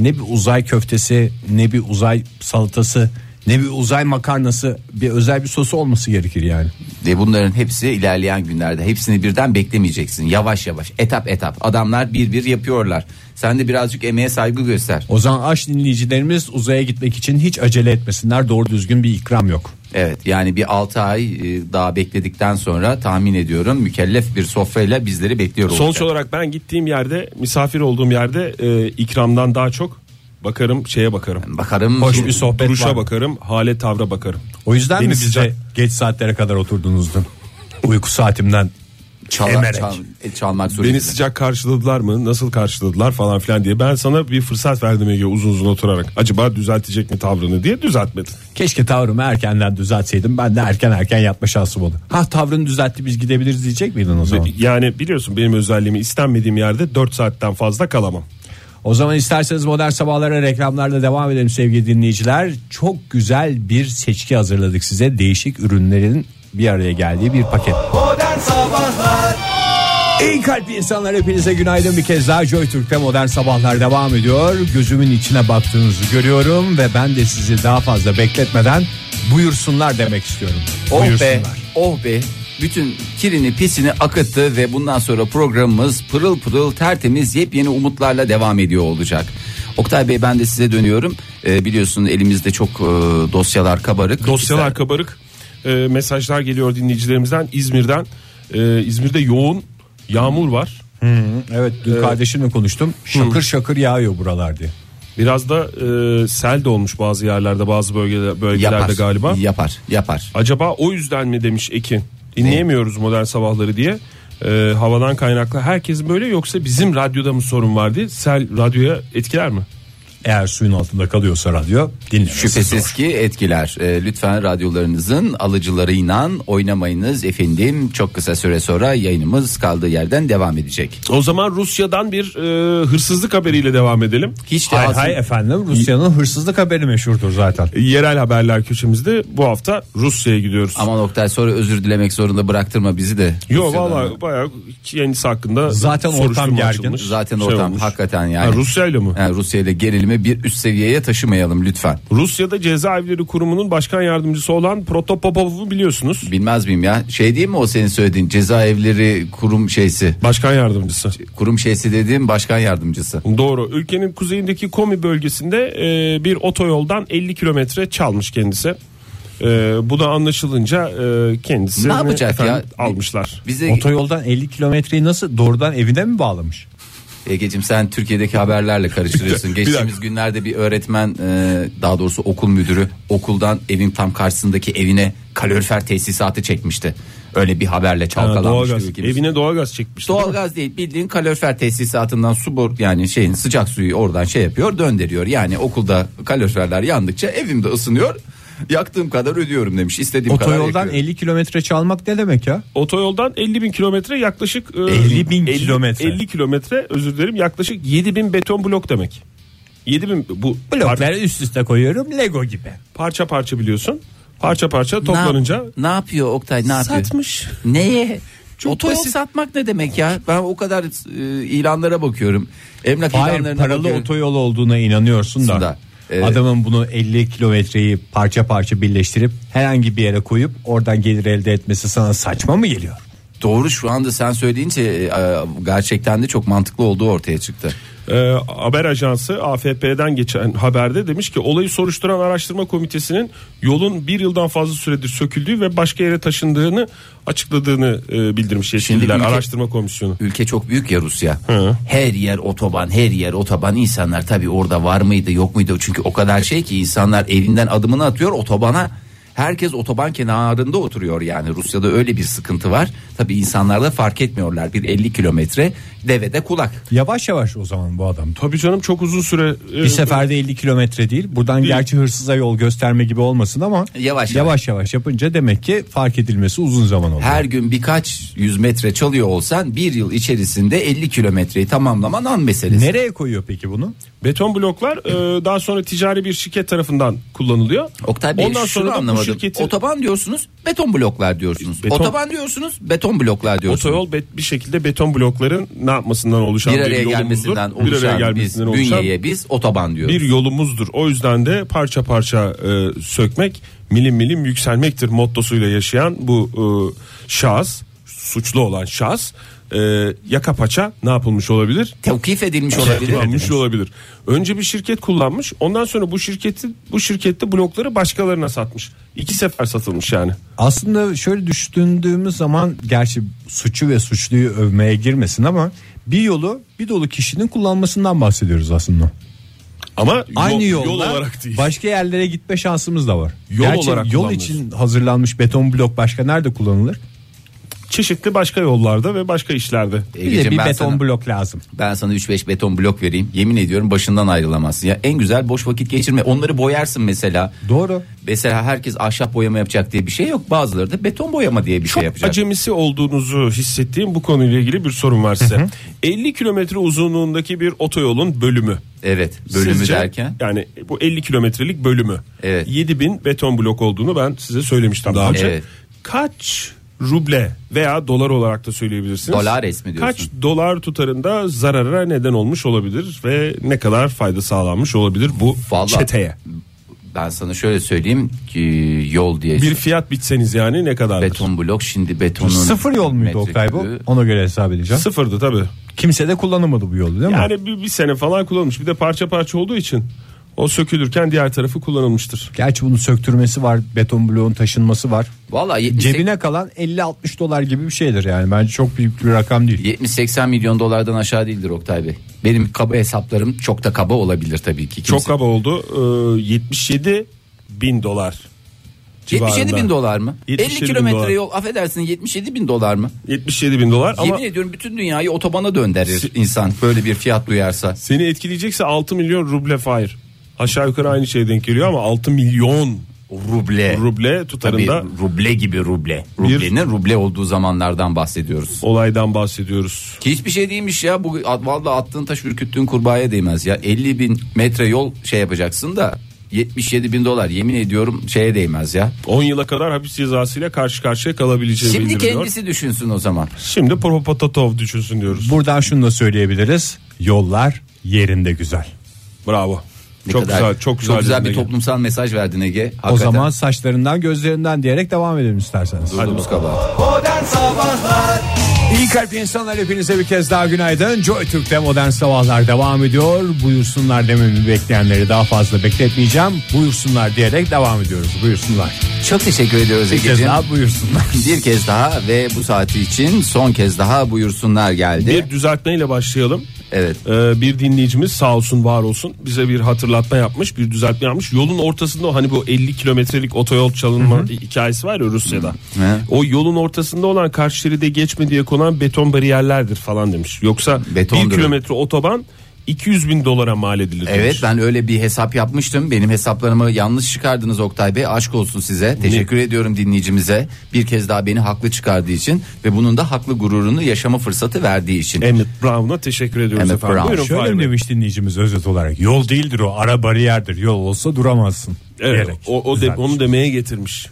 [SPEAKER 3] Ne bir uzay köftesi ne bir uzay salatası ne bir uzay makarnası bir özel bir sosu olması gerekir yani.
[SPEAKER 2] Ve bunların hepsi ilerleyen günlerde hepsini birden beklemeyeceksin. Yavaş yavaş etap etap adamlar bir bir yapıyorlar. Sen de birazcık emeğe saygı göster.
[SPEAKER 3] O zaman aç dinleyicilerimiz uzaya gitmek için hiç acele etmesinler doğru düzgün bir ikram yok.
[SPEAKER 2] Evet yani bir 6 ay e, daha bekledikten sonra tahmin ediyorum mükellef bir sofrayla bizleri bekliyor olacak.
[SPEAKER 4] Sonuç olarak ben gittiğim yerde misafir olduğum yerde e, ikramdan daha çok bakarım şeye bakarım.
[SPEAKER 2] Bakarım
[SPEAKER 3] Hoş bir sohbet
[SPEAKER 4] Duruşa
[SPEAKER 3] var.
[SPEAKER 4] bakarım, hale tavra bakarım.
[SPEAKER 3] O yüzden
[SPEAKER 4] Deniz
[SPEAKER 3] mi bize
[SPEAKER 4] sıcak.
[SPEAKER 3] geç saatlere kadar oturdunuz dün? Uyku saatimden
[SPEAKER 2] çala,
[SPEAKER 3] emerek.
[SPEAKER 2] çal, e, çalmak
[SPEAKER 4] Beni
[SPEAKER 2] suretiyle.
[SPEAKER 4] sıcak karşıladılar mı? Nasıl karşıladılar falan filan diye. Ben sana bir fırsat verdim Ege uzun uzun oturarak. Acaba düzeltecek mi tavrını diye düzeltmedin.
[SPEAKER 3] Keşke tavrımı erkenden düzeltseydim. Ben de erken erken yatma şansım oldu. Ha tavrını düzeltti biz gidebiliriz diyecek miydin o zaman?
[SPEAKER 4] Yani biliyorsun benim özelliğimi istenmediğim yerde 4 saatten fazla kalamam.
[SPEAKER 3] O zaman isterseniz modern sabahlara reklamlarla devam edelim sevgili dinleyiciler. Çok güzel bir seçki hazırladık size. Değişik ürünlerin bir araya geldiği bir paket. İyi kalpli insanlar hepinize günaydın bir kez daha Joy Türk'te modern sabahlar devam ediyor. Gözümün içine baktığınızı görüyorum ve ben de sizi daha fazla bekletmeden buyursunlar demek istiyorum.
[SPEAKER 2] Oh
[SPEAKER 3] buyursunlar.
[SPEAKER 2] be, oh be. Bütün kirini pisini akıttı ve bundan sonra programımız pırıl pırıl tertemiz yepyeni umutlarla devam ediyor olacak. Oktay Bey ben de size dönüyorum. Ee, biliyorsun elimizde çok e, dosyalar kabarık.
[SPEAKER 4] Dosyalar kabarık. E, mesajlar geliyor dinleyicilerimizden İzmir'den. E, İzmir'de yoğun yağmur var.
[SPEAKER 3] Evet dün kardeşimle konuştum. Şakır şakır yağıyor buralar diye.
[SPEAKER 4] Biraz da e, sel de olmuş bazı yerlerde, bazı bölgeler, bölgelerde
[SPEAKER 2] yapar,
[SPEAKER 4] galiba.
[SPEAKER 2] Yapar, yapar.
[SPEAKER 4] Acaba o yüzden mi demiş Ekin? Dinleyemiyoruz modern sabahları diye. E, havadan kaynaklı herkes böyle yoksa bizim radyoda mı sorun var diye sel radyoya etkiler mi?
[SPEAKER 3] Eğer suyun altında kalıyorsa radyo dinlemesi
[SPEAKER 2] Şüphesiz
[SPEAKER 3] zor.
[SPEAKER 2] ki etkiler. Ee, lütfen radyolarınızın alıcılarıyla oynamayınız efendim. Çok kısa süre sonra yayınımız kaldığı yerden devam edecek.
[SPEAKER 4] O zaman Rusya'dan bir e, hırsızlık haberiyle devam edelim.
[SPEAKER 2] Hiç de
[SPEAKER 3] Hay
[SPEAKER 2] ağzın-
[SPEAKER 3] hay efendim Rusya'nın hırsızlık haberi meşhurdur zaten.
[SPEAKER 4] Yerel haberler köşemizde bu hafta Rusya'ya gidiyoruz.
[SPEAKER 2] Aman Oktay sonra özür dilemek zorunda bıraktırma bizi de.
[SPEAKER 4] Yo
[SPEAKER 2] Rusya'dan.
[SPEAKER 4] valla bayağı kendisi hakkında
[SPEAKER 3] Zaten ortam
[SPEAKER 4] soruşturma
[SPEAKER 3] gergin.
[SPEAKER 4] açılmış.
[SPEAKER 2] Zaten
[SPEAKER 4] Şey
[SPEAKER 2] ortam
[SPEAKER 4] olmuş.
[SPEAKER 2] hakikaten yani.
[SPEAKER 4] Ha, Rusya ile mi?
[SPEAKER 2] Yani Rusya ile gerilimi bir üst seviyeye taşımayalım lütfen.
[SPEAKER 4] Rusya'da cezaevleri kurumunun başkan yardımcısı olan Protopopov'u biliyorsunuz.
[SPEAKER 2] Bilmez miyim ya? Şey değil mi o senin söylediğin cezaevleri kurum şeysi?
[SPEAKER 4] Başkan yardımcısı.
[SPEAKER 2] Kurum şeysi dediğim başkan yardımcısı.
[SPEAKER 4] Doğru. Ülkenin kuzeyindeki Komi bölgesinde e, bir otoyoldan 50 kilometre çalmış kendisi. E, bu da anlaşılınca e, kendisi
[SPEAKER 2] Ne yapacak ya?
[SPEAKER 4] almışlar.
[SPEAKER 2] Bize
[SPEAKER 3] Otoyoldan 50 kilometreyi nasıl doğrudan evine mi bağlamış?
[SPEAKER 2] Egeciğim sen Türkiye'deki haberlerle karıştırıyorsun.
[SPEAKER 4] <laughs> Bir dakika.
[SPEAKER 2] Geçtiğimiz günlerde bir öğretmen e, daha doğrusu okul müdürü okuldan evin tam karşısındaki evine kalorifer tesisatı çekmişti. Öyle bir haberle
[SPEAKER 4] Ha,
[SPEAKER 2] çalkalanmıştı
[SPEAKER 4] doğalgaz.
[SPEAKER 2] ülkemiz.
[SPEAKER 4] Evine doğalgaz çekmiş.
[SPEAKER 2] Doğalgaz değil bildiğin kalorifer tesisatından su bor yani şeyin sıcak suyu oradan şey yapıyor döndürüyor. Yani okulda kaloriferler yandıkça evimde ısınıyor. Yaktığım kadar ödüyorum demiş. İstediğim kadar
[SPEAKER 3] Otoyoldan
[SPEAKER 2] yakıyorum.
[SPEAKER 3] 50 kilometre çalmak ne demek ya?
[SPEAKER 4] Otoyoldan 50 bin kilometre yaklaşık e,
[SPEAKER 3] 50 bin kilometre.
[SPEAKER 4] 50 kilometre özür dilerim yaklaşık 7 bin beton blok demek. 7 bin bu par-
[SPEAKER 3] üst üste koyuyorum Lego gibi.
[SPEAKER 4] parça parça biliyorsun. Parça parça
[SPEAKER 2] Ne yap-
[SPEAKER 4] toplanınca
[SPEAKER 2] ne, yapıyor Oktay ne yapıyor?
[SPEAKER 4] satmış.
[SPEAKER 2] Neye?
[SPEAKER 4] Çok
[SPEAKER 2] Otoyol
[SPEAKER 4] basit.
[SPEAKER 2] satmak ne demek ya? Ben o kadar e, ilanlara bakıyorum. Emlak
[SPEAKER 3] Hayır
[SPEAKER 2] ilanlarına
[SPEAKER 3] paralı
[SPEAKER 2] bakıyorum.
[SPEAKER 3] otoyol olduğuna inanıyorsun da.
[SPEAKER 2] Da, evet.
[SPEAKER 3] Adamın bunu 50 kilometreyi parça parça birleştirip herhangi bir yere koyup oradan gelir elde etmesi sana saçma mı geliyor?
[SPEAKER 2] Doğru şu anda sen söyleyince e, e, gerçekten de çok mantıklı olduğu ortaya çıktı.
[SPEAKER 4] Ee, haber ajansı AFP'den geçen haberde demiş ki olayı soruşturan araştırma komitesinin yolun bir yıldan fazla süredir söküldüğü ve başka yere taşındığını açıkladığını e, bildirmiş yetkililer
[SPEAKER 2] ülke-
[SPEAKER 4] araştırma komisyonu.
[SPEAKER 2] Ülke çok büyük ya Rusya. Her yer otoban, her yer otoban. İnsanlar tabii orada var mıydı, yok muydu? Çünkü o kadar şey ki insanlar evinden adımını atıyor otobana. Herkes otoban kenarında oturuyor yani. Rusya'da öyle bir sıkıntı var. Tabii insanlar da fark etmiyorlar. Bir 50 kilometre devede kulak.
[SPEAKER 3] Yavaş yavaş o zaman bu adam.
[SPEAKER 4] Tabii canım çok uzun süre e,
[SPEAKER 3] Bir seferde 50 kilometre değil. Buradan gerçi hırsıza yol gösterme gibi olmasın ama
[SPEAKER 2] Yavaş
[SPEAKER 3] yavaş, yavaş yapınca demek ki fark edilmesi uzun zaman oluyor.
[SPEAKER 2] Her gün birkaç yüz metre çalıyor olsan bir yıl içerisinde 50 kilometreyi tamamlaman an meselesi.
[SPEAKER 3] Nereye koyuyor peki bunu?
[SPEAKER 4] beton bloklar e, daha sonra ticari bir şirket tarafından kullanılıyor.
[SPEAKER 2] Oktay Bey
[SPEAKER 4] Ondan
[SPEAKER 2] şunu
[SPEAKER 4] sonra da bu
[SPEAKER 2] anlamadım.
[SPEAKER 4] şirketin-
[SPEAKER 2] Otoban diyorsunuz, beton bloklar diyorsunuz.
[SPEAKER 4] Beton-
[SPEAKER 2] Otoban diyorsunuz, beton bloklar diyorsunuz.
[SPEAKER 4] Otoyol be- bir şekilde beton blokların ne yapmasından oluşan
[SPEAKER 2] bir araya
[SPEAKER 4] yolumuzdur.
[SPEAKER 2] gelmesinden
[SPEAKER 4] bir araya
[SPEAKER 2] oluşan biz
[SPEAKER 4] gelmesinden oluşan
[SPEAKER 2] bünyeye biz otoban diyoruz.
[SPEAKER 4] bir yolumuzdur. O yüzden de parça parça e, sökmek milim milim yükselmektir mottosuyla yaşayan bu e, şahıs suçlu olan şahıs e, yaka paça ne yapılmış olabilir?
[SPEAKER 2] Tevkif edilmiş olabilir.
[SPEAKER 4] Kullanmış olabilir. Önce bir şirket kullanmış. Ondan sonra bu şirketi bu şirkette blokları başkalarına satmış. İki sefer satılmış yani.
[SPEAKER 3] Aslında şöyle düşündüğümüz zaman gerçi suçu ve suçluyu övmeye girmesin ama bir yolu bir dolu kişinin kullanmasından bahsediyoruz aslında.
[SPEAKER 4] Ama yol-
[SPEAKER 3] Aynı
[SPEAKER 4] yol,
[SPEAKER 3] yolda
[SPEAKER 4] olarak değil.
[SPEAKER 3] başka yerlere gitme şansımız da var.
[SPEAKER 4] Yol
[SPEAKER 3] Gerçi
[SPEAKER 4] olarak
[SPEAKER 3] yol
[SPEAKER 4] kullanmıyoruz.
[SPEAKER 3] için hazırlanmış beton blok başka nerede kullanılır?
[SPEAKER 4] çeşitli başka yollarda ve başka işlerde.
[SPEAKER 3] Bir de
[SPEAKER 2] Egeciğim,
[SPEAKER 3] bir
[SPEAKER 2] ben
[SPEAKER 3] beton
[SPEAKER 2] sana-
[SPEAKER 3] blok lazım.
[SPEAKER 2] Ben sana 3-5 beton blok vereyim. Yemin ediyorum başından ayrılamazsın. Ya en güzel boş vakit geçirme. Onları boyarsın mesela.
[SPEAKER 3] Doğru.
[SPEAKER 2] Mesela herkes ahşap boyama yapacak diye bir şey yok. Bazıları da beton boyama diye bir
[SPEAKER 4] Çok
[SPEAKER 2] şey yapacak.
[SPEAKER 4] acemisi olduğunuzu hissettiğim bu konuyla ilgili bir sorum var size. 50 kilometre uzunluğundaki bir otoyolun bölümü.
[SPEAKER 2] Evet. Bölümü
[SPEAKER 4] Sizce,
[SPEAKER 2] derken.
[SPEAKER 4] Yani bu 50 kilometrelik bölümü.
[SPEAKER 2] Evet.
[SPEAKER 4] 7000 beton blok olduğunu ben size söylemiştim daha önce.
[SPEAKER 2] Evet.
[SPEAKER 4] Kaç ruble veya dolar olarak da söyleyebilirsiniz.
[SPEAKER 2] Dolar resmi diyorsun.
[SPEAKER 4] Kaç dolar tutarında zarara neden olmuş olabilir ve ne kadar fayda sağlanmış olabilir bu
[SPEAKER 2] Vallahi-
[SPEAKER 4] çeteye?
[SPEAKER 2] Ben sana şöyle söyleyeyim ki yol diye. şey-
[SPEAKER 4] Bir fiyat bitseniz yani ne kadardır?
[SPEAKER 2] beton blok şimdi betonun.
[SPEAKER 3] Sıfır yol muydu
[SPEAKER 2] metrekübü.
[SPEAKER 3] Oktay bu? Ona göre hesap edeceğim.
[SPEAKER 4] Sıfırdı tabii.
[SPEAKER 3] Kimse de kullanamadı bu yolu değil mi?
[SPEAKER 4] Yani bir, bir sene falan kullanılmış. Bir de parça parça olduğu için o sökülürken diğer tarafı kullanılmıştır.
[SPEAKER 3] Gerçi bunun söktürmesi var, beton bloğun taşınması var.
[SPEAKER 2] Vallahi 78
[SPEAKER 3] Cebine kalan 50-60 dolar gibi bir şeydir yani. Bence çok büyük bir rakam değil.
[SPEAKER 2] 70-80 milyon dolardan aşağı değildir Oktay Bey. Benim kaba hesaplarım çok da kaba olabilir tabii ki.
[SPEAKER 4] Çok kaba oldu. Ee, 77 bin dolar.
[SPEAKER 2] 77
[SPEAKER 4] civarında.
[SPEAKER 2] bin dolar mı?
[SPEAKER 4] 77
[SPEAKER 2] 50
[SPEAKER 4] bin
[SPEAKER 2] kilometre
[SPEAKER 4] dolar.
[SPEAKER 2] yol affedersin 77 bin dolar mı?
[SPEAKER 4] 77 bin dolar ama
[SPEAKER 2] Yemin ediyorum bütün dünyayı otobana döndürür insan böyle bir fiyat duyarsa.
[SPEAKER 4] seni etkileyecekse 6 milyon ruble fire. Aşağı yukarı aynı şeye denk geliyor ama 6 milyon
[SPEAKER 2] Ruble.
[SPEAKER 4] ruble
[SPEAKER 2] Tabii
[SPEAKER 4] tutarında
[SPEAKER 2] ruble gibi ruble.
[SPEAKER 4] Bir-
[SPEAKER 2] Rublenin ruble olduğu zamanlardan bahsediyoruz.
[SPEAKER 4] olaydan bahsediyoruz.
[SPEAKER 2] Ki hiçbir şey değilmiş ya. Bu at- vallahi attığın taş ürküttüğün kurbağaya değmez ya. 50 bin metre yol şey yapacaksın da 77 bin dolar yemin ediyorum şeye değmez ya.
[SPEAKER 4] 10 yıla kadar hapis cezasıyla karşı karşıya kalabileceği
[SPEAKER 2] Şimdi
[SPEAKER 4] bildiriliyor.
[SPEAKER 2] kendisi düşünsün o zaman.
[SPEAKER 4] Şimdi Propotatov düşünsün diyoruz.
[SPEAKER 3] Buradan şunu da söyleyebiliriz. Yollar yerinde güzel.
[SPEAKER 4] Bravo.
[SPEAKER 2] Ne
[SPEAKER 4] çok
[SPEAKER 2] kadar-
[SPEAKER 4] güzel, çok güzel.
[SPEAKER 2] güzel bir
[SPEAKER 4] yerine geldi.
[SPEAKER 2] toplumsal mesaj verdin Ege. Hakikaten.
[SPEAKER 3] O zaman saçlarından gözlerinden diyerek devam edelim isterseniz.
[SPEAKER 2] Durduğumuz kabahat.
[SPEAKER 3] İyi kalp insanlar hepinize bir kez daha günaydın. Joy Türk'te modern sabahlar devam ediyor. Buyursunlar dememi bekleyenleri daha fazla bekletmeyeceğim. Buyursunlar diyerek devam ediyoruz. Buyursunlar.
[SPEAKER 2] Çok teşekkür ediyoruz
[SPEAKER 3] Bir kez
[SPEAKER 2] Ege'ciğim.
[SPEAKER 3] daha buyursunlar.
[SPEAKER 2] <laughs> Bir kez daha ve bu saati için son kez daha buyursunlar geldi.
[SPEAKER 4] Bir düzeltmeyle başlayalım.
[SPEAKER 2] Evet.
[SPEAKER 4] Ee, bir dinleyicimiz sağ olsun var olsun bize bir hatırlatma yapmış bir düzeltme yapmış yolun ortasında o hani bu 50 kilometrelik otoyol çalınma hikayesi var ya Rusya'da
[SPEAKER 2] Hı.
[SPEAKER 4] o yolun ortasında olan karşı şeride geçme diye konan beton bariyerlerdir falan demiş yoksa
[SPEAKER 2] Betondur.
[SPEAKER 4] 1 kilometre otoban 200 bin dolara mal edilir demiş.
[SPEAKER 2] Evet ben öyle bir hesap yapmıştım. Benim hesaplarımı yanlış çıkardınız Oktay Bey. Aşk olsun size. Teşekkür ediyorum dinleyicimize. Bir kez daha beni haklı çıkardığı için ve bunun da haklı gururunu yaşama fırsatı verdiği için.
[SPEAKER 4] Emmett Brown'a teşekkür ediyoruz
[SPEAKER 2] Emmett
[SPEAKER 4] efendim.
[SPEAKER 2] Brown.
[SPEAKER 4] Buyurun Fahir
[SPEAKER 3] Şöyle mi
[SPEAKER 4] Bey.
[SPEAKER 3] demiş dinleyicimiz özet olarak? Yol değildir o ara bariyerdir. Yol olsa duramazsın.
[SPEAKER 4] Evet,
[SPEAKER 3] diyerek
[SPEAKER 4] o, o de-
[SPEAKER 3] düzeltmiş.
[SPEAKER 4] onu demeye getirmiş.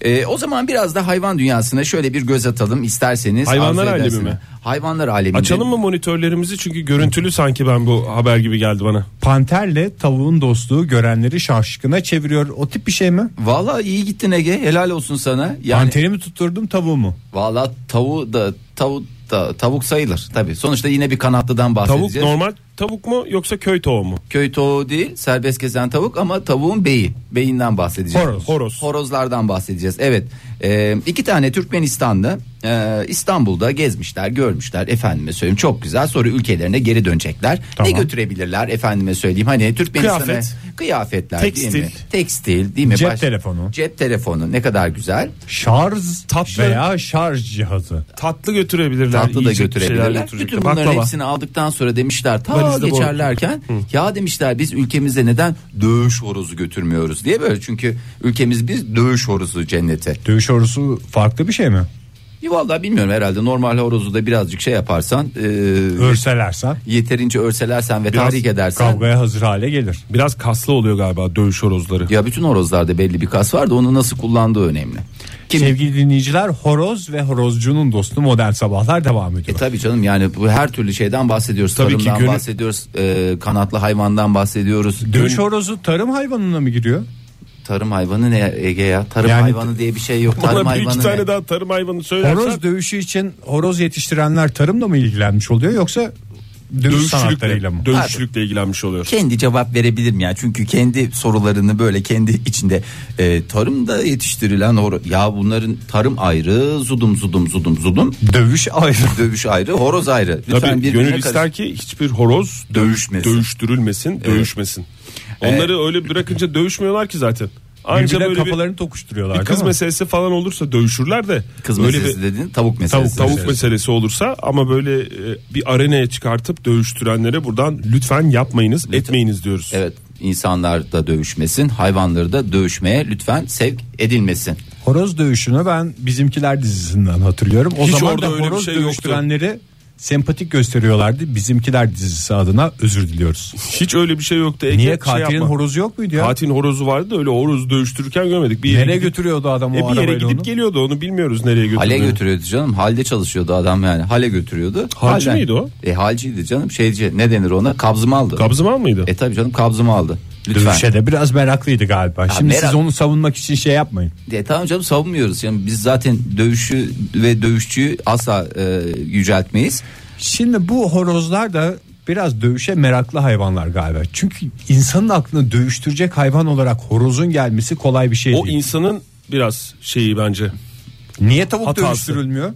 [SPEAKER 2] Ee, o zaman biraz da hayvan dünyasına şöyle bir göz atalım isterseniz.
[SPEAKER 4] Hayvanlar
[SPEAKER 2] Arzu
[SPEAKER 4] alemi
[SPEAKER 2] ederseniz.
[SPEAKER 4] mi?
[SPEAKER 2] Hayvanlar aleminde.
[SPEAKER 4] Açalım mı monitörlerimizi çünkü görüntülü sanki ben bu haber gibi geldi bana.
[SPEAKER 3] Panterle tavuğun dostluğu görenleri şaşkına çeviriyor. O tip bir şey mi?
[SPEAKER 2] Valla iyi gittin Ege. Helal olsun sana. Yani
[SPEAKER 3] Panteri mi tutturdum tavuğu mu?
[SPEAKER 2] valla tavuğu da tavuk da tavuk sayılır tabi. Sonuçta yine bir kanatlıdan bahsedeceğiz.
[SPEAKER 4] Tavuk normal tavuk mu yoksa köy tavuğu mu?
[SPEAKER 2] köy tavuğu değil serbest gezen tavuk ama tavuğun beyi beyinden bahsedeceğiz.
[SPEAKER 4] Horoz. Horoz.
[SPEAKER 2] Horozlardan bahsedeceğiz evet Ee, iki tane Türkmenistanlı e, İstanbul'da gezmişler görmüşler efendime söyleyeyim çok güzel sonra ülkelerine geri dönecekler. Ne götürebilirler efendime söyleyeyim hani Türkmenistan'a
[SPEAKER 4] Kıyafet.
[SPEAKER 2] kıyafetler
[SPEAKER 4] Tekstil.
[SPEAKER 2] değil mi? Tekstil değil mi?
[SPEAKER 3] Cep telefonu.
[SPEAKER 2] Cep telefonu ne kadar güzel.
[SPEAKER 3] Şarj
[SPEAKER 4] Tatlı.
[SPEAKER 3] veya şarj cihazı.
[SPEAKER 4] Tatlı götürebilirler.
[SPEAKER 2] tatlı da
[SPEAKER 4] yiyecek bir şeyler
[SPEAKER 2] götürebilirler.
[SPEAKER 4] götürecek
[SPEAKER 2] Bütün
[SPEAKER 4] de.
[SPEAKER 2] bunların
[SPEAKER 4] Baklava.
[SPEAKER 2] hepsini aldıktan sonra demişler ta
[SPEAKER 4] Valizde bu.
[SPEAKER 2] geçerlerken ya demişler biz ülkemize neden dövüş horozu götürmüyoruz diye böyle çünkü ülkemiz biz dövüş horozu cenneti.
[SPEAKER 3] Dövüş orusu farklı bir şey mi?
[SPEAKER 2] Ya Vallahi bilmiyorum herhalde normal horozu da birazcık şey yaparsan e,
[SPEAKER 3] Örselersen
[SPEAKER 2] yeterince örselersen ve
[SPEAKER 4] Biraz
[SPEAKER 2] tahrik edersen.
[SPEAKER 3] kavgaya hazır hale gelir.
[SPEAKER 4] Biraz kaslı oluyor galiba dövüş horozları.
[SPEAKER 2] Ya bütün horozlarda belli bir kas var da onu nasıl kullandığı önemli. Kim?
[SPEAKER 3] Sevgili dinleyiciler horoz ve horozcunun dostu modern sabahlar devam
[SPEAKER 2] E
[SPEAKER 3] ediyor.
[SPEAKER 2] tabii canım yani bu her türlü şeyden bahsediyoruz.
[SPEAKER 4] Tabii ki
[SPEAKER 2] Tarımdan
[SPEAKER 4] gönül-
[SPEAKER 2] bahsediyoruz. e, kanatlı hayvandan bahsediyoruz.
[SPEAKER 3] Dövüş horozu tarım hayvanına mı giriyor?
[SPEAKER 2] Tarım hayvanı ne Ege ya? Tarım
[SPEAKER 3] Yani-
[SPEAKER 2] hayvanı diye bir şey yok. Tarım
[SPEAKER 4] Bana bir
[SPEAKER 2] hayvanı
[SPEAKER 4] iki
[SPEAKER 2] ne?
[SPEAKER 4] tane daha tarım hayvanı söylersen
[SPEAKER 3] Horoz dövüşü için horoz yetiştirenler tarımla mı ilgilenmiş oluyor yoksa dövüş sanatlarıyla mı?
[SPEAKER 4] dövüşçülükle, dövüşçülükle ilgilenmiş oluyor.
[SPEAKER 2] Kendi cevap verebilirim ya. Çünkü kendi sorularını böyle kendi içinde e, tarımda yetiştirilen horoz. Ya bunların tarım ayrı, zudum zudum zudum zudum.
[SPEAKER 3] Dövüş ayrı.
[SPEAKER 2] Dövüş ayrı, horoz ayrı. Lütfen
[SPEAKER 4] Tabii
[SPEAKER 2] birbirine
[SPEAKER 4] gönül
[SPEAKER 2] karış-
[SPEAKER 4] ister ki hiçbir horoz dö-
[SPEAKER 2] Dövüşmesin. Ee,
[SPEAKER 4] dövüştürülmesin, dövüşmesin. Onları öyle bırakınca dövüşmüyorlar ki zaten. Anca
[SPEAKER 3] Birbirine
[SPEAKER 4] böyle bir-
[SPEAKER 3] kafalarını tokuşturuyorlar.
[SPEAKER 4] Bir kız
[SPEAKER 3] değil mi?
[SPEAKER 4] meselesi falan olursa dövüşürler de.
[SPEAKER 2] Kız
[SPEAKER 4] böyle
[SPEAKER 2] meselesi
[SPEAKER 4] bir
[SPEAKER 2] dedin tavuk meselesi.
[SPEAKER 4] tavuk tavuk meselesi olursa ama böyle e, bir arenaya çıkartıp dövüştürenlere buradan lütfen yapmayınız, etmeyiniz diyoruz.
[SPEAKER 2] Evet insanlar da dövüşmesin hayvanları da dövüşmeye lütfen sevk edilmesin.
[SPEAKER 3] Horoz dövüşünü ben bizimkiler dizisinden hatırlıyorum. O
[SPEAKER 4] Hiç
[SPEAKER 3] zaman
[SPEAKER 4] orada
[SPEAKER 3] da
[SPEAKER 4] öyle bir
[SPEAKER 3] horoz
[SPEAKER 4] şey yoktu.
[SPEAKER 3] dövüştürenleri sempatik gösteriyorlardı. Bizimkiler dizisi adına özür diliyoruz.
[SPEAKER 4] Hiç öyle bir şey yoktu. Ege,
[SPEAKER 3] Niye
[SPEAKER 4] şey
[SPEAKER 3] katilin
[SPEAKER 4] yapma.
[SPEAKER 3] horozu yok muydu ya?
[SPEAKER 4] Katilin horozu vardı da öyle horoz dövüştürürken görmedik. Bir yere
[SPEAKER 3] Nereye
[SPEAKER 4] gidip-
[SPEAKER 3] götürüyordu adam
[SPEAKER 4] E,
[SPEAKER 3] o
[SPEAKER 4] bir yere
[SPEAKER 3] arabayla
[SPEAKER 4] gidip
[SPEAKER 3] onu?
[SPEAKER 4] geliyordu onu bilmiyoruz nereye götürdüğünü.
[SPEAKER 2] Hale götürüyordu canım. Halde çalışıyordu adam yani. Hale götürüyordu.
[SPEAKER 4] Halci
[SPEAKER 2] Halden-
[SPEAKER 4] miydi o?
[SPEAKER 2] E halciydi canım. Şeyci ne denir ona? Kabzımı aldı.
[SPEAKER 4] Kabzıman mıydı?
[SPEAKER 2] e tabi canım kabzımı aldı. Lütfen.
[SPEAKER 3] Dövüşe de biraz meraklıydı galiba. Şimdi
[SPEAKER 2] merak-
[SPEAKER 3] siz onu savunmak için şey yapmayın.
[SPEAKER 2] E, tamam canım savunmuyoruz. Yani biz zaten dövüşü ve dövüşçüyü asla e, yüceltmeyiz.
[SPEAKER 3] Şimdi bu horozlar da biraz dövüşe meraklı hayvanlar galiba. Çünkü insanın aklını dövüştürecek hayvan olarak horozun gelmesi kolay bir şey
[SPEAKER 4] o
[SPEAKER 3] değil.
[SPEAKER 4] insanın biraz şeyi bence.
[SPEAKER 3] Niye tavuk
[SPEAKER 4] Hatası.
[SPEAKER 3] dövüştürülmüyor?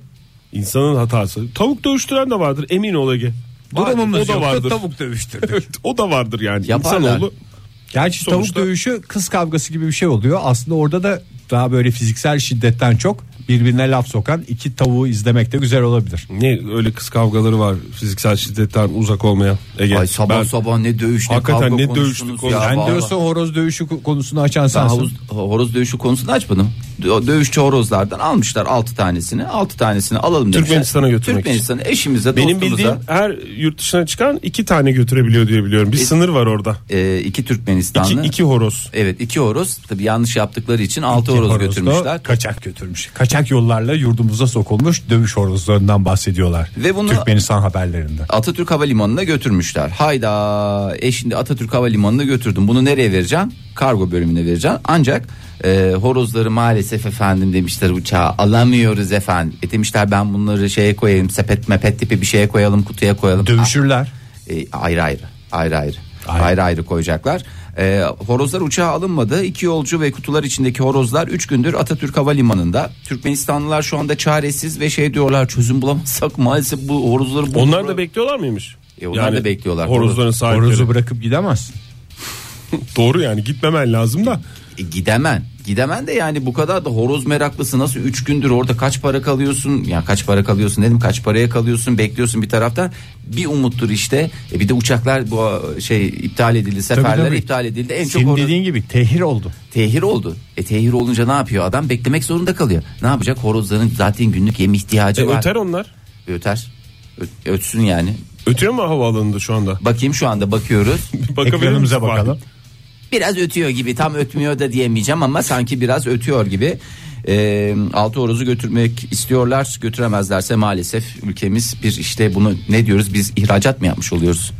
[SPEAKER 4] İnsanın hatası. Tavuk dövüştüren de vardır emin ol Ege.
[SPEAKER 3] Durumumuz
[SPEAKER 4] o da
[SPEAKER 3] yok
[SPEAKER 4] vardır.
[SPEAKER 3] tavuk dövüştürdük.
[SPEAKER 4] <laughs> o da vardır yani.
[SPEAKER 2] Yaparlar.
[SPEAKER 4] İnsanoğlu
[SPEAKER 3] Gerçi
[SPEAKER 4] Sonuçta-
[SPEAKER 3] tavuk dövüşü kız kavgası gibi bir şey oluyor. Aslında orada da daha böyle fiziksel şiddetten çok birbirine laf sokan iki tavuğu izlemek de güzel olabilir.
[SPEAKER 4] ne öyle kız kavgaları var fiziksel şiddetten uzak olmaya. Ege.
[SPEAKER 2] Ay sabah
[SPEAKER 4] ben-
[SPEAKER 2] sabah ne dövüş ne
[SPEAKER 4] Hakikaten
[SPEAKER 2] kavga
[SPEAKER 4] ne
[SPEAKER 2] konuştunuz
[SPEAKER 4] dövüştük
[SPEAKER 2] ya,
[SPEAKER 4] konuştuk.
[SPEAKER 3] Ben
[SPEAKER 2] vallahi.
[SPEAKER 3] diyorsa horoz dövüşü konusunu açan
[SPEAKER 2] Ben
[SPEAKER 3] sensin.
[SPEAKER 2] havuz- horoz dövüşü konusunu açmadım. Dö- Dövüşçü horozlardan almışlar 6 tanesini. 6 tanesini alalım demişler.
[SPEAKER 4] Türkmenistan'a götürmek için.
[SPEAKER 2] Türkmenistan'a eşimize
[SPEAKER 4] Benim
[SPEAKER 2] dostumuza.
[SPEAKER 4] bildiğim her yurt dışına çıkan iki tane götürebiliyor diye biliyorum. Bir sınır var orada.
[SPEAKER 2] e, iki
[SPEAKER 4] İki,
[SPEAKER 2] Türkmenistanlı.
[SPEAKER 4] iki horoz.
[SPEAKER 2] Evet iki horoz. Tabii yanlış yaptıkları için altı
[SPEAKER 3] İki
[SPEAKER 2] horoz,
[SPEAKER 3] horoz da
[SPEAKER 2] götürmüşler.
[SPEAKER 3] Kaçak götürmüş. Kaçak yollarla yurdumuza sokulmuş dövüş horozlarından bahsediyorlar.
[SPEAKER 2] Ve bunu-
[SPEAKER 3] Türkmenistan haberlerinde.
[SPEAKER 2] Atatürk Havalimanı'na götürmüşler. Hayda e şimdi Atatürk Havalimanı'na götürdüm. Bunu nereye vereceğim? Kargo bölümüne vereceğim. Ancak e, horozları maalesef efendim demişler uçağa alamıyoruz efendim. E demişler ben bunları şeye koyayım sepet mepet tipi bir şeye koyalım kutuya koyalım.
[SPEAKER 3] Dövüşürler.
[SPEAKER 4] Ah,
[SPEAKER 2] E, ayrı ayrı ayrı ayrı
[SPEAKER 3] Ayrı.
[SPEAKER 2] ayrı ayrı koyacaklar. E, horozlar uçağa alınmadı. İki yolcu ve kutular içindeki horozlar 3 gündür Atatürk Havalimanı'nda. Türkmenistanlılar şu anda çaresiz ve şey diyorlar çözüm bulamazsak <laughs> maalesef bu horozları bu
[SPEAKER 4] Onlar da bekliyorlar mıymış?
[SPEAKER 2] E, onlar da bekliyorlar.
[SPEAKER 4] Horozların sahipleri.
[SPEAKER 3] Horozu bırakıp gidemezsin.
[SPEAKER 4] Doğru yani gitmemen lazım da.
[SPEAKER 2] E, gidemen. Gidemen de yani bu kadar da horoz meraklısı nasıl 3 gündür orada kaç para kalıyorsun? Ya kaç para kalıyorsun dedim kaç paraya kalıyorsun bekliyorsun bir taraftan. Bir umuttur işte. E bir de uçaklar bu e, şey iptal edildi seferler
[SPEAKER 3] tabii.
[SPEAKER 2] iptal edildi. En çok
[SPEAKER 3] Senin
[SPEAKER 2] horoz
[SPEAKER 3] dediğin gibi tehir oldu.
[SPEAKER 2] tehir oldu. E tehir olunca ne yapıyor adam? Beklemek zorunda kalıyor. Ne yapacak? Horozların zaten günlük yem ihtiyacı
[SPEAKER 4] E,
[SPEAKER 2] var. E,
[SPEAKER 4] öter onlar.
[SPEAKER 2] Öter. Ö- ötsün yani.
[SPEAKER 4] Ötüyor mu havaalanında şu anda? <laughs>
[SPEAKER 2] Bakayım şu anda bakıyoruz.
[SPEAKER 4] Bakabilir
[SPEAKER 3] Ekranımıza
[SPEAKER 4] misin?
[SPEAKER 3] bakalım.
[SPEAKER 2] biraz ötüyor gibi tam ötmüyor da diyemeyeceğim ama sanki biraz ötüyor gibi. Ee, altı horozu götürmek istiyorlar götüremezlerse maalesef ülkemiz bir işte bunu ne diyoruz biz ihracat mı yapmış oluyoruz?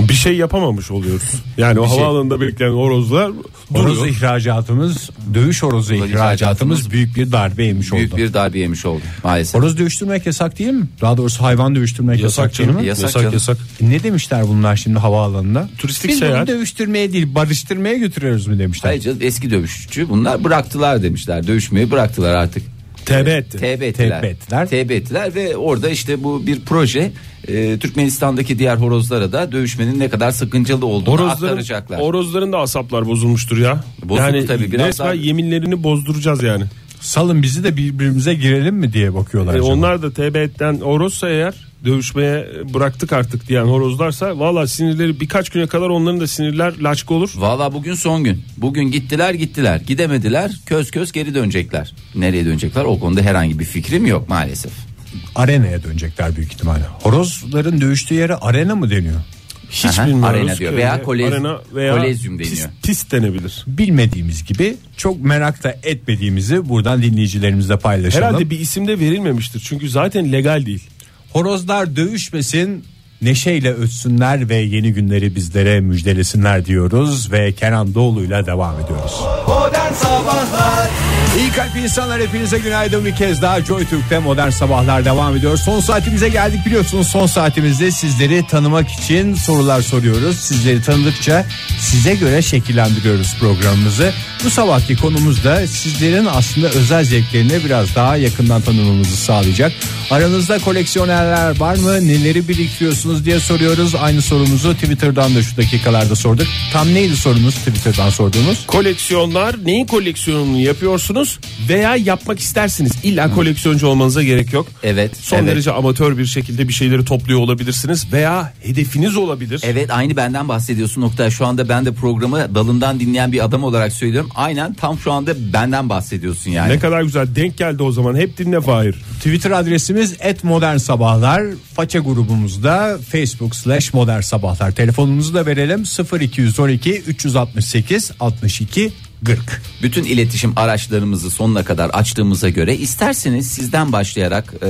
[SPEAKER 4] Bir şey yapamamış oluyoruz. Yani o
[SPEAKER 2] şey-
[SPEAKER 4] havaalanında bekleyen horozlar
[SPEAKER 3] Horoz
[SPEAKER 4] duruyor.
[SPEAKER 3] ihracatımız, dövüş horozu ihracatımız büyük bir darbe yemiş oldu.
[SPEAKER 2] Büyük bir darbe yemiş oldu maalesef.
[SPEAKER 3] Horoz dövüştürmek yasak değil mi? Daha doğrusu hayvan dövüştürmek yasak,
[SPEAKER 4] Yasak
[SPEAKER 3] değil
[SPEAKER 4] canım.
[SPEAKER 3] mi? E,
[SPEAKER 2] Yasak
[SPEAKER 4] Yasak
[SPEAKER 2] canım.
[SPEAKER 4] yasak.
[SPEAKER 3] Ne demişler bunlar şimdi havaalanında?
[SPEAKER 4] Turistik
[SPEAKER 3] Biz
[SPEAKER 4] seyahat.
[SPEAKER 3] bunu dövüştürmeye değil barıştırmaya götürüyoruz mu demişler.
[SPEAKER 2] Hayır canım, eski dövüşçü bunlar bıraktılar demişler dövüşmeyi bıraktılar artık.
[SPEAKER 3] TB etti.
[SPEAKER 2] TB ettiler.
[SPEAKER 3] TB ettiler.
[SPEAKER 2] TB ettiler ve orada işte bu bir proje e, Türkmenistan'daki diğer horozlara da dövüşmenin ne kadar sıkıntılı olduğunu
[SPEAKER 4] Horozların,
[SPEAKER 2] aktaracaklar.
[SPEAKER 4] horozların da asaplar bozulmuştur ya.
[SPEAKER 2] Bozuk
[SPEAKER 4] yani
[SPEAKER 2] tabii, biraz
[SPEAKER 4] resmen
[SPEAKER 2] daha-
[SPEAKER 4] yeminlerini bozduracağız yani.
[SPEAKER 3] Salın bizi de birbirimize girelim mi diye bakıyorlar.
[SPEAKER 4] E,
[SPEAKER 3] canım.
[SPEAKER 4] onlar da TB'den horozsa eğer dövüşmeye bıraktık artık diyen horozlarsa valla sinirleri birkaç güne kadar onların da sinirler laçka olur.
[SPEAKER 2] Valla bugün son gün. Bugün gittiler gittiler. Gidemediler köz köz geri dönecekler. Nereye dönecekler o konuda herhangi bir fikrim yok maalesef.
[SPEAKER 3] arenaya dönecekler büyük ihtimalle. Horozların dövüştüğü yere arena mı deniyor?
[SPEAKER 4] Hiç
[SPEAKER 2] Aha,
[SPEAKER 4] bilmiyoruz.
[SPEAKER 2] arena diyor
[SPEAKER 4] ki.
[SPEAKER 2] veya kolez-
[SPEAKER 4] Arena veya
[SPEAKER 2] kolezyum
[SPEAKER 4] pis-
[SPEAKER 2] deniyor.
[SPEAKER 4] pis denebilir.
[SPEAKER 3] Bilmediğimiz gibi çok merak da etmediğimizi buradan dinleyicilerimizle paylaşalım.
[SPEAKER 4] Herhalde bir isim de verilmemiştir. Çünkü zaten legal değil.
[SPEAKER 3] Horozlar dövüşmesin, neşeyle ötsünler ve yeni günleri bizlere müjdelesinler diyoruz ve Kenan Doğulu'yla devam ediyoruz. İyi kalp insanlar hepinize günaydın bir kez daha Joy Türk'te modern sabahlar devam ediyor. Son saatimize geldik biliyorsunuz son saatimizde sizleri tanımak için sorular soruyoruz. Sizleri tanıdıkça size göre şekillendiriyoruz programımızı. Bu sabahki konumuz da sizlerin aslında özel zevklerini biraz daha yakından tanımamızı sağlayacak. Aranızda koleksiyonerler var mı? Neleri biriktiriyorsunuz diye soruyoruz. Aynı sorumuzu Twitter'dan da şu dakikalarda sorduk. Tam neydi sorunuz Twitter'dan sorduğumuz?
[SPEAKER 4] Koleksiyonlar neyin koleksiyonunu yapıyorsunuz veya yapmak istersiniz. İlla koleksiyoncu olmanıza gerek yok.
[SPEAKER 2] Evet,
[SPEAKER 4] Son
[SPEAKER 2] E, evet.
[SPEAKER 4] derece amatör bir şekilde bir şeyleri topluyor olabilirsiniz veya hedefiniz olabilir.
[SPEAKER 2] Evet aynı benden bahsediyorsun nokta. Şu anda ben de programı dalından dinleyen bir adam olarak söylüyorum. Aynen tam şu anda benden bahsediyorsun yani.
[SPEAKER 4] Ne kadar güzel denk geldi o zaman. Hep dinle Fahir.
[SPEAKER 3] Twitter adresimiz et modern sabahlar. Faça grubumuzda facebook slash modern sabahlar. Telefonumuzu da verelim 0212 368 62 40.
[SPEAKER 2] Bütün iletişim araçlarımızı sonuna kadar açtığımıza göre isterseniz sizden başlayarak eee,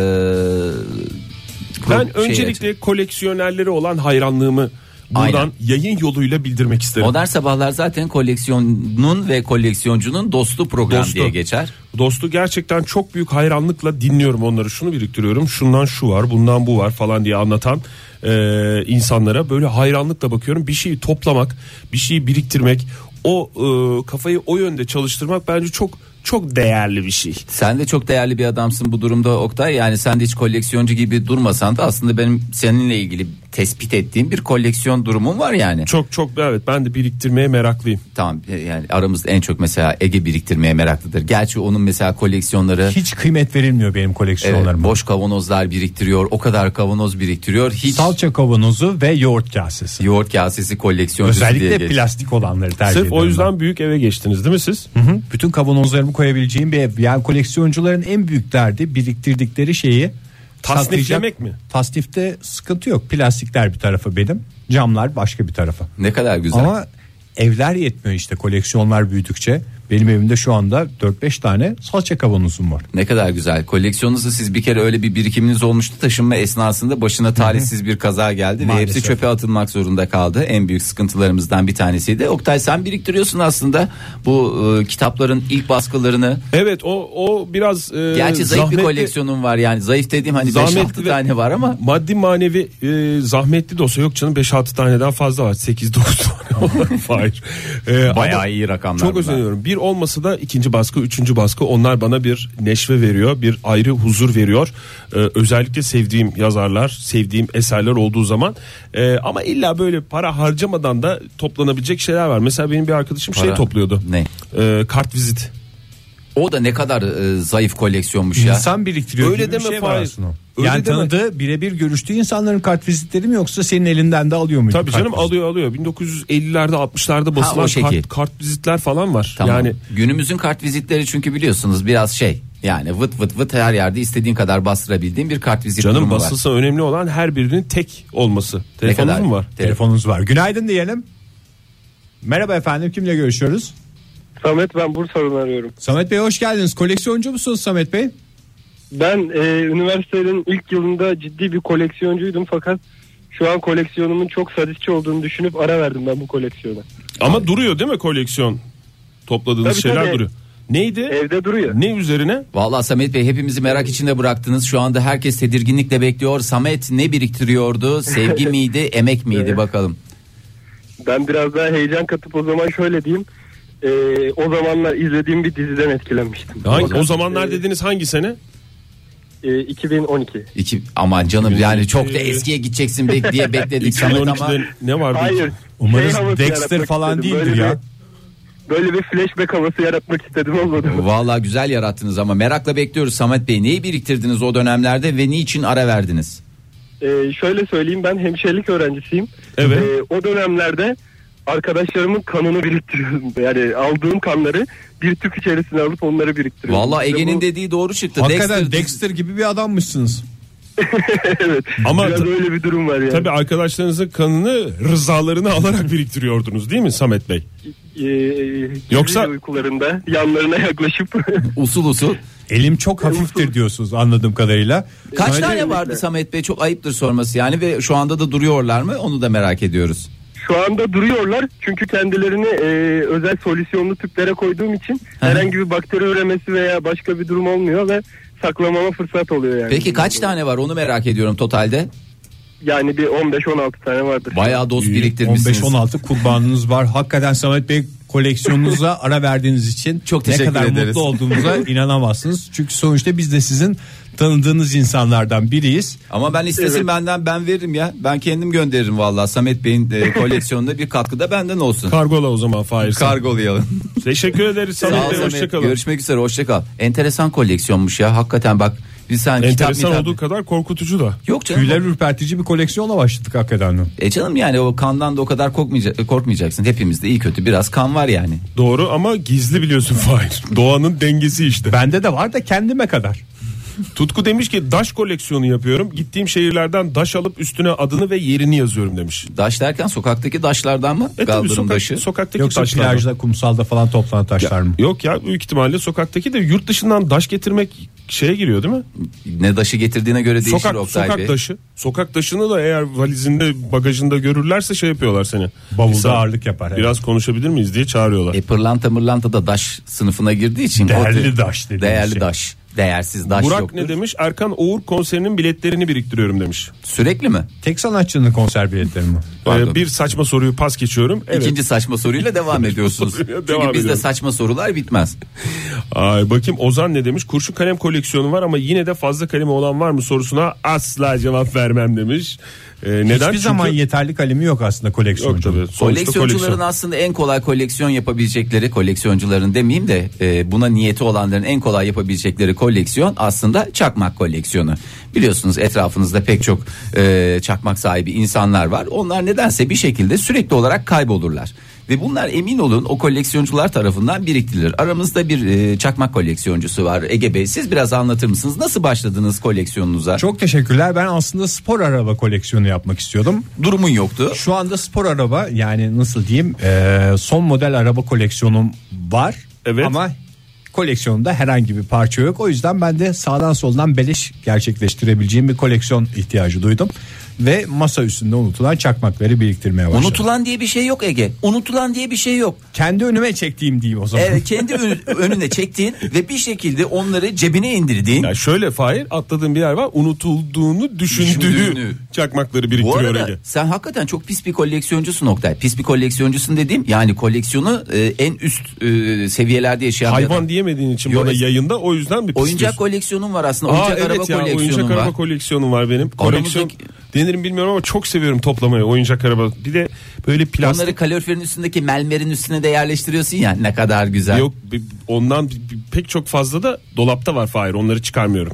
[SPEAKER 4] Ben
[SPEAKER 2] pro- şey-
[SPEAKER 4] öncelikle koleksiyonerleri olan hayranlığımı buradan
[SPEAKER 2] Aynen.
[SPEAKER 4] yayın yoluyla bildirmek isterim.
[SPEAKER 2] Modern Sabahlar zaten koleksiyonun ve koleksiyoncunun dostu program
[SPEAKER 4] Dostu.
[SPEAKER 2] diye geçer.
[SPEAKER 4] Dostu gerçekten çok büyük hayranlıkla dinliyorum onları. Şunu biriktiriyorum. Şundan şu var, bundan bu var falan diye anlatan e, insanlara böyle hayranlıkla bakıyorum. Bir şeyi toplamak, bir şeyi biriktirmek, o e, kafayı o yönde çalıştırmak bence çok çok değerli bir şey.
[SPEAKER 2] Sen de çok değerli bir adamsın bu durumda Oktay. Yani sen de hiç koleksiyoncu gibi durmasan da aslında benim seninle ilgili tespit ettiğim bir koleksiyon durumum var yani.
[SPEAKER 4] Çok çok evet ben de biriktirmeye meraklıyım.
[SPEAKER 2] Tamam e, yani aramızda en çok mesela Ege biriktirmeye meraklıdır. Gerçi onun mesela koleksiyonları
[SPEAKER 3] Hiç kıymet verilmiyor benim
[SPEAKER 2] evet,
[SPEAKER 3] koleksiyonlarıma.
[SPEAKER 2] boş kavanozlar biriktiriyor. O kadar kavanoz biriktiriyor. Hiç
[SPEAKER 3] Salça kavanozu ve yoğurt kasesi.
[SPEAKER 2] yoğurt kasesi koleksiyoncusu diye
[SPEAKER 3] Özellikle
[SPEAKER 2] geçer.
[SPEAKER 3] plastik olanları tercih
[SPEAKER 4] Sırf o
[SPEAKER 3] ediyorum
[SPEAKER 4] yüzden büyük eve geçtiniz değil mi siz?
[SPEAKER 3] ben. Hı hı. bütün kavanozlarımı koyabileceğim bir ev. Yani koleksiyoncuların en büyük derdi biriktirdikleri şeyi
[SPEAKER 4] Tasniflemek
[SPEAKER 3] saklayacak-
[SPEAKER 4] mi?
[SPEAKER 3] Tasnifte sıkıntı yok. Plastikler bir tarafa benim, camlar başka bir tarafa.
[SPEAKER 2] Ne kadar güzel.
[SPEAKER 3] Ama evler yetmiyor işte koleksiyonlar büyüdükçe. Benim evimde şu anda 4-5 tane salça kavanozum var.
[SPEAKER 2] Ne kadar güzel. Koleksiyonunuzu siz bir kere öyle bir birikiminiz olmuştu taşınma esnasında başına talihsiz bir kaza geldi ve
[SPEAKER 3] Maalesef.
[SPEAKER 2] hepsi çöpe atılmak zorunda kaldı. En büyük sıkıntılarımızdan bir tanesiydi. Oktay sen biriktiriyorsun aslında bu e, kitapların ilk baskılarını.
[SPEAKER 4] Evet o o biraz e,
[SPEAKER 2] Gerçi zayıf bir
[SPEAKER 4] zahmetli-
[SPEAKER 2] koleksiyonun var yani. Zayıf dediğim hani 5-6
[SPEAKER 4] Zahmetli ve-
[SPEAKER 2] tane var ama
[SPEAKER 4] Maddi manevi e, zahmetli de olsa yok canım 5-6 taneden fazla var. 8-9 tane <laughs> olan Hayır. E,
[SPEAKER 2] Bayağı
[SPEAKER 4] ama
[SPEAKER 2] iyi rakamlar
[SPEAKER 4] Çok
[SPEAKER 2] bunlar.
[SPEAKER 4] özeniyorum. Bir olması da ikinci baskı, üçüncü baskı onlar bana bir neşve veriyor. Bir ayrı huzur veriyor. E, özellikle sevdiğim yazarlar, sevdiğim eserler olduğu zaman. E, ama illa böyle para harcamadan da toplanabilecek şeyler var. Mesela benim bir arkadaşım şey
[SPEAKER 2] Para.
[SPEAKER 4] topluyordu.
[SPEAKER 2] Ne?
[SPEAKER 4] E, kart vizit.
[SPEAKER 2] o da ne kadar e, zayıf koleksiyonmuş ya.
[SPEAKER 3] İnsan biriktiriyor
[SPEAKER 4] Öyle
[SPEAKER 3] gibi bir
[SPEAKER 4] deme
[SPEAKER 3] şey var
[SPEAKER 4] Fahir.
[SPEAKER 3] aslında.
[SPEAKER 4] Öyle
[SPEAKER 3] yani
[SPEAKER 4] deme.
[SPEAKER 3] tanıdığı birebir görüştüğü insanların kartvizitleri mi yoksa senin elinden de alıyor muydu?
[SPEAKER 4] Tabii canım
[SPEAKER 3] kartvizit?
[SPEAKER 4] alıyor alıyor. 1950'lerde 60'larda basılan
[SPEAKER 2] o şekil.
[SPEAKER 4] kart, kart vizitler falan var.
[SPEAKER 2] Tamam.
[SPEAKER 4] Yani
[SPEAKER 2] günümüzün kart vizitleri çünkü biliyorsunuz biraz şey. Yani vıt vıt vıt her yerde istediğin kadar bastırabildiğin bir kart vizit
[SPEAKER 4] Canım
[SPEAKER 2] durumu var.
[SPEAKER 4] basılsa önemli olan her birinin tek olması. Telefonunuz
[SPEAKER 2] kadar?
[SPEAKER 4] mu var?
[SPEAKER 3] Telefonunuz var. Günaydın diyelim. Merhaba efendim kimle görüşüyoruz?
[SPEAKER 5] Samet ben Bursa'dan arıyorum.
[SPEAKER 3] Samet Bey hoş geldiniz. Koleksiyoncu musunuz Samet Bey?
[SPEAKER 5] Ben e, üniversitenin ilk yılında ciddi bir koleksiyoncuydum fakat şu an koleksiyonumun çok sadistçi olduğunu düşünüp ara verdim ben bu koleksiyona.
[SPEAKER 4] Ama duruyor değil mi koleksiyon? Topladığınız
[SPEAKER 5] Tabii,
[SPEAKER 4] şeyler
[SPEAKER 5] tabii.
[SPEAKER 4] duruyor. Neydi?
[SPEAKER 5] Evde duruyor.
[SPEAKER 4] Ne üzerine?
[SPEAKER 2] Vallahi Samet Bey hepimizi merak içinde bıraktınız. Şu anda herkes tedirginlikle bekliyor. Samet ne biriktiriyordu?
[SPEAKER 5] <laughs>
[SPEAKER 2] Sevgi miydi, emek miydi
[SPEAKER 5] Evet.
[SPEAKER 2] bakalım.
[SPEAKER 5] Ben biraz daha heyecan katıp o zaman şöyle diyeyim. E, o zamanlar izlediğim bir diziden etkilenmiştim.
[SPEAKER 4] Hangi,
[SPEAKER 5] Fakat,
[SPEAKER 4] o zamanlar
[SPEAKER 5] e,
[SPEAKER 4] dediniz hangi sene?
[SPEAKER 5] e, 2012.
[SPEAKER 2] İki aman canım yani çok da eskiye gideceksin be- diye bekledik Samet ama
[SPEAKER 4] 2012'de ne vardı?
[SPEAKER 5] Hayır.
[SPEAKER 3] Umarız
[SPEAKER 5] şey havası
[SPEAKER 3] Dexter
[SPEAKER 5] yaratmak
[SPEAKER 3] falan
[SPEAKER 5] istedim.
[SPEAKER 3] değildir
[SPEAKER 5] Böyle
[SPEAKER 3] ya.
[SPEAKER 5] bir- böyle bir flashback havası yaratmak istedim olmadı mı?
[SPEAKER 2] Vallahi güzel yarattınız ama merakla bekliyoruz Samet Bey. Neyi biriktirdiniz o dönemlerde ve niçin ara verdiniz?
[SPEAKER 5] Ee, şöyle söyleyeyim ben hemşirelik öğrencisiyim.
[SPEAKER 4] Evet.
[SPEAKER 5] Ee, o dönemlerde arkadaşlarımın kanını biriktiriyordum. <laughs> Yani aldığım kanları bir tüp içerisine alıp onları biriktiriyordum.
[SPEAKER 2] Vallahi
[SPEAKER 5] İşte
[SPEAKER 2] Ege'nin
[SPEAKER 5] Ee, bu-
[SPEAKER 2] dediği doğru çıktı.
[SPEAKER 3] Hakikaten
[SPEAKER 2] Dexter-
[SPEAKER 3] Dexter gibi bir adammışsınız.
[SPEAKER 5] evet.
[SPEAKER 4] Ama
[SPEAKER 5] biraz
[SPEAKER 4] ta-
[SPEAKER 5] öyle bir durum var yani.
[SPEAKER 4] Tabii arkadaşlarınızın kanını rızalarını <laughs> alarak biriktiriyordunuz değil mi Samet Bey?
[SPEAKER 5] Ee,
[SPEAKER 4] Yoksa-
[SPEAKER 5] gece uykularında yanlarına yaklaşıp <laughs>
[SPEAKER 2] usul usul.
[SPEAKER 3] Elim çok hafiftir diyorsunuz anladığım kadarıyla.
[SPEAKER 2] Kaç
[SPEAKER 3] Samet-
[SPEAKER 2] tane vardı Samet Bey? Çok ayıptır sorması yani ve şu anda da duruyorlar mı? Onu da merak ediyoruz.
[SPEAKER 5] şu anda duruyorlar. Çünkü kendilerini e, özel solüsyonlu tüplere koyduğum için herhangi bir bakteri üremesi veya başka bir durum olmuyor ve saklamama fırsat oluyor yani.
[SPEAKER 2] Peki kaç tane var onu merak ediyorum totalde.
[SPEAKER 5] Yani bir 15-16 tane vardır.
[SPEAKER 2] Bayağı doz biriktirmişsiniz.
[SPEAKER 3] 15-16 kurbanınız var. Hakikaten Samet Bey koleksiyonunuza ara verdiğiniz için
[SPEAKER 2] Çok
[SPEAKER 3] ne
[SPEAKER 2] teşekkür
[SPEAKER 3] kadar
[SPEAKER 2] ederiz.
[SPEAKER 3] mutlu olduğunuza inanamazsınız. Çünkü sonuçta biz de sizin tanıdığınız insanlardan biriyiz.
[SPEAKER 2] Ama ben istesin benden ben veririm ya. Ben kendim gönderirim vallahi Samet Bey'in e, koleksiyonuna bir katkıda benden olsun.
[SPEAKER 4] Kargola o zaman Fahir. sen.
[SPEAKER 2] Kargolayalım.
[SPEAKER 4] Teşekkür ederiz. Sağ
[SPEAKER 2] Sağ ol
[SPEAKER 4] olun.
[SPEAKER 2] Samet.
[SPEAKER 4] Hoşçakalın.
[SPEAKER 2] Görüşmek üzere hoşça kal. Enteresan koleksiyonmuş ya. Hakikaten bak biz sen kitap
[SPEAKER 4] Enteresan
[SPEAKER 2] mitap-
[SPEAKER 4] olduğu kadar korkutucu da.
[SPEAKER 2] Yok canım.
[SPEAKER 3] Tüyler ürpertici bir koleksiyonla başladık hakikaten.
[SPEAKER 2] E canım yani o kandan da o kadar korkmayacak, korkmayacaksın. Hepimizde iyi kötü biraz kan var yani.
[SPEAKER 4] Doğru ama gizli biliyorsun <laughs> Fahir. Doğanın dengesi işte.
[SPEAKER 3] Bende de var da kendime kadar.
[SPEAKER 4] Tutku demiş ki daş koleksiyonu yapıyorum. Gittiğim şehirlerden daş alıp üstüne adını ve yerini yazıyorum demiş.
[SPEAKER 2] Daş derken sokaktaki daşlardan mı?
[SPEAKER 4] E tabii
[SPEAKER 2] Kaldırım
[SPEAKER 4] sokak,
[SPEAKER 2] daşı.
[SPEAKER 4] sokaktaki
[SPEAKER 3] Yoksa
[SPEAKER 4] taşlar.
[SPEAKER 3] plajda kumsalda falan toplanan taşlar mı?
[SPEAKER 4] Yok ya büyük ihtimalle sokaktaki de yurt dışından daş getirmek şeye giriyor değil mi?
[SPEAKER 2] Ne daşı getirdiğine göre değişir
[SPEAKER 4] sokak
[SPEAKER 2] Oktay
[SPEAKER 4] sokak
[SPEAKER 2] Bey.
[SPEAKER 4] taşı. Sokak taşını da eğer valizinde bagajında görürlerse şey yapıyorlar seni.
[SPEAKER 3] Bavulda
[SPEAKER 4] İnsan,
[SPEAKER 3] ağırlık yapar. evet.
[SPEAKER 4] Biraz konuşabilir miyiz diye çağırıyorlar.
[SPEAKER 2] E pırlanta mırlanta da daş sınıfına girdiği için.
[SPEAKER 3] Değerli
[SPEAKER 2] o-
[SPEAKER 3] daş dediğimiz
[SPEAKER 2] Değerli
[SPEAKER 3] şey.
[SPEAKER 2] daş. Değersiz daş
[SPEAKER 4] Burak
[SPEAKER 2] yoktur.
[SPEAKER 4] ne demiş? Erkan Oğur konserinin biletlerini biriktiriyorum demiş.
[SPEAKER 2] Sürekli mi?
[SPEAKER 3] Tek sanatçının konser biletleri mi?
[SPEAKER 2] Pardon.
[SPEAKER 4] Ee, bir saçma soruyu pas geçiyorum. Evet.
[SPEAKER 2] İkinci saçma soruyla
[SPEAKER 4] <laughs>
[SPEAKER 2] devam ediyorsunuz.
[SPEAKER 4] soruyla
[SPEAKER 2] Çünkü
[SPEAKER 4] devam
[SPEAKER 2] bizde
[SPEAKER 4] ediyorum.
[SPEAKER 2] saçma sorular bitmez.
[SPEAKER 4] Ay bakayım Ozan ne demiş? Kurşun kalem koleksiyonu var ama yine de fazla kalemi olan var mı sorusuna asla cevap vermem demiş. Ee, neden?
[SPEAKER 3] Hiçbir
[SPEAKER 4] Çünkü-
[SPEAKER 3] zaman yeterli kalemi yok aslında
[SPEAKER 4] Yok
[SPEAKER 3] koleksiyoncu.
[SPEAKER 4] tabii. Sonuçta
[SPEAKER 2] Koleksiyoncuların
[SPEAKER 4] koleksiyon.
[SPEAKER 2] aslında en kolay koleksiyon yapabilecekleri koleksiyoncuların demeyeyim de e, buna niyeti olanların en kolay yapabilecekleri koleksiyon aslında çakmak koleksiyonu. Biliyorsunuz etrafınızda pek çok e, çakmak sahibi insanlar var. Onlar nedense bir şekilde sürekli olarak kaybolurlar. Ve bunlar emin olun o koleksiyoncular tarafından biriktirilir. Aramızda bir e, çakmak koleksiyoncusu var Ege Bey. Siz biraz anlatır mısınız? Nasıl başladınız koleksiyonunuza?
[SPEAKER 3] Çok teşekkürler. Ben aslında spor araba koleksiyonu yapmak istiyordum.
[SPEAKER 2] durumun yoktu.
[SPEAKER 3] Şu anda spor araba yani nasıl diyeyim e, son model araba koleksiyonum var.
[SPEAKER 4] Evet.
[SPEAKER 3] Ama koleksiyonda herhangi bir parça yok. O yüzden ben de sağdan soldan beleş gerçekleştirebileceğim bir koleksiyon ihtiyacı duydum. Ve masa üstünde unutulan çakmakları biriktirmeye başladım.
[SPEAKER 2] Unutulan diye bir şey yok Ege. Unutulan diye bir şey yok.
[SPEAKER 3] Kendi önüme çektiğim diyeyim o zaman.
[SPEAKER 2] Evet, kendi ön- önüne çektiğin ve bir şekilde onları cebine indirdiğin.
[SPEAKER 4] Ya şöyle Fahir atladığın bir yer var unutulduğunu düşündüğü
[SPEAKER 2] Düşündüğünü.
[SPEAKER 4] çakmakları
[SPEAKER 2] Bu
[SPEAKER 4] biriktiriyor
[SPEAKER 2] arada
[SPEAKER 4] Ege.
[SPEAKER 2] sen hakikaten çok pis bir koleksiyoncusun Oktay. Pis bir koleksiyoncusun dediğim yani koleksiyonu e, en üst e, seviyelerde yaşayan bir adam.
[SPEAKER 4] Hayvan diyemediğin için
[SPEAKER 2] Yok,
[SPEAKER 4] bana
[SPEAKER 2] es-
[SPEAKER 4] yayında o yüzden bir pis
[SPEAKER 2] Oyuncak
[SPEAKER 4] diyorsun.
[SPEAKER 2] koleksiyonun var aslında.
[SPEAKER 4] Aa
[SPEAKER 2] Oyuncak
[SPEAKER 4] evet
[SPEAKER 2] araba
[SPEAKER 4] ya
[SPEAKER 2] koleksiyonun
[SPEAKER 4] oyuncak
[SPEAKER 2] var.
[SPEAKER 4] araba koleksiyonum var benim. Koleksiyon
[SPEAKER 2] Aramızdaki-
[SPEAKER 4] denir mi bilmiyorum ama çok seviyorum toplamayı oyuncak araba. Bir de böyle plastik
[SPEAKER 2] Onları kaloriferin üstündeki melmerin üstüne de yerleştiriyorsun ya ne kadar güzel.
[SPEAKER 4] yok bir- ondan bir- bir- pek çok fazla da dolapta var Fahir onları çıkarmıyorum.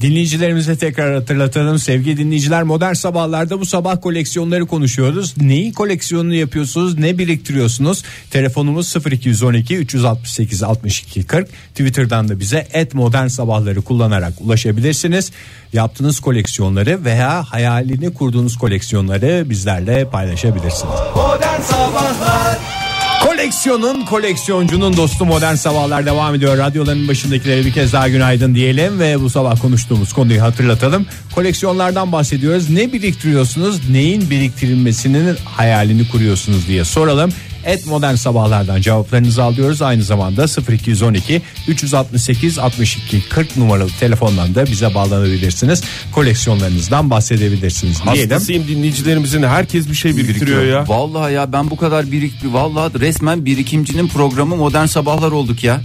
[SPEAKER 3] Dinleyicilerimize tekrar hatırlatalım. Sevgili dinleyiciler modern sabahlarda bu sabah koleksiyonları konuşuyoruz. Neyi koleksiyonunu yapıyorsunuz? Ne biriktiriyorsunuz? Telefonumuz 0212 368 62 40. Twitter'dan da bize et modern sabahları kullanarak ulaşabilirsiniz. Yaptığınız koleksiyonları veya hayalini kurduğunuz koleksiyonları bizlerle paylaşabilirsiniz. Koleksiyonun koleksiyoncunun dostu modern sabahlar devam ediyor. Radyoların başındakilere bir kez daha günaydın diyelim ve bu sabah konuştuğumuz konuyu hatırlatalım. Koleksiyonlardan bahsediyoruz. Ne biriktiriyorsunuz? Neyin biriktirilmesinin hayalini kuruyorsunuz diye soralım. Et modern sabahlardan cevaplarınızı alıyoruz. Aynı zamanda 0212 368 62 40 numaralı telefondan da bize bağlanabilirsiniz. Koleksiyonlarınızdan bahsedebilirsiniz diyelim.
[SPEAKER 4] Hastasıyım dinleyicilerimizin herkes bir şey biriktiriyor ya.
[SPEAKER 2] Vallahi ya ben bu kadar birik vallahi resmen birikimcinin programı modern sabahlar olduk ya.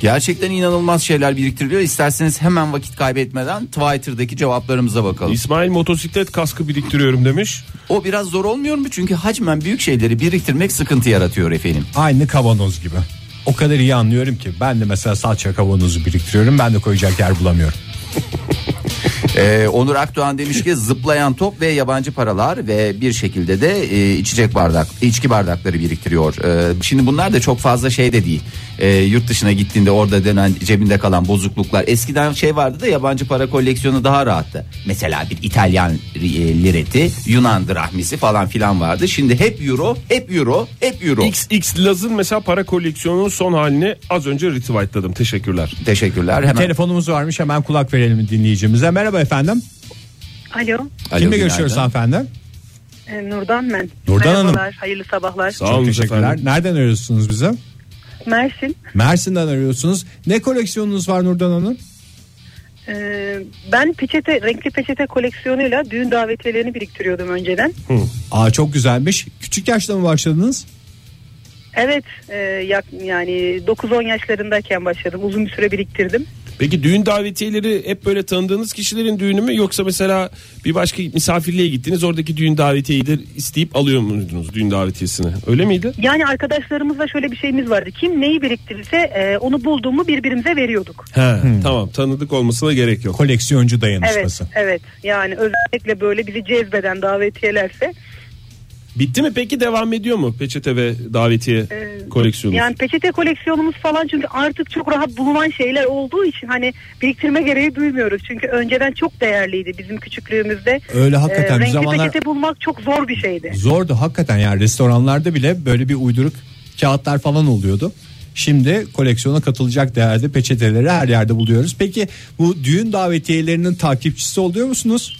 [SPEAKER 2] Gerçekten inanılmaz şeyler biriktiriliyor. İsterseniz hemen vakit kaybetmeden Twitter'daki cevaplarımıza bakalım.
[SPEAKER 4] İsmail motosiklet kaskı biriktiriyorum demiş.
[SPEAKER 2] O biraz zor olmuyor mu? Çünkü hacmen büyük şeyleri biriktirmek sıkıntı yaratıyor efendim.
[SPEAKER 3] Aynı kavanoz gibi. O kadar iyi anlıyorum ki ben de mesela salça kavanozu biriktiriyorum ben de koyacak yer bulamıyorum.
[SPEAKER 2] Ee, Onur Akdoğan demiş ki zıplayan top ve yabancı paralar ve bir şekilde de e, içecek bardak, içki bardakları biriktiriyor. Ee, şimdi bunlar da çok fazla şey de değil. Ee, yurt dışına gittiğinde orada dönen cebinde kalan bozukluklar. Eskiden şey vardı da yabancı para koleksiyonu daha rahattı. Mesela bir İtalyan e, lireti, Yunan drahmisi falan filan vardı. Şimdi hep euro, hep euro, hep euro.
[SPEAKER 4] XX Laz'ın mesela para koleksiyonunun son halini az önce retweetladım. Teşekkürler.
[SPEAKER 2] Teşekkürler. Hemen
[SPEAKER 3] Telefonumuz varmış hemen kulak verelim dinleyicimize. Merhaba efendim.
[SPEAKER 6] Alo,
[SPEAKER 2] Alo,
[SPEAKER 3] Kimle
[SPEAKER 2] günaydın.
[SPEAKER 3] görüşüyoruz hanımefendi?
[SPEAKER 6] e, Nurdan ben.
[SPEAKER 3] Nurdan Hanım.
[SPEAKER 6] Merhabalar, hayırlı sabahlar.
[SPEAKER 4] Sağ olun
[SPEAKER 3] Çok teşekkürler.
[SPEAKER 4] efendim.
[SPEAKER 3] Nereden arıyorsunuz bize?
[SPEAKER 6] Mersin,
[SPEAKER 3] Mersin'den arıyorsunuz. Ne koleksiyonunuz var Nurdan Hanım?
[SPEAKER 6] e, ben peçete, renkli peçete koleksiyonuyla düğün davetiyelerini biriktiriyordum önceden.
[SPEAKER 3] Aa çok güzelmiş. Küçük yaşta mı başladınız?
[SPEAKER 6] Evet e, yak, yani 9-10 yaşlarındayken başladım. Uzun bir süre biriktirdim.
[SPEAKER 4] Peki düğün davetiyeleri hep böyle tanıdığınız kişilerin düğünü mü yoksa mesela bir başka misafirliğe gittiniz oradaki düğün davetiyeyi de isteyip alıyor muydunuz düğün davetiyesini? Öyle miydi?
[SPEAKER 6] Yani arkadaşlarımızla şöyle bir şeyimiz vardı. Kim neyi biriktirirse e, onu bulduğumu birbirimize veriyorduk.
[SPEAKER 4] He,
[SPEAKER 2] Hmm.
[SPEAKER 4] tamam tanıdık olmasına gerek yok.
[SPEAKER 3] Koleksiyoncu
[SPEAKER 6] Evet,
[SPEAKER 3] dayanışması.
[SPEAKER 6] evet. Yani özellikle böyle bizi cezbeden davetiyelerse
[SPEAKER 4] Bitti mi peki devam ediyor mu peçete ve davetiye
[SPEAKER 6] Ee,
[SPEAKER 4] koleksiyonu?
[SPEAKER 6] Yani peçete koleksiyonumuz falan çünkü artık çok rahat bulunan şeyler olduğu için hani biriktirme gereği duymuyoruz. Çünkü önceden çok değerliydi bizim küçüklüğümüzde. Ee,
[SPEAKER 3] Öyle hakikaten bir
[SPEAKER 6] renkli
[SPEAKER 3] zamanlar-
[SPEAKER 6] peçete bulmak çok zor bir şeydi.
[SPEAKER 3] Zordu hakikaten yani restoranlarda bile böyle bir uyduruk kağıtlar falan oluyordu. Şimdi koleksiyona katılacak değerde peçeteleri her yerde buluyoruz. Peki bu düğün davetiyelerinin takipçisi oluyor musunuz?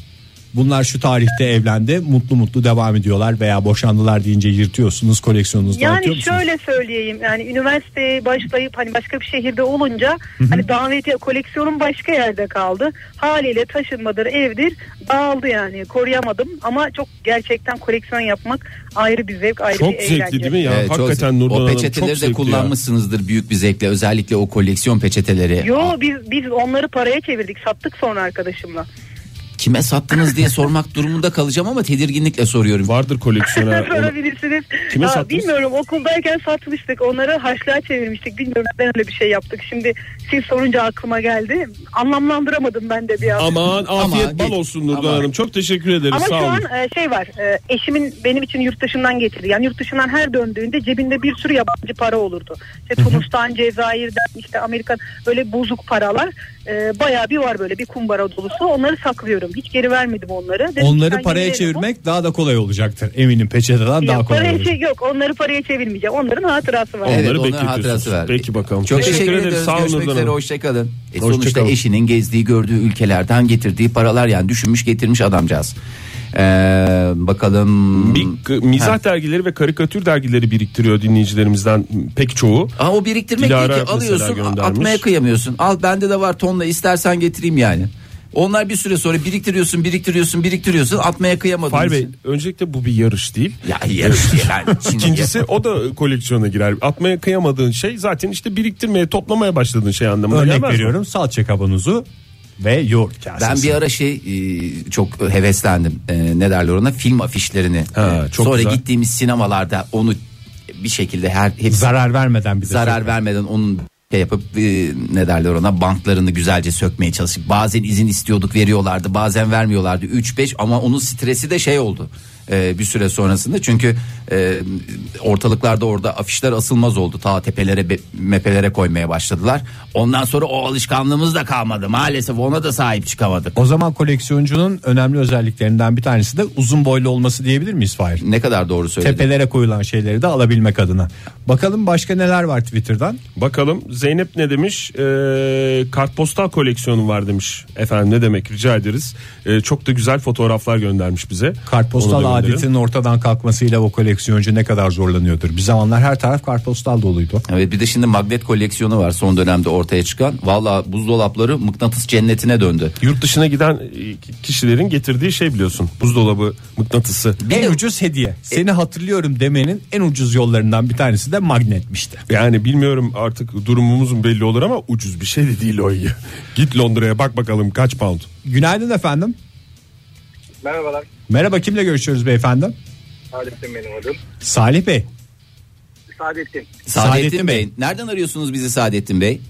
[SPEAKER 3] Bunlar şu tarihte evlendi mutlu mutlu devam ediyorlar veya boşandılar deyince yırtıyorsunuz koleksiyonunuzda atıyor
[SPEAKER 6] Yani
[SPEAKER 3] musunuz?
[SPEAKER 6] şöyle söyleyeyim yani üniversiteye başlayıp hani başka bir şehirde olunca hani davetiye koleksiyonum başka yerde kaldı. Haliyle taşınmadır evdir dağıldı yani koruyamadım ama çok gerçekten koleksiyon yapmak ayrı bir zevk ayrı
[SPEAKER 4] çok
[SPEAKER 6] bir
[SPEAKER 4] zevkli
[SPEAKER 6] eğlence.
[SPEAKER 4] değil mi ya?
[SPEAKER 2] Evet, çok
[SPEAKER 4] Hakikaten
[SPEAKER 2] zevkli.
[SPEAKER 4] Nurdan
[SPEAKER 2] O
[SPEAKER 4] Hanım çok
[SPEAKER 2] peçeteleri de
[SPEAKER 4] zevkli ya.
[SPEAKER 2] kullanmışsınızdır büyük bir zevkle. Özellikle o koleksiyon peçeteleri.
[SPEAKER 6] Yo biz biz onları paraya çevirdik sattık sonra arkadaşımla.
[SPEAKER 2] Kime sattınız diye sormak durumunda kalacağım ama tedirginlikle soruyorum.
[SPEAKER 4] Vardır
[SPEAKER 6] <laughs>
[SPEAKER 4] koleksiyona. onu-
[SPEAKER 6] Sorabilirsiniz.
[SPEAKER 4] Kime
[SPEAKER 6] Ya,
[SPEAKER 4] sattınız?
[SPEAKER 6] Bilmiyorum okuldayken satmıştık onları harçlığa çevirmiştik bilmiyorum ben öyle bir şey yaptık. Şimdi siz sorunca aklıma geldi anlamlandıramadım ben de bir an.
[SPEAKER 4] Aman afiyet
[SPEAKER 2] Ama-
[SPEAKER 4] bal olsun Nurdan
[SPEAKER 2] Ama-
[SPEAKER 4] Hanım. Çok teşekkür ederiz.
[SPEAKER 6] Ama
[SPEAKER 4] Sağ
[SPEAKER 6] şu
[SPEAKER 4] olun.
[SPEAKER 6] an e, şey var e, eşimin benim için yurt dışından getirdi. Yani yurt dışından her döndüğünde cebinde bir sürü yabancı para olurdu. İşte Tunus'tan, Cezayir'den, işte Amerikan böyle bozuk paralar e, bayağı bir var böyle bir kumbara dolusu. Onları saklıyorum. Hiç geri vermedim onları. Dedim ki,
[SPEAKER 3] Onları
[SPEAKER 6] sen
[SPEAKER 3] paraya
[SPEAKER 6] yeni verin bu.
[SPEAKER 3] çevirmek daha da kolay olacaktır eminim peçeteden daha
[SPEAKER 6] Yok,
[SPEAKER 3] kolay
[SPEAKER 6] paraya
[SPEAKER 3] olacak.
[SPEAKER 6] çe- yok onları paraya çevirmeyeceğim. Onların hatırası var.
[SPEAKER 2] Evet,
[SPEAKER 4] Onları
[SPEAKER 2] onların
[SPEAKER 4] bekletiyorsunuz.
[SPEAKER 2] hatırası var.
[SPEAKER 4] Peki bakalım.
[SPEAKER 2] Çok
[SPEAKER 4] Teşekkür
[SPEAKER 2] teşekkür,
[SPEAKER 4] ederiz.
[SPEAKER 2] ederiz.
[SPEAKER 4] Sağ olun
[SPEAKER 2] Görüşmek
[SPEAKER 4] Nurdan
[SPEAKER 2] üzere.
[SPEAKER 4] Hanım.
[SPEAKER 2] Hoşçakalın. E
[SPEAKER 4] Hoşça
[SPEAKER 2] sonuçta
[SPEAKER 4] kalın.
[SPEAKER 2] eşinin gezdiği gördüğü ülkelerden getirdiği paralar yani düşünmüş getirmiş adamcağız. Ee, bakalım.
[SPEAKER 3] Hmm.
[SPEAKER 4] Bir k- mizah
[SPEAKER 2] Ha.
[SPEAKER 4] dergileri ve karikatür dergileri biriktiriyor dinleyicilerimizden pek çoğu.
[SPEAKER 2] Aa, o biriktirmek
[SPEAKER 4] Dilara
[SPEAKER 2] değil ki
[SPEAKER 4] mesela
[SPEAKER 2] alıyorsun
[SPEAKER 4] göndermiş.
[SPEAKER 2] atmaya kıyamıyorsun. Al bende de var tonla istersen getireyim yani. Onlar bir süre sonra biriktiriyorsun biriktiriyorsun biriktiriyorsun atmaya kıyamadın.
[SPEAKER 4] Fahir Bey öncelikle bu bir yarış değil.
[SPEAKER 2] Ya yarış yani. Şimdi
[SPEAKER 4] İkincisi o da koleksiyona girer. Atmaya kıyamadığın şey zaten işte biriktirmeye, toplamaya başladığın şey anlamına
[SPEAKER 3] Örnek
[SPEAKER 4] gelmez mi?
[SPEAKER 3] veriyorum salça kavanozu ve yoğurt kasesi.
[SPEAKER 2] Ben bir ara şey e, çok heveslendim. E, ne derler ona? Film afişlerini.
[SPEAKER 4] Ha,
[SPEAKER 2] E,
[SPEAKER 4] çok
[SPEAKER 2] Sonra
[SPEAKER 4] güzel.
[SPEAKER 2] gittiğimiz sinemalarda onu bir şekilde her hepsi
[SPEAKER 3] zarar vermeden bir de
[SPEAKER 2] zarar vermeden onun şey yapıp e, ne derler ona bantlarını güzelce sökmeye çalıştık. Bazen izin istiyorduk veriyorlardı bazen vermiyorlardı 3-5 ama onun stresi de şey oldu e, bir süre sonrasında çünkü e, ortalıklarda orada afişler asılmaz oldu ta tepelere be- mepelere koymaya başladılar. Ondan sonra o alışkanlığımız da kalmadı maalesef ona da sahip çıkamadık.
[SPEAKER 3] O zaman koleksiyoncunun önemli özelliklerinden bir tanesi de uzun boylu olması diyebilir miyiz Fahir?
[SPEAKER 2] Ne kadar doğru söyledin.
[SPEAKER 3] Tepelere koyulan şeyleri de alabilmek adına. Bakalım başka neler var Twitter'dan?
[SPEAKER 4] Bakalım Zeynep ne demiş? Ee, kartpostal koleksiyonu var demiş. Efendim ne demek rica ederiz. Ee, çok da güzel fotoğraflar göndermiş bize. Onu
[SPEAKER 3] Kartpostal
[SPEAKER 4] da gönderin.
[SPEAKER 3] adetinin ortadan kalkmasıyla o koleksiyoncu ne kadar zorlanıyordur. Bir zamanlar her taraf kartpostal doluydu.
[SPEAKER 2] Evet bir de şimdi magnet koleksiyonu var son dönemde ortaya çıkan. Valla buzdolapları mıknatıs cennetine döndü.
[SPEAKER 4] Yurt dışına giden e, kişilerin getirdiği şey biliyorsun. Buzdolabı mıknatısı.
[SPEAKER 2] de-
[SPEAKER 3] en ucuz hediye. Seni hatırlıyorum demenin en ucuz yollarından bir tanesi de magnetmişti.
[SPEAKER 4] Yani bilmiyorum artık durumumuzun belli olur ama ucuz bir şey de değil o iyi. Git Londra'ya bak bakalım kaç pound.
[SPEAKER 3] Günaydın efendim.
[SPEAKER 7] Merhabalar.
[SPEAKER 3] Merhaba kimle görüşüyoruz beyefendi?
[SPEAKER 7] Saadettin benim adım.
[SPEAKER 3] Salih Bey.
[SPEAKER 7] Saadettin.
[SPEAKER 2] Saadettin,
[SPEAKER 3] Saadettin
[SPEAKER 2] Bey.
[SPEAKER 3] Bey.
[SPEAKER 2] Nereden arıyorsunuz bizi Saadettin Bey?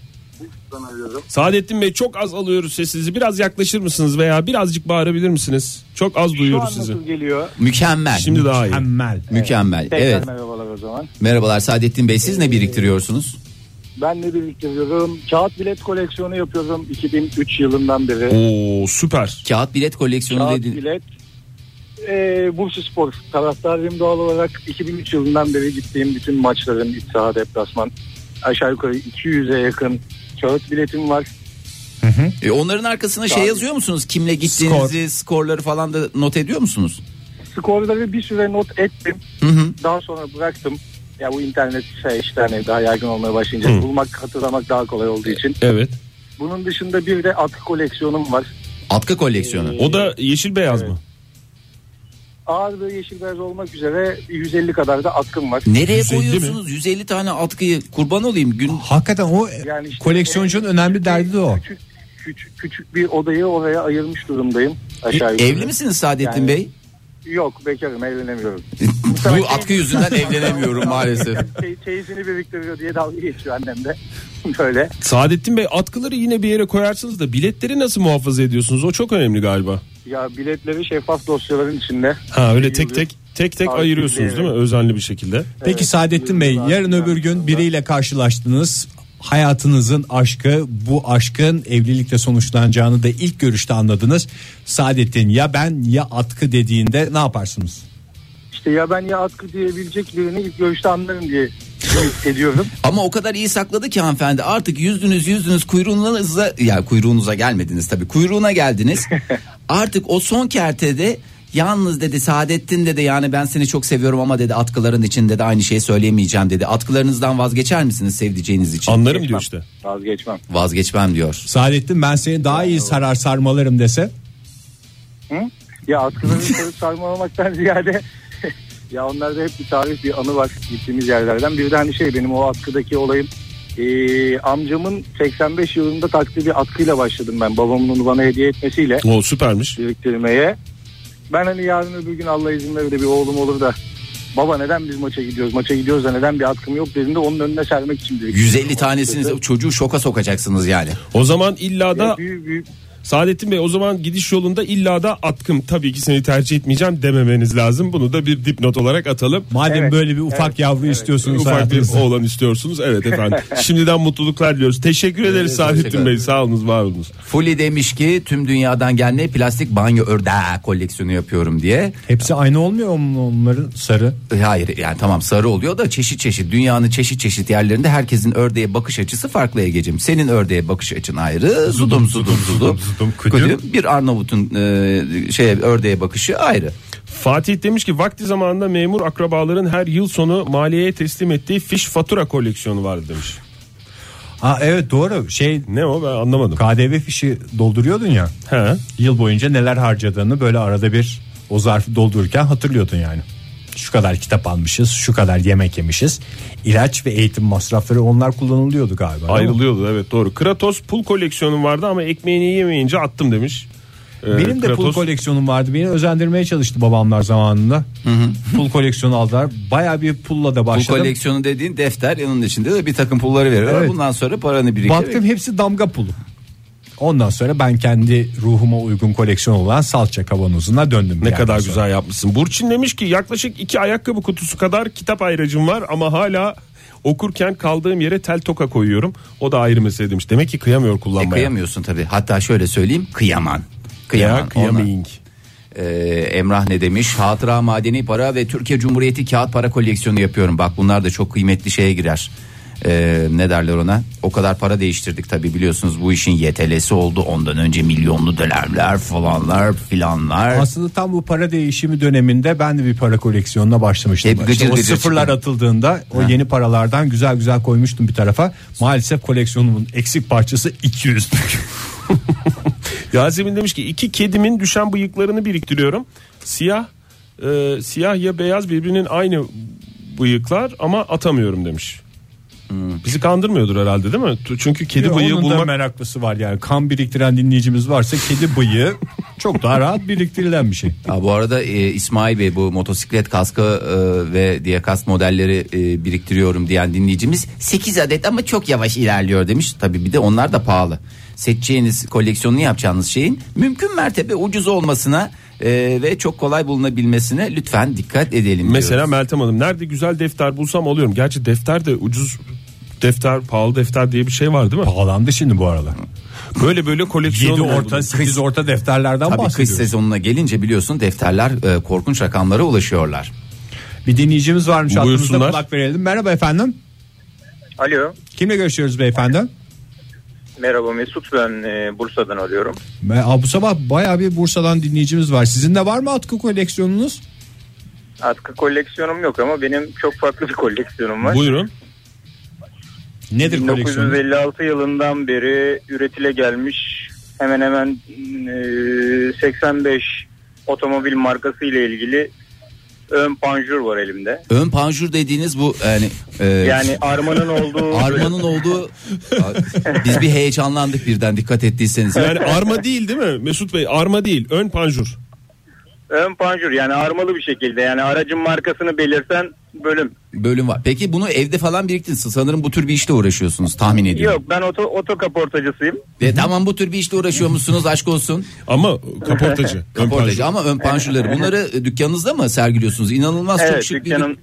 [SPEAKER 7] Sana arıyorum.
[SPEAKER 4] Saadettin Bey çok az alıyoruz sesinizi. Biraz yaklaşır mısınız veya birazcık bağırabilir misiniz? Çok az
[SPEAKER 7] Şu an
[SPEAKER 4] duyuyoruz sizi.
[SPEAKER 7] nasıl geliyor?
[SPEAKER 2] Mükemmel.
[SPEAKER 4] Şimdi daha iyi.
[SPEAKER 3] Emmel.
[SPEAKER 2] Mükemmel.
[SPEAKER 7] Tekrar Ee,
[SPEAKER 2] evet.
[SPEAKER 7] merhabalar o zaman.
[SPEAKER 2] Merhabalar Saadettin Bey. Siz ne biriktiriyorsunuz?
[SPEAKER 7] Ben ne biriktiriyorum? Kağıt bilet koleksiyonu yapıyorum 2003 yılından beri.
[SPEAKER 4] Oo süper.
[SPEAKER 2] Kağıt bilet koleksiyonu
[SPEAKER 7] Kağıt
[SPEAKER 2] dedin.
[SPEAKER 7] bilet. Ee, Bursa Spor taraftarıyım doğal olarak 2003 yılından beri gittiğim bütün maçların iç saha deplasman aşağı yukarı 200'e yakın kağıt biletim var.
[SPEAKER 2] E, onların arkasına şey
[SPEAKER 7] Kağıt-
[SPEAKER 2] yazıyor musunuz? Kimle gittiğinizi, skorları falan da not ediyor musunuz?
[SPEAKER 7] Skorları bir süre not ettim.
[SPEAKER 2] Hı hı.
[SPEAKER 7] Daha sonra bıraktım. Ya bu internet şey işte hani daha yaygın olmaya başlayınca bulmak hatırlamak daha kolay olduğu için.
[SPEAKER 4] Evet.
[SPEAKER 7] Bunun dışında bir de atkı koleksiyonum var.
[SPEAKER 4] Ee,
[SPEAKER 2] Atkı koleksiyonu.
[SPEAKER 4] O da yeşil beyaz
[SPEAKER 7] Evet.
[SPEAKER 4] mı?
[SPEAKER 7] ağır ve yeşil beyaz olmak üzere 150 kadar da atkım var.
[SPEAKER 2] Nereye
[SPEAKER 3] 150 mi?
[SPEAKER 2] koyuyorsunuz 150 tane atkıyı kurban olayım gün
[SPEAKER 3] Hakikaten o
[SPEAKER 7] Yani işte
[SPEAKER 3] koleksiyoncunun önemli derdi de o.
[SPEAKER 7] Küçük, küçük, küçük bir odayı oraya ayırmış durumdayım. Aşağı yukarı.
[SPEAKER 2] evli misiniz Saadettin
[SPEAKER 7] Yani-
[SPEAKER 2] Bey?
[SPEAKER 7] Yok bekarım evlenemiyorum.
[SPEAKER 2] Bu atkı yüzünden evlenemiyorum
[SPEAKER 7] <laughs>
[SPEAKER 2] maalesef.
[SPEAKER 7] Şey, çeyizini biriktiriyor diye dalga geçiyor annem de. <laughs> Böyle.
[SPEAKER 4] Saadettin Bey atkıları yine bir yere koyarsınız da biletleri nasıl muhafaza ediyorsunuz? O çok önemli galiba.
[SPEAKER 7] Ya biletleri şeffaf dosyaların içinde.
[SPEAKER 4] Ha öyle tek tek tek tek
[SPEAKER 7] Takip
[SPEAKER 4] ayırıyorsunuz değil mi? Özenli bir şekilde.
[SPEAKER 3] Peki
[SPEAKER 7] Evet,
[SPEAKER 3] Saadettin Bey
[SPEAKER 7] yıldızlar
[SPEAKER 3] yarın öbür gün
[SPEAKER 7] yıldızlar.
[SPEAKER 3] biriyle karşılaştınız. Hayatınızın aşkı bu aşkın evlilikle sonuçlanacağını da ilk görüşte anladınız. Saadettin ya ben ya atkı dediğinde ne yaparsınız?
[SPEAKER 7] İşte ya ben ya atkı diyebilecek birini ilk görüşte anlarım diye ümit ediyorum.
[SPEAKER 2] Ama o kadar iyi sakladı ki hanımefendi artık yüzdünüz yüzdünüz kuyruğunuza ya kuyruğunuza gelmediniz tabii kuyruğuna geldiniz. artık o son kertede yalnız dedi Saadettin dedi yani ben seni çok seviyorum ama dedi atkıların için dedi aynı şeyi söyleyemeyeceğim dedi. Atkılarınızdan vazgeçer misiniz sevdiceğiniz için?
[SPEAKER 4] Anlarım diyor işte.
[SPEAKER 7] Vazgeçmem.
[SPEAKER 2] Vazgeçmem diyor.
[SPEAKER 3] Saadettin ben seni daha iyi sarar sarmalarım dese.
[SPEAKER 7] Hı? Ya atkıları sarıp sarmalamaktan ziyade <laughs> ya onlarda hep bir tarih bir anı var gittiğimiz yerlerden. Bir de hani şey benim o atkıdaki olayım ee, amcamın 85 yılında taktığı bir atkıyla başladım ben. Babamın onu bana hediye etmesiyle
[SPEAKER 4] O süpermiş.
[SPEAKER 7] biriktirmeye. Ben hani yarın öbür gün Allah izin verir de bir oğlum olur da baba neden biz maça gidiyoruz? Maça gidiyoruz da neden bir atkım yok dediğinde onun önüne sermek için biriktirdim.
[SPEAKER 2] 150 tanesiniz çocuğu şoka sokacaksınız yani.
[SPEAKER 4] O zaman illa da
[SPEAKER 7] Ya büyü- büyü-
[SPEAKER 4] Saadettin Bey o zaman gidiş yolunda illa da atkım tabii ki seni tercih etmeyeceğim dememeniz lazım. Bunu da bir dipnot olarak atalım.
[SPEAKER 3] Madem
[SPEAKER 7] Evet,
[SPEAKER 3] böyle bir ufak
[SPEAKER 7] evet,
[SPEAKER 3] yavru
[SPEAKER 7] evet.
[SPEAKER 3] istiyorsunuz
[SPEAKER 4] Ufak bir
[SPEAKER 3] hayatınızda.
[SPEAKER 4] oğlan istiyorsunuz.
[SPEAKER 3] <laughs>
[SPEAKER 4] Evet efendim. Şimdiden mutluluklar diliyoruz. Teşekkür ederiz Saadettin
[SPEAKER 2] teşekkür
[SPEAKER 4] Bey. Sağ olunuz, var olunuz.
[SPEAKER 2] Fuli demiş ki tüm dünyadan gelme plastik banyo ördeği koleksiyonu yapıyorum diye.
[SPEAKER 3] Hepsi aynı olmuyor mu onların sarı?
[SPEAKER 2] E, Hayır yani tamam sarı oluyor da çeşit çeşit dünyanın çeşit çeşit yerlerinde herkesin ördeğe bakış açısı farklı Ege'cim. Senin ördeğe bakış açın ayrı. Zudum zudum zudum.
[SPEAKER 4] zudum, kudüm.
[SPEAKER 2] Bir Arnavut'un e, şey ördeğe bakışı ayrı.
[SPEAKER 4] Fatih demiş ki vakti zamanında memur akrabaların her yıl sonu maliyeye teslim ettiği fiş fatura koleksiyonu vardı demiş.
[SPEAKER 3] Ha evet doğru şey
[SPEAKER 4] Ne o ben anlamadım.
[SPEAKER 3] KDV fişi dolduruyordun ya.
[SPEAKER 4] He.
[SPEAKER 3] Yıl boyunca neler harcadığını böyle arada bir o zarfı doldururken hatırlıyordun yani. Şu kadar kitap almışız, şu kadar yemek yemişiz. İlaç ve eğitim masrafları onlar kullanılıyordu galiba. değil mi?
[SPEAKER 4] Ayrılıyordu evet doğru. Kratos pul koleksiyonum vardı ama ekmeğini yemeyince attım demiş. Ee,
[SPEAKER 3] Benim de pul
[SPEAKER 4] Kratos-
[SPEAKER 3] koleksiyonum vardı. Beni özendirmeye çalıştı babamlar zamanında. Pul koleksiyonu aldılar. Baya bir pulla da
[SPEAKER 2] Bu
[SPEAKER 3] başladım.
[SPEAKER 2] koleksiyonu dediğin defter yanının içinde de bir takım pulları veriyorlar.
[SPEAKER 3] Evet.
[SPEAKER 2] Bundan sonra paranı biriktir.
[SPEAKER 3] Baktım hepsi damga pulu. Ondan sonra ben kendi ruhuma uygun koleksiyon olan salça kavanozuna döndüm. bir
[SPEAKER 4] Ne
[SPEAKER 3] yerden
[SPEAKER 4] kadar
[SPEAKER 3] sonra.
[SPEAKER 4] güzel yapmışsın. Burçin demiş ki yaklaşık iki ayakkabı kutusu kadar kitap ayracım var ama hala okurken kaldığım yere tel toka koyuyorum. O da ayrı mesele demiş. Demek ki kıyamıyor
[SPEAKER 2] E,
[SPEAKER 4] kullanmaya.
[SPEAKER 2] kıyamıyorsun tabii. Hatta şöyle söyleyeyim kıyaman.
[SPEAKER 4] Ya
[SPEAKER 2] Kıyaman. Ondan-
[SPEAKER 4] kıyamayın.
[SPEAKER 2] Ee, Emrah ne demiş? Hatıra madeni para ve Türkiye Cumhuriyeti kağıt para koleksiyonu yapıyorum. Bak bunlar da çok kıymetli şeye girer. Ee, ne derler ona? O kadar para değiştirdik tabi biliyorsunuz bu işin YTL'si oldu. Ondan önce milyonlu dönemler falanlar filanlar.
[SPEAKER 3] Aslında tam bu para değişimi döneminde ben de bir para koleksiyonuna başlamıştım.
[SPEAKER 2] Hep gıcır
[SPEAKER 3] İşte o
[SPEAKER 2] gıcır
[SPEAKER 3] sıfırlar
[SPEAKER 2] çıkan.
[SPEAKER 3] atıldığında o yeni paralardan güzel güzel koymuştum bir tarafa. Maalesef koleksiyonumun eksik parçası 200.
[SPEAKER 4] Yasemin demiş ki iki kedimin düşen bıyıklarını biriktiriyorum. Siyah e, siyah ya beyaz birbirinin aynı bıyıklar ama atamıyorum demiş. Bizi kandırmıyordur herhalde değil mi? Tu- Çünkü kedi bıyığı
[SPEAKER 3] Onun da
[SPEAKER 4] bulmak
[SPEAKER 3] meraklısı var yani. Kan biriktiren dinleyicimiz varsa kedi bıyığı çok daha rahat biriktirilen bir şey.
[SPEAKER 2] Ha, bu arada e, İsmail Bey bu motosiklet kaskı e, ve diye kask modelleri e, biriktiriyorum diyen dinleyicimiz 8 adet ama çok yavaş ilerliyor demiş. Tabi bir de onlar da pahalı. Seçeceğiniz koleksiyonunu yapacağınız şeyin mümkün mertebe ucuz olmasına e, ve çok kolay bulunabilmesine lütfen dikkat edelim.
[SPEAKER 4] Mesela
[SPEAKER 2] diyoruz.
[SPEAKER 4] Meltem Hanım nerede güzel defter bulsam alıyorum. Gerçi defter de ucuz defter, pahalı defter diye bir şey var değil mi?
[SPEAKER 3] Pahalandı şimdi bu aralar.
[SPEAKER 4] Böyle böyle
[SPEAKER 3] 7
[SPEAKER 4] koleksiyon
[SPEAKER 3] orta 8 orta defterlerden
[SPEAKER 2] Tabii kış
[SPEAKER 3] bahsediyoruz.
[SPEAKER 2] sezonuna gelince biliyorsun defterler e, korkunç rakamlara ulaşıyorlar.
[SPEAKER 3] Bir dinleyicimiz varmış aklımızda
[SPEAKER 4] Buyursunlar.
[SPEAKER 3] kulak verelim. Merhaba efendim.
[SPEAKER 8] Alo.
[SPEAKER 3] Kimle görüşüyoruz beyefendi?
[SPEAKER 8] Merhaba Mesut ben e, Bursa'dan arıyorum.
[SPEAKER 3] Aa, Bu sabah bayağı bir Bursa'dan dinleyicimiz var. Sizin de var mı atkı koleksiyonunuz?
[SPEAKER 8] Atkı koleksiyonum yok ama benim çok farklı bir <laughs> koleksiyonum var.
[SPEAKER 4] Buyurun.
[SPEAKER 3] Nedir koleksiyonunuz?
[SPEAKER 8] 1956 yılından beri üretile gelmiş hemen hemen e, 85 otomobil markası ile ilgili ön panjur var elimde.
[SPEAKER 2] Ön panjur dediğiniz bu yani, e,
[SPEAKER 8] Yani armanın
[SPEAKER 2] <laughs>
[SPEAKER 8] olduğu
[SPEAKER 2] armanın olduğu biz bir heyecanlandık birden dikkat ettiyseniz.
[SPEAKER 4] <laughs> Yani arma değil değil mi Mesut Bey? Arma değil ön panjur.
[SPEAKER 8] ön panjur yani armalı bir şekilde yani aracın markasını belirten bölüm.
[SPEAKER 2] Bölüm var. Peki bunu evde falan biriktin. Sanırım bu tür bir işle uğraşıyorsunuz tahmin ediyorum.
[SPEAKER 8] Yok ben oto, oto kaportacısıyım.
[SPEAKER 2] E, tamam bu tür bir işle uğraşıyormuşsunuz aşk olsun.
[SPEAKER 4] Ama kaportacı. ön
[SPEAKER 2] Kaportacı
[SPEAKER 4] panjur.
[SPEAKER 2] ama ön panjurları bunları e, dükkanınızda mı sergiliyorsunuz? İnanılmaz çok
[SPEAKER 8] evet
[SPEAKER 2] şık bir
[SPEAKER 8] dükkanım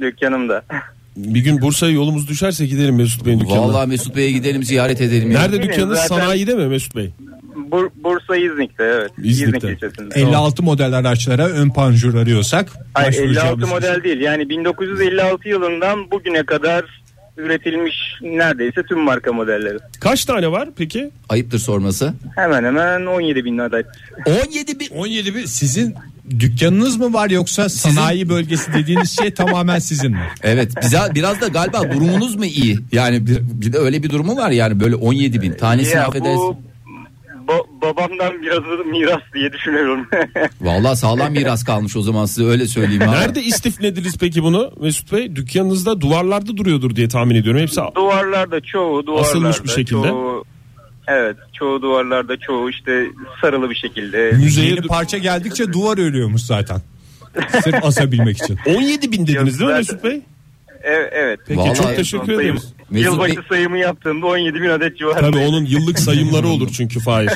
[SPEAKER 8] dükkanımda. <laughs>
[SPEAKER 4] Bir gün Bursa'ya yolumuz düşerse gidelim Mesut Bey'in dükkanına.
[SPEAKER 2] Vallahi Mesut Bey'e gidelim ziyaret edelim. ya.
[SPEAKER 4] Nerede
[SPEAKER 8] Bilmiyorum,
[SPEAKER 4] dükkanınız?
[SPEAKER 8] zaten-
[SPEAKER 4] Sanayide mi Mesut Bey?
[SPEAKER 8] Bur- Bursa İznik'te evet.
[SPEAKER 4] İznik'te.
[SPEAKER 8] İznik ilçesinde.
[SPEAKER 3] 56 model araçlara ön panjur arıyorsak
[SPEAKER 8] Hayır, 56
[SPEAKER 3] başvuracağımız-
[SPEAKER 4] şey.
[SPEAKER 8] model değil. Yani 1956 yılından bugüne kadar üretilmiş neredeyse tüm marka modelleri.
[SPEAKER 4] Kaç tane var peki?
[SPEAKER 2] Ayıptır sorması.
[SPEAKER 8] Hemen hemen 17 bin adet.
[SPEAKER 2] 17 bin
[SPEAKER 3] 17 bir sizin dükkanınız mı var yoksa sanayi bölgesi dediğiniz
[SPEAKER 2] <laughs>
[SPEAKER 3] şey tamamen sizin mi?
[SPEAKER 2] Evet bize biraz da galiba durumunuz mu iyi? Yani bir, bir de öyle bir durumu var yani böyle 17 bin tanesini
[SPEAKER 8] Ya bu
[SPEAKER 2] affedersin.
[SPEAKER 8] ba- babamdan biraz da miras diye düşünüyorum. <laughs>
[SPEAKER 2] Vallahi sağlam miras kalmış o zaman size öyle söyleyeyim. ha.
[SPEAKER 4] Nerede istiflediniz peki bunu Mesut Bey? Dükkanınızda duvarlarda duruyordur diye tahmin ediyorum. Hepsi
[SPEAKER 8] duvarlarda çoğu duvarlarda.
[SPEAKER 4] Asılmış bir şekilde.
[SPEAKER 8] çoğu- evet çoğu duvarlarda çoğu işte sarılı bir şekilde.
[SPEAKER 4] müzeye...
[SPEAKER 3] Yeni parça geldikçe duvar örüyormuş zaten. Sırf asabilmek için.
[SPEAKER 4] 17 bin
[SPEAKER 8] Yok,
[SPEAKER 4] dediniz değil mi
[SPEAKER 8] zaten-
[SPEAKER 4] Mesut Bey?
[SPEAKER 8] E- evet.
[SPEAKER 4] Peki,
[SPEAKER 2] Vallahi-
[SPEAKER 4] çok teşekkür ederiz.
[SPEAKER 2] Mesut
[SPEAKER 8] Yılbaşı
[SPEAKER 2] Bey-
[SPEAKER 8] sayımı yaptığımda 17 bin adet civarında.
[SPEAKER 4] Tabii onun yıllık sayımları olur çünkü Fahir.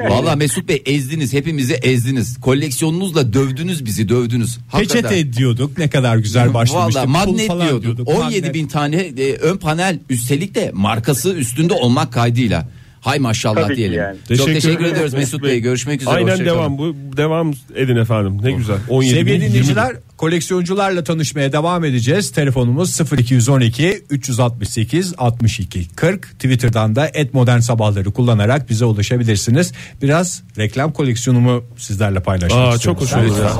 [SPEAKER 2] Vallahi Mesut Bey ezdiniz hepimizi ezdiniz. Koleksiyonunuzla dövdünüz bizi dövdünüz. Hakikaten.
[SPEAKER 3] Peçete ediyorduk ne kadar güzel başlamıştık.
[SPEAKER 2] Vallahi
[SPEAKER 3] Pul
[SPEAKER 2] magnet
[SPEAKER 3] falan
[SPEAKER 2] diyorduk. 17
[SPEAKER 3] Magnet.
[SPEAKER 2] bin tane e, ön panel üstelik de markası üstünde olmak kaydıyla. Hay maşallah
[SPEAKER 8] Tabii ki
[SPEAKER 2] diyelim.
[SPEAKER 8] yani.
[SPEAKER 2] Çok teşekkür ediyoruz Mesut Bey. Görüşmek üzere.
[SPEAKER 4] Aynen
[SPEAKER 2] hoşça kalın.
[SPEAKER 4] devam bu devam edin efendim. Ne güzel. 17
[SPEAKER 3] Sevgili
[SPEAKER 4] bin, 20 bin.
[SPEAKER 3] dinleyiciler koleksiyoncularla tanışmaya devam edeceğiz. Telefonumuz 0212 368 62 40. Twitter'dan da et modern sabahları kullanarak bize ulaşabilirsiniz. Biraz reklam koleksiyonumu sizlerle paylaşmak
[SPEAKER 4] Aa,
[SPEAKER 3] istiyorum.
[SPEAKER 4] çok hoş olur ya.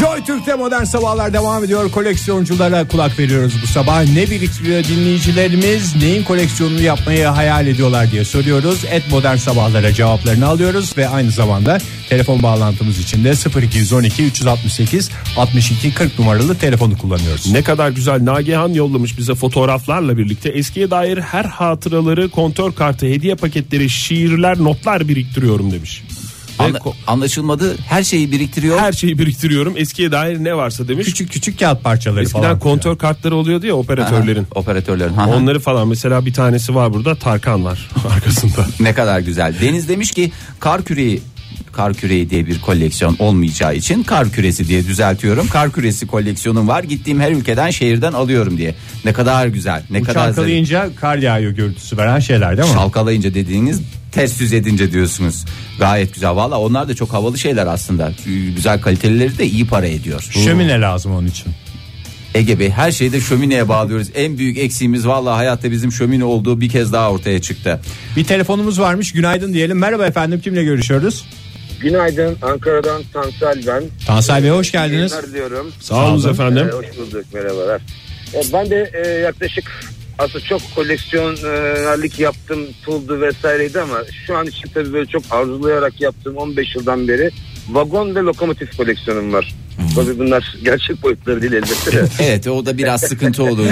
[SPEAKER 3] Joy Türk'te modern sabahlar devam ediyor. Koleksiyonculara kulak veriyoruz bu sabah. Ne biriktiriyor dinleyicilerimiz? Neyin koleksiyonunu yapmayı hayal ediyorlar diye soruyoruz. Et modern sabahlara cevaplarını alıyoruz ve aynı zamanda telefon bağlantımız için de 0212 368 62 40 numaralı telefonu kullanıyoruz.
[SPEAKER 4] Ne kadar güzel Nagihan yollamış bize fotoğraflarla birlikte eskiye dair her hatıraları kontör kartı hediye paketleri şiirler notlar biriktiriyorum demiş. Ve
[SPEAKER 2] Anla-
[SPEAKER 4] ko-
[SPEAKER 2] anlaşılmadı. Her şeyi biriktiriyor.
[SPEAKER 4] her şeyi biriktiriyorum eskiye dair ne varsa demiş.
[SPEAKER 3] Küçük küçük kağıt parçaları
[SPEAKER 4] Eskiden
[SPEAKER 3] falan.
[SPEAKER 4] kontör kartları oluyordu ya
[SPEAKER 2] Aha,
[SPEAKER 4] operatörlerin.
[SPEAKER 2] Operatörlerin. Aha.
[SPEAKER 4] Onları falan mesela bir tanesi var burada Tarkan var <laughs> arkasında.
[SPEAKER 2] Ne kadar güzel. Deniz demiş ki kar küreği kar küreği diye bir koleksiyon olmayacağı için kar küresi diye düzeltiyorum. Kar küresi koleksiyonum var. Gittiğim her ülkeden şehirden alıyorum diye. Ne kadar güzel. Ne kadar zarif.
[SPEAKER 3] Çalkalayınca kar yağıyor görüntüsü veren şeyler değil mi?
[SPEAKER 2] Şalkalayınca dediğiniz ters yüz edince diyorsunuz. Gayet güzel. Valla onlar da çok havalı şeyler aslında. Ee, Güzel kalitelileri de iyi para ediyor.
[SPEAKER 3] Şömine lazım onun için.
[SPEAKER 2] Ege Bey her şeyde şömineye bağlıyoruz. En büyük eksiğimiz valla hayatta bizim şömine olduğu bir kez daha ortaya çıktı.
[SPEAKER 3] Bir telefonumuz varmış. Günaydın diyelim. Merhaba efendim. Kimle görüşüyoruz?
[SPEAKER 9] Günaydın Ankara'dan Tansel ben.
[SPEAKER 3] Tansay Bey hoş geldiniz.
[SPEAKER 9] Günler diliyorum.
[SPEAKER 4] Sağ olun efendim.
[SPEAKER 9] Ee, hoş bulduk merhabalar. Ee, ben de e, yaklaşık aslında çok koleksiyonerlik yaptım tuldu vesaireydi ama şu an için tabii böyle çok arzulayarak yaptığım 15 yıldan beri vagon ve lokomotif koleksiyonum var. Tabii bunlar <laughs> gerçek boyutları değil elbette de.
[SPEAKER 2] Evet o da biraz sıkıntı olur.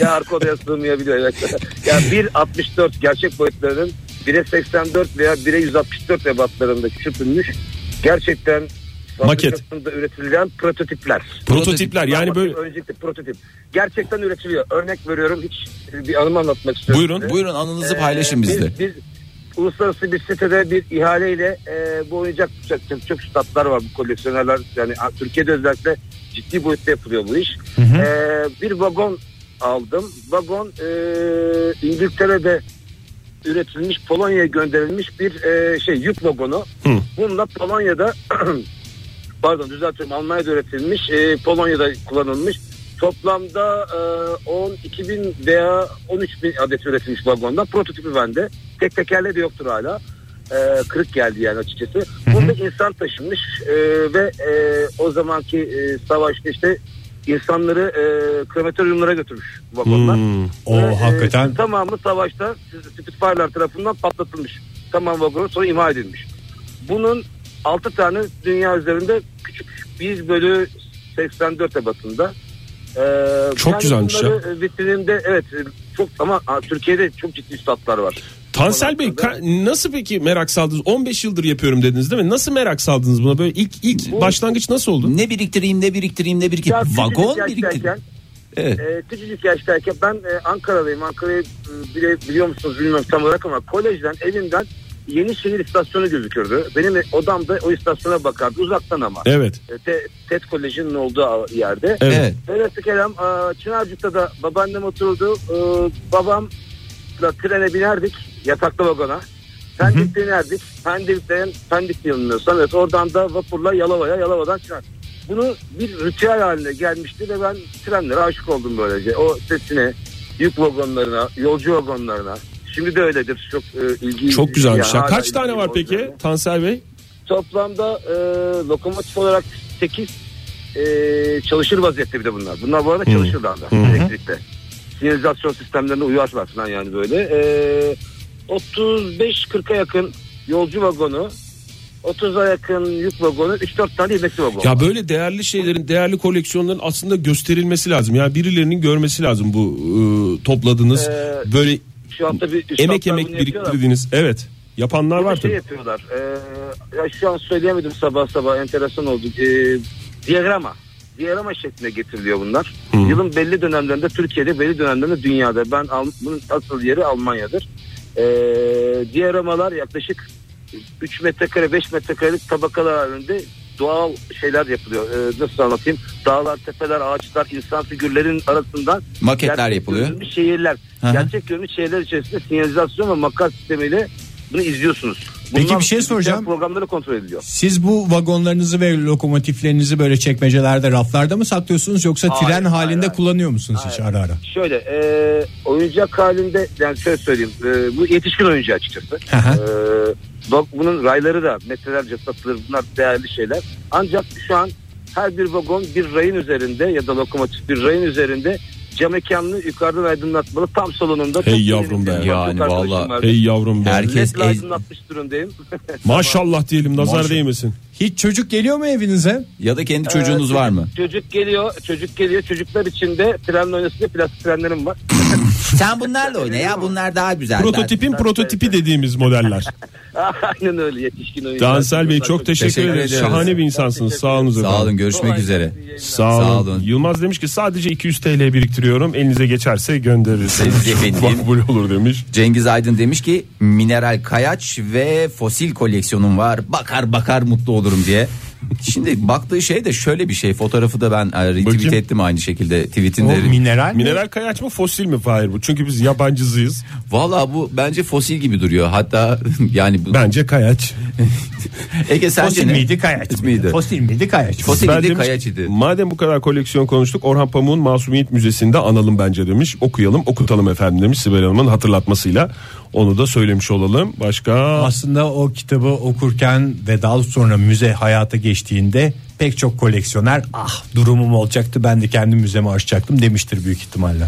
[SPEAKER 9] ya arka odaya sığmayabiliyor. evet. ya 1.64 gerçek boyutlarının 1'e 84 veya 1'e 164 ebatlarında küçültülmüş gerçekten
[SPEAKER 4] Maket.
[SPEAKER 9] fabrikasında üretilen prototipler.
[SPEAKER 4] Prototipler yani böyle
[SPEAKER 9] Öncelikle prototip. Gerçekten üretiliyor. Örnek veriyorum hiç bir anımı anlatmak istiyorum.
[SPEAKER 4] Buyurun.
[SPEAKER 9] size.
[SPEAKER 2] Buyurun anınızı
[SPEAKER 9] Ee,
[SPEAKER 2] paylaşın
[SPEAKER 9] biz-
[SPEAKER 2] bizle.
[SPEAKER 9] Biz, uluslararası bir sitede bir ihaleyle e, bu oyuncak çok, çok, çok statlar var bu koleksiyonerler. Yani a- Türkiye'de özellikle ciddi boyutta yapılıyor bu iş. E, bir vagon aldım. Vagon e, İngiltere'de üretilmiş Polonya'ya gönderilmiş bir e, şey yük vagonu. Bununla Polonya'da <clears throat> pardon düzeltiyorum Almanya'da üretilmiş e, Polonya'da kullanılmış toplamda e, 12 bin veya 13 bin adet üretilmiş vagondan prototipi bende tek tekerle de yoktur hala E, kırık geldi yani açıkçası bunda insan taşınmış e, ve e, o zamanki e, savaşta işte insanları e, krematoryumlara götürmüş vagonlar
[SPEAKER 4] Hmm.
[SPEAKER 3] O
[SPEAKER 9] Ve, e,
[SPEAKER 3] hakikaten
[SPEAKER 9] tamamı savaşta Spitfire'lar tarafından patlatılmış. saman vagonu sonra imha edilmiş. Bunun 6 tane dünya üzerinde küçük 1 bölü 84 ebatında. Ee,
[SPEAKER 4] Çok güzelmiş ya.
[SPEAKER 9] bunları, e, Vitrininde evet e, çok ama a, Türkiye'de çok ciddi statlar var.
[SPEAKER 4] Tansel Bey ka- nasıl peki merak saldınız? 15 yıldır yapıyorum dediniz değil mi? Nasıl merak saldınız buna? Böyle ilk ilk başlangıç nasıl oldu?
[SPEAKER 2] Ne biriktireyim ne biriktireyim ne
[SPEAKER 9] Ya
[SPEAKER 2] biriktireyim.
[SPEAKER 9] küçücük
[SPEAKER 2] Vagon biriktireyim.
[SPEAKER 9] yaştayken,
[SPEAKER 2] Evet.
[SPEAKER 9] e, küçücük yaştayken ben e, Ankara'dayım. Ankara'yı e, bile, biliyor musunuz bilmiyorum tam olarak ama kolejden evimden yeni şehir istasyonu gözükürdü. Benim odamda o istasyona bakardı uzaktan ama.
[SPEAKER 4] Evet.
[SPEAKER 9] E, Te, TED Koleji'nin olduğu yerde.
[SPEAKER 4] Evet.
[SPEAKER 2] Evet.
[SPEAKER 9] Velhasıl kelam e, Çınarcık'ta da babaannem oturdu. E, babamla trene binerdik yataklı vagona. Pendik'te inerdik. Pendik'ten Pendik yanılmıyorsam evet oradan da vapurla Yalova'ya Yalova'dan Çınar. Bunu bir ritüel haline gelmişti ve ben trenlere aşık oldum böylece. O sesine, yük vagonlarına, yolcu vagonlarına. Şimdi de öyledir. Çok e, ilgi.
[SPEAKER 4] Çok güzelmiş
[SPEAKER 9] yani
[SPEAKER 4] ya.
[SPEAKER 9] hala
[SPEAKER 4] Kaç
[SPEAKER 9] ilgi
[SPEAKER 4] tane var peki
[SPEAKER 9] yolcularına.
[SPEAKER 4] Tansel Bey?
[SPEAKER 9] Toplamda e, lokomotif olarak 8 e, çalışır vaziyette bir de bunlar. Bunlar bu arada çalışırlar da elektrikte. Sinyalizasyon sistemlerine uyarlar falan yani böyle. E, 35-40'a yakın yolcu vagonu, 30'a yakın yük vagonu, 3-4 tane hizmetli vagonu.
[SPEAKER 4] Ya böyle değerli şeylerin, değerli koleksiyonların aslında gösterilmesi lazım. Yani birilerinin görmesi lazım bu e, topladığınız
[SPEAKER 9] Ee,
[SPEAKER 4] böyle
[SPEAKER 9] Şu anda bir üstadlar
[SPEAKER 4] emek emek
[SPEAKER 9] bunu yapıyorlar.
[SPEAKER 4] biriktirdiğiniz. Evet. Yapanlar
[SPEAKER 9] Bir de
[SPEAKER 4] var
[SPEAKER 9] şey
[SPEAKER 4] tabii.
[SPEAKER 9] yapıyorlar. E, ya şu an söyleyemedim sabah sabah enteresan oldu. E, diyagrama. Diyagrama şeklinde getiriliyor bunlar. Yılın belli dönemlerinde Türkiye'de belli dönemlerinde dünyada. Ben Al- bunun asıl yeri Almanya'dır. E, diyagramalar yaklaşık 3 metrekare 5 metrekarelik tabakalar halinde doğal şeyler yapılıyor. E, nasıl anlatayım? Dağlar, tepeler, ağaçlar, insan figürlerinin arasından
[SPEAKER 2] Maketler
[SPEAKER 9] gerçek
[SPEAKER 2] yapılıyor.
[SPEAKER 9] görünümlü şehirler.
[SPEAKER 2] Hı hı.
[SPEAKER 9] Gerçek görünümlü şehirler içerisinde sinyalizasyon ve makas sistemiyle bunu izliyorsunuz.
[SPEAKER 3] Peki bir şey soracağım.
[SPEAKER 9] Programları kontrol ediliyor.
[SPEAKER 3] Siz bu vagonlarınızı ve lokomotiflerinizi böyle çekmecelerde raflarda mı saklıyorsunuz yoksa
[SPEAKER 9] Hayır,
[SPEAKER 3] tren
[SPEAKER 9] hayır,
[SPEAKER 3] halinde
[SPEAKER 9] hayır.
[SPEAKER 3] kullanıyor musunuz hiç ara ara?
[SPEAKER 9] Şöyle e, oyuncak halinde yani şöyle söyleyeyim e, bu yetişkin oyuncu açıkçası.
[SPEAKER 3] Hı hı.
[SPEAKER 9] E, bak bunun rayları da metrelerce satılır bunlar değerli şeyler. Ancak şu an her bir vagon bir rayın üzerinde ya da lokomotif bir rayın üzerinde cam mekanlı yukarıdan aydınlatmalı tam salonunda.
[SPEAKER 4] Hey
[SPEAKER 9] çok
[SPEAKER 4] yavrum be.
[SPEAKER 9] keyifli bir
[SPEAKER 2] Yani
[SPEAKER 9] vakit arkadaşım
[SPEAKER 2] vallahi.
[SPEAKER 9] vardı.
[SPEAKER 4] Hey yavrum ben.
[SPEAKER 2] Herkes-
[SPEAKER 9] Ledle aydınlatmış durumdayım. <laughs>
[SPEAKER 4] Maşallah diyelim nazar
[SPEAKER 2] Maşallah.
[SPEAKER 4] değmesin.
[SPEAKER 3] Hiç çocuk geliyor mu evinize?
[SPEAKER 2] Ya da kendi çocuğunuz
[SPEAKER 9] Ee,
[SPEAKER 2] var
[SPEAKER 9] çocuk-
[SPEAKER 2] mı?
[SPEAKER 3] <laughs>
[SPEAKER 9] Çocuk geliyor, çocuk geliyor. Çocuklar için de trenle oynasın plastik trenlerim var. <laughs>
[SPEAKER 2] Sen bunlarla oyna ya bunlar daha güzel.
[SPEAKER 4] Prototipin prototipi dediğimiz
[SPEAKER 9] <laughs>
[SPEAKER 4] modeller.
[SPEAKER 9] Aynen öyle yetişkin oyuncu.
[SPEAKER 4] Dansel Bey çok teşekkür,
[SPEAKER 2] Teşekkür
[SPEAKER 4] ederiz.
[SPEAKER 2] ederiz.
[SPEAKER 4] Şahane bir insansınız. Sağ olun.
[SPEAKER 2] Sağ olun görüşmek üzere.
[SPEAKER 4] Sağ olun.
[SPEAKER 2] Sağ olun.
[SPEAKER 4] Yılmaz demiş ki sadece 200 TL biriktiriyorum. Elinize geçerse gönderirseniz. <laughs>
[SPEAKER 2] Siz efendim.
[SPEAKER 4] Makbul olur demiş.
[SPEAKER 2] Cengiz Aydın demiş ki mineral kayaç ve fosil koleksiyonum var. Bakar bakar mutlu olurum diye. Şimdi baktığı şey de şöyle bir şey. Fotoğrafı da ben e, retweet
[SPEAKER 4] Bakayım.
[SPEAKER 2] ettim aynı şekilde
[SPEAKER 3] O
[SPEAKER 2] tweetinde.
[SPEAKER 3] mineral mi?
[SPEAKER 4] Mineral kayaç mı fosil mi Fahir bu? Çünkü biz yabancısıyız.
[SPEAKER 2] Valla bu bence fosil gibi duruyor. Hatta <laughs> yani bu-
[SPEAKER 4] Bence kayaç.
[SPEAKER 2] Ege sence
[SPEAKER 3] Fosil
[SPEAKER 2] ne?
[SPEAKER 3] miydi kayaç miydi?
[SPEAKER 2] Miydi?
[SPEAKER 3] Fosil miydi kayaç mı?
[SPEAKER 2] Fosil
[SPEAKER 4] Ben
[SPEAKER 2] miydi
[SPEAKER 4] demiş
[SPEAKER 2] kayaç
[SPEAKER 4] ki,
[SPEAKER 2] idi.
[SPEAKER 4] Madem bu kadar koleksiyon konuştuk Orhan Pamuk'un Masumiyet Müzesi'nde analım bence demiş. Okuyalım okutalım efendim demiş Sibel Hanım'ın hatırlatmasıyla. Onu da söylemiş olalım.
[SPEAKER 2] <laughs>
[SPEAKER 4] Başka
[SPEAKER 3] Aslında o kitabı okurken ve daha sonra müze hayata geçtiğinde pek çok koleksiyoner ah durumum olacaktı ben de kendi müzemi açacaktım demiştir büyük ihtimalle.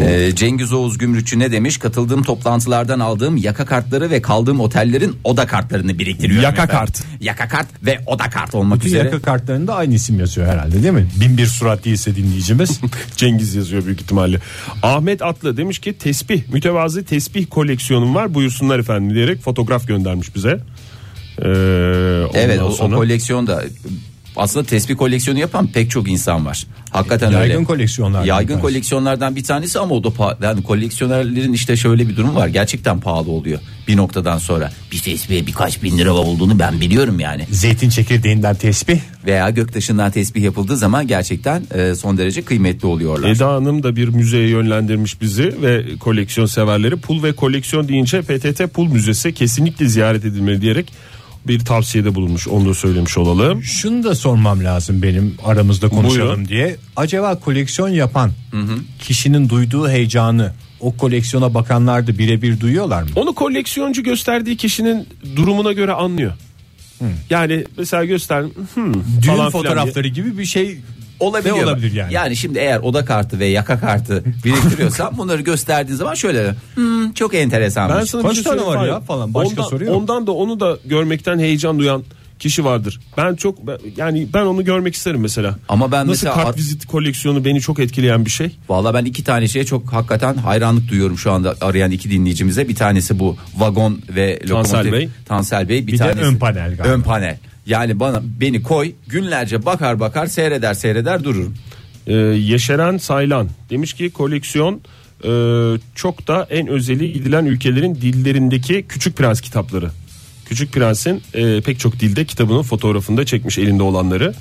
[SPEAKER 2] Ee, Cengiz Oğuz Gümrükçü ne demiş? Katıldığım toplantılardan aldığım yaka kartları ve kaldığım otellerin oda kartlarını biriktiriyorum.
[SPEAKER 4] Yaka
[SPEAKER 2] efendim.
[SPEAKER 4] kart.
[SPEAKER 2] Yaka kart ve oda kart olmak
[SPEAKER 3] Bütün
[SPEAKER 2] üzere.
[SPEAKER 3] yaka kartlarında aynı isim yazıyor herhalde değil mi? Bin bir surat değilse dinleyicimiz.
[SPEAKER 4] Cengiz yazıyor büyük ihtimalle. Ahmet Atlı demiş ki tesbih mütevazı tesbih koleksiyonum var buyursunlar efendim diyerek fotoğraf göndermiş bize. Ee,
[SPEAKER 2] Evet
[SPEAKER 4] ondan
[SPEAKER 2] o, o
[SPEAKER 4] sonra-
[SPEAKER 2] koleksiyon da aslında tespih koleksiyonu yapan pek çok insan var. Hakikaten öyle.
[SPEAKER 3] Yaygın koleksiyonlardan bir
[SPEAKER 2] Yaygın
[SPEAKER 3] tanesi.
[SPEAKER 2] koleksiyonlardan bir tanesi ama o da pa- yani koleksiyonerlerin işte şöyle bir durum var. Gerçekten pahalı oluyor bir noktadan sonra. Bir tesbihe birkaç bin lira olduğunu ben biliyorum yani.
[SPEAKER 3] Zeytin çekirdeğinden tesbih.
[SPEAKER 2] Veya göktaşından tesbih yapıldığı zaman gerçekten e, son derece kıymetli oluyorlar.
[SPEAKER 3] E,
[SPEAKER 4] Eda Hanım da bir müzeye yönlendirmiş bizi ve koleksiyon severleri pul ve koleksiyon deyince PTT Pul Müzesi kesinlikle ziyaret edilmeli diyerek bir tavsiyede bulunmuş. Onu da söylemiş olalım.
[SPEAKER 3] Şunu da sormam lazım benim aramızda konuşalım
[SPEAKER 4] Buyurun.
[SPEAKER 3] diye. Acaba koleksiyon yapan kişinin duyduğu heyecanı o koleksiyona bakanlar da birebir duyuyorlar mı?
[SPEAKER 4] Onu koleksiyoncu gösterdiği kişinin durumuna göre anlıyor. Yani mesela göster
[SPEAKER 3] Düğün
[SPEAKER 4] hmm, falan filan diye.
[SPEAKER 3] fotoğrafları gibi bir şey
[SPEAKER 2] Olabiliyor.
[SPEAKER 3] Ne olabilir yani?
[SPEAKER 2] Yani şimdi eğer oda kartı ve yaka kartı
[SPEAKER 3] <laughs>
[SPEAKER 2] biriktiriyorsan bunları gösterdiğin zaman şöyle "Hmm, çok enteresanmış.
[SPEAKER 1] Ben sana
[SPEAKER 3] Kaç
[SPEAKER 1] bir şey
[SPEAKER 3] tane
[SPEAKER 1] söyleyeyim
[SPEAKER 3] var ya
[SPEAKER 1] Fahir.
[SPEAKER 3] falan, başka
[SPEAKER 1] ondan,
[SPEAKER 3] soru yok.
[SPEAKER 1] Ondan da onu da görmekten heyecan duyan kişi vardır. Ben çok ben- yani ben onu görmek isterim mesela.
[SPEAKER 2] Ama ben
[SPEAKER 1] Nasıl
[SPEAKER 2] mesela-
[SPEAKER 1] kart vizit koleksiyonu beni çok etkileyen bir şey.
[SPEAKER 2] Valla ben iki tane şeye çok hakikaten hayranlık duyuyorum şu anda arayan iki dinleyicimize. Bir tanesi bu vagon ve lokomotif.
[SPEAKER 1] Tansel Bey.
[SPEAKER 2] Tansel Bey. Bir,
[SPEAKER 3] de
[SPEAKER 2] tanesi,
[SPEAKER 3] ön panel galiba.
[SPEAKER 2] Ön panel. Yani bana beni koy günlerce bakar bakar seyreder seyreder dururum.
[SPEAKER 1] Ee, Yeşeren Saylan demiş ki koleksiyon e, çok da en özeli gidilen ülkelerin dillerindeki Küçük Prens kitapları. Küçük Prens'in e, pek çok dilde kitabının fotoğrafında çekmiş elinde olanları.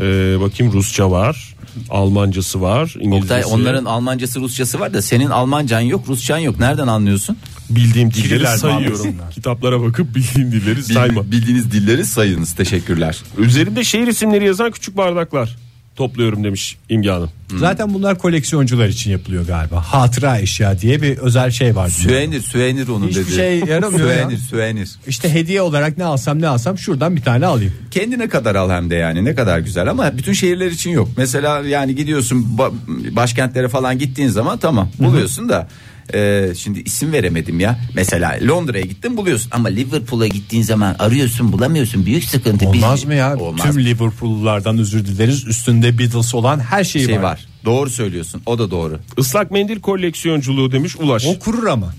[SPEAKER 1] E, bakayım Rusça var, Almancası var,
[SPEAKER 2] Oktay
[SPEAKER 1] İngilizcesi.
[SPEAKER 2] onların Almancası Rusçası var da senin Almancan yok Rusçan yok nereden anlıyorsun?
[SPEAKER 1] bildiğim dilleri
[SPEAKER 3] Kirliler
[SPEAKER 1] sayıyorum.
[SPEAKER 3] bağlasınlar.
[SPEAKER 1] Kitaplara bakıp bildiğim dilleri
[SPEAKER 2] Bil-
[SPEAKER 1] sayma.
[SPEAKER 2] Bildiğiniz dilleri sayınız teşekkürler.
[SPEAKER 1] Üzerinde şehir isimleri yazan küçük bardaklar topluyorum demiş İmge Hanım.
[SPEAKER 3] Zaten bunlar koleksiyoncular için yapılıyor galiba. Hatıra eşya diye bir özel şey var.
[SPEAKER 2] Süvenir süvenir onun
[SPEAKER 3] Hiçbir
[SPEAKER 2] dediği.
[SPEAKER 3] şey yaramıyor ya.
[SPEAKER 2] Süvenir süvenir.
[SPEAKER 3] İşte hediye olarak ne alsam ne alsam şuradan bir tane alayım.
[SPEAKER 2] kendine kadar al hem de yani ne kadar güzel ama bütün şehirler için yok. Mesela yani gidiyorsun ba- başkentlere falan gittiğin zaman tamam buluyorsun da e, şimdi isim veremedim ya. Mesela Londra'ya gittin buluyorsun ama Liverpool'a gittiğin zaman arıyorsun bulamıyorsun büyük sıkıntı. Biz-
[SPEAKER 3] Olmaz mı ya?
[SPEAKER 2] Olmaz.
[SPEAKER 3] Tüm Liverpool'lulardan özür dileriz. Üstünde Beatles olan her şeyi
[SPEAKER 2] şey
[SPEAKER 3] var.
[SPEAKER 2] var. Doğru söylüyorsun. O da doğru.
[SPEAKER 1] Islak mendil koleksiyonculuğu demiş Ulaş.
[SPEAKER 3] O kurur ama.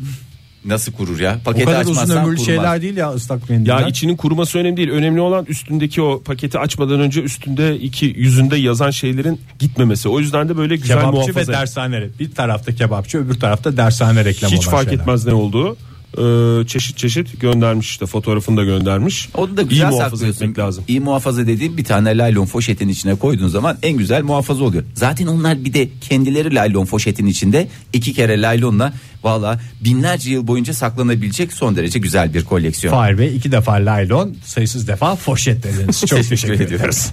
[SPEAKER 2] Nasıl kurur ya?
[SPEAKER 3] O
[SPEAKER 2] Paketi
[SPEAKER 3] kadar uzun
[SPEAKER 2] açmazsan
[SPEAKER 3] ömürlü
[SPEAKER 2] kurumaz.
[SPEAKER 3] şeyler değil ya ıslak mendiller.
[SPEAKER 1] Ya içinin kuruması önemli değil. Önemli olan üstündeki o paketi açmadan önce üstünde iki yüzünde yazan şeylerin gitmemesi. O yüzden de böyle güzel
[SPEAKER 3] kebapçı ve
[SPEAKER 1] muhafaza.
[SPEAKER 3] dershane. Bir tarafta kebapçı öbür tarafta dershane reklamı
[SPEAKER 1] Hiç
[SPEAKER 3] olan
[SPEAKER 1] fark
[SPEAKER 3] şeyler.
[SPEAKER 1] etmez ne olduğu. Ee, çeşit çeşit göndermiş işte fotoğrafını da göndermiş.
[SPEAKER 2] Onu da
[SPEAKER 1] İyi
[SPEAKER 2] güzel
[SPEAKER 1] muhafaza
[SPEAKER 2] saklıyorsun.
[SPEAKER 1] etmek lazım.
[SPEAKER 2] İyi muhafaza dediğim bir tane laylon foşetin içine koyduğun zaman en güzel muhafaza oluyor. Zaten onlar bir de kendileri laylon foşetin içinde iki kere laylonla valla binlerce yıl boyunca saklanabilecek son derece güzel bir koleksiyon.
[SPEAKER 3] Fahir Bey iki defa laylon sayısız defa foşet dediniz.
[SPEAKER 1] <laughs>
[SPEAKER 3] Çok teşekkür ediyoruz.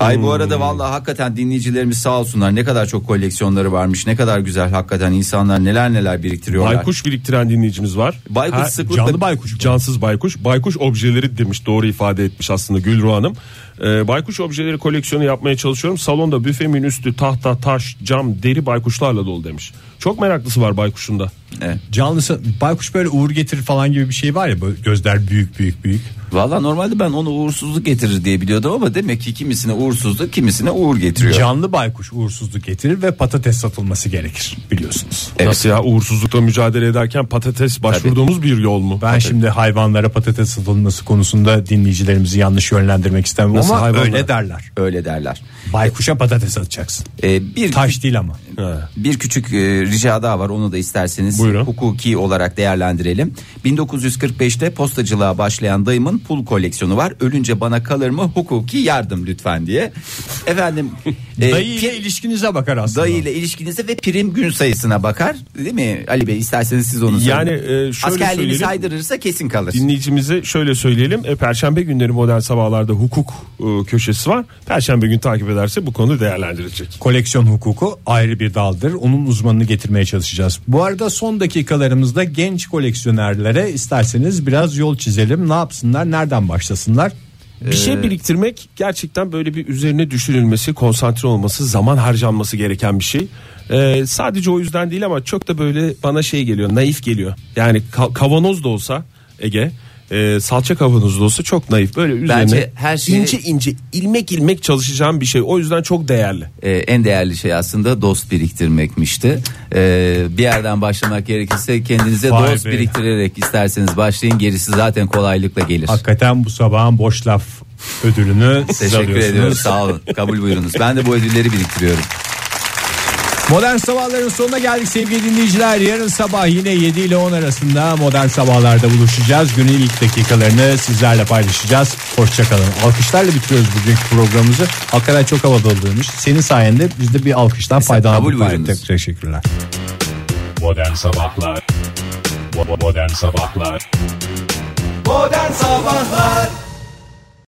[SPEAKER 2] Ay bu arada valla hakikaten dinleyicilerimiz sağ olsunlar ne kadar çok koleksiyonları varmış ne kadar güzel hakikaten insanlar neler neler biriktiriyorlar.
[SPEAKER 1] Baykuş biriktiren dinleyicimiz var.
[SPEAKER 2] Baykuş
[SPEAKER 1] Ha,
[SPEAKER 2] sıklıkla-
[SPEAKER 1] canlı baykuş, bu. cansız baykuş. Baykuş objeleri demiş doğru ifade etmiş aslında Gülru Hanım. Ee, baykuş objeleri koleksiyonu yapmaya çalışıyorum. Salonda büfemin üstü tahta, taş, cam, deri baykuşlarla dolu demiş. Çok meraklısı var baykuşun da.
[SPEAKER 2] Evet.
[SPEAKER 3] Canlısı baykuş böyle uğur getirir falan gibi bir şey var ya böyle gözler büyük büyük büyük.
[SPEAKER 2] Valla normalde ben onu uğursuzluk getirir diye biliyordum ama demek ki kimisine uğursuzluk kimisine uğur getiriyor.
[SPEAKER 3] Canlı baykuş uğursuzluk getirir ve patates satılması gerekir biliyorsunuz.
[SPEAKER 2] Evet.
[SPEAKER 1] Nasıl ya uğursuzlukla mücadele ederken patates başvurduğumuz bir yol mu?
[SPEAKER 3] Ben şimdi hayvanlara patates satılması konusunda dinleyicilerimizi yanlış yönlendirmek istemem
[SPEAKER 1] Nasıl
[SPEAKER 3] ama
[SPEAKER 1] hayvanlara?
[SPEAKER 3] öyle derler.
[SPEAKER 2] Öyle derler.
[SPEAKER 3] Baykuşa patates atacaksın.
[SPEAKER 2] Ee, bir
[SPEAKER 3] Taş değil ama.
[SPEAKER 2] Bir küçük e, rica daha var onu da isterseniz
[SPEAKER 1] Buyurun.
[SPEAKER 2] hukuki olarak değerlendirelim. 1945'te postacılığa başlayan dayımın pul koleksiyonu var. Ölünce bana kalır mı hukuki yardım lütfen diye.
[SPEAKER 1] <laughs>
[SPEAKER 2] Efendim e,
[SPEAKER 3] Dayı ile
[SPEAKER 2] pi-
[SPEAKER 3] ilişkinize bakar aslında.
[SPEAKER 2] dayı ile ilişkinize ve prim gün sayısına bakar. Değil mi Ali Bey isterseniz siz onu
[SPEAKER 1] Yani,
[SPEAKER 2] söyleyin.
[SPEAKER 1] e, şöyle
[SPEAKER 2] Askerliğini
[SPEAKER 1] söyleyelim.
[SPEAKER 2] saydırırsa kesin kalır.
[SPEAKER 1] Dinleyicimize şöyle söyleyelim. E, Perşembe günleri modern sabahlarda hukuk e, köşesi var. Perşembe gün takip ederse bu konu değerlendirecek.
[SPEAKER 3] Koleksiyon hukuku ayrı bir daldır. Onun uzmanını getirmeye çalışacağız. Bu arada son dakikalarımızda genç koleksiyonerlere isterseniz biraz yol çizelim. Ne yapsınlar, nereden başlasınlar?
[SPEAKER 2] Ee,
[SPEAKER 1] Bir şey biriktirmek gerçekten böyle bir üzerine düşünülmesi, konsantre olması, zaman harcanması gereken bir şey. E, sadece o yüzden değil ama çok da böyle bana şey geliyor, naif geliyor. Yani ka- kavanoz da olsa Ege, e, salça kavanozu da olsa çok naif. Böyle üzerine
[SPEAKER 2] Bence her şey- şeyi-
[SPEAKER 1] ince ince, ilmek ilmek çalışacağım bir şey. O yüzden çok değerli.
[SPEAKER 2] Ee, en değerli şey aslında dost biriktirmekmişti. Ee, bir yerden başlamak gerekirse kendinize
[SPEAKER 3] Vay
[SPEAKER 2] dost
[SPEAKER 3] be.
[SPEAKER 2] biriktirerek isterseniz başlayın. Gerisi zaten kolaylıkla gelir.
[SPEAKER 3] Hakikaten bu sabahın boş laf ödülünü siz
[SPEAKER 2] Teşekkür
[SPEAKER 3] alıyorsunuz.
[SPEAKER 2] ediyorum. Sağ olun. Kabul buyurunuz. Ben de bu ödülleri biriktiriyorum.
[SPEAKER 3] Modern sabahların sonuna geldik sevgili dinleyiciler. Yarın sabah yine 7 ile 10 arasında modern sabahlarda buluşacağız. Günün ilk dakikalarını sizlerle paylaşacağız. Hoşçakalın. Alkışlarla bitiriyoruz bugünkü programımızı. Hakikaten çok havalandırmış. Senin sayende biz de bir alkıştan faydalandık.
[SPEAKER 2] kabul
[SPEAKER 3] Fahir.
[SPEAKER 2] buyurunuz.
[SPEAKER 3] Tek- Teşekkürler.
[SPEAKER 10] Modern Sabahlar Bo- bo- Modern Sabahlar
[SPEAKER 11] Modern Sabahlar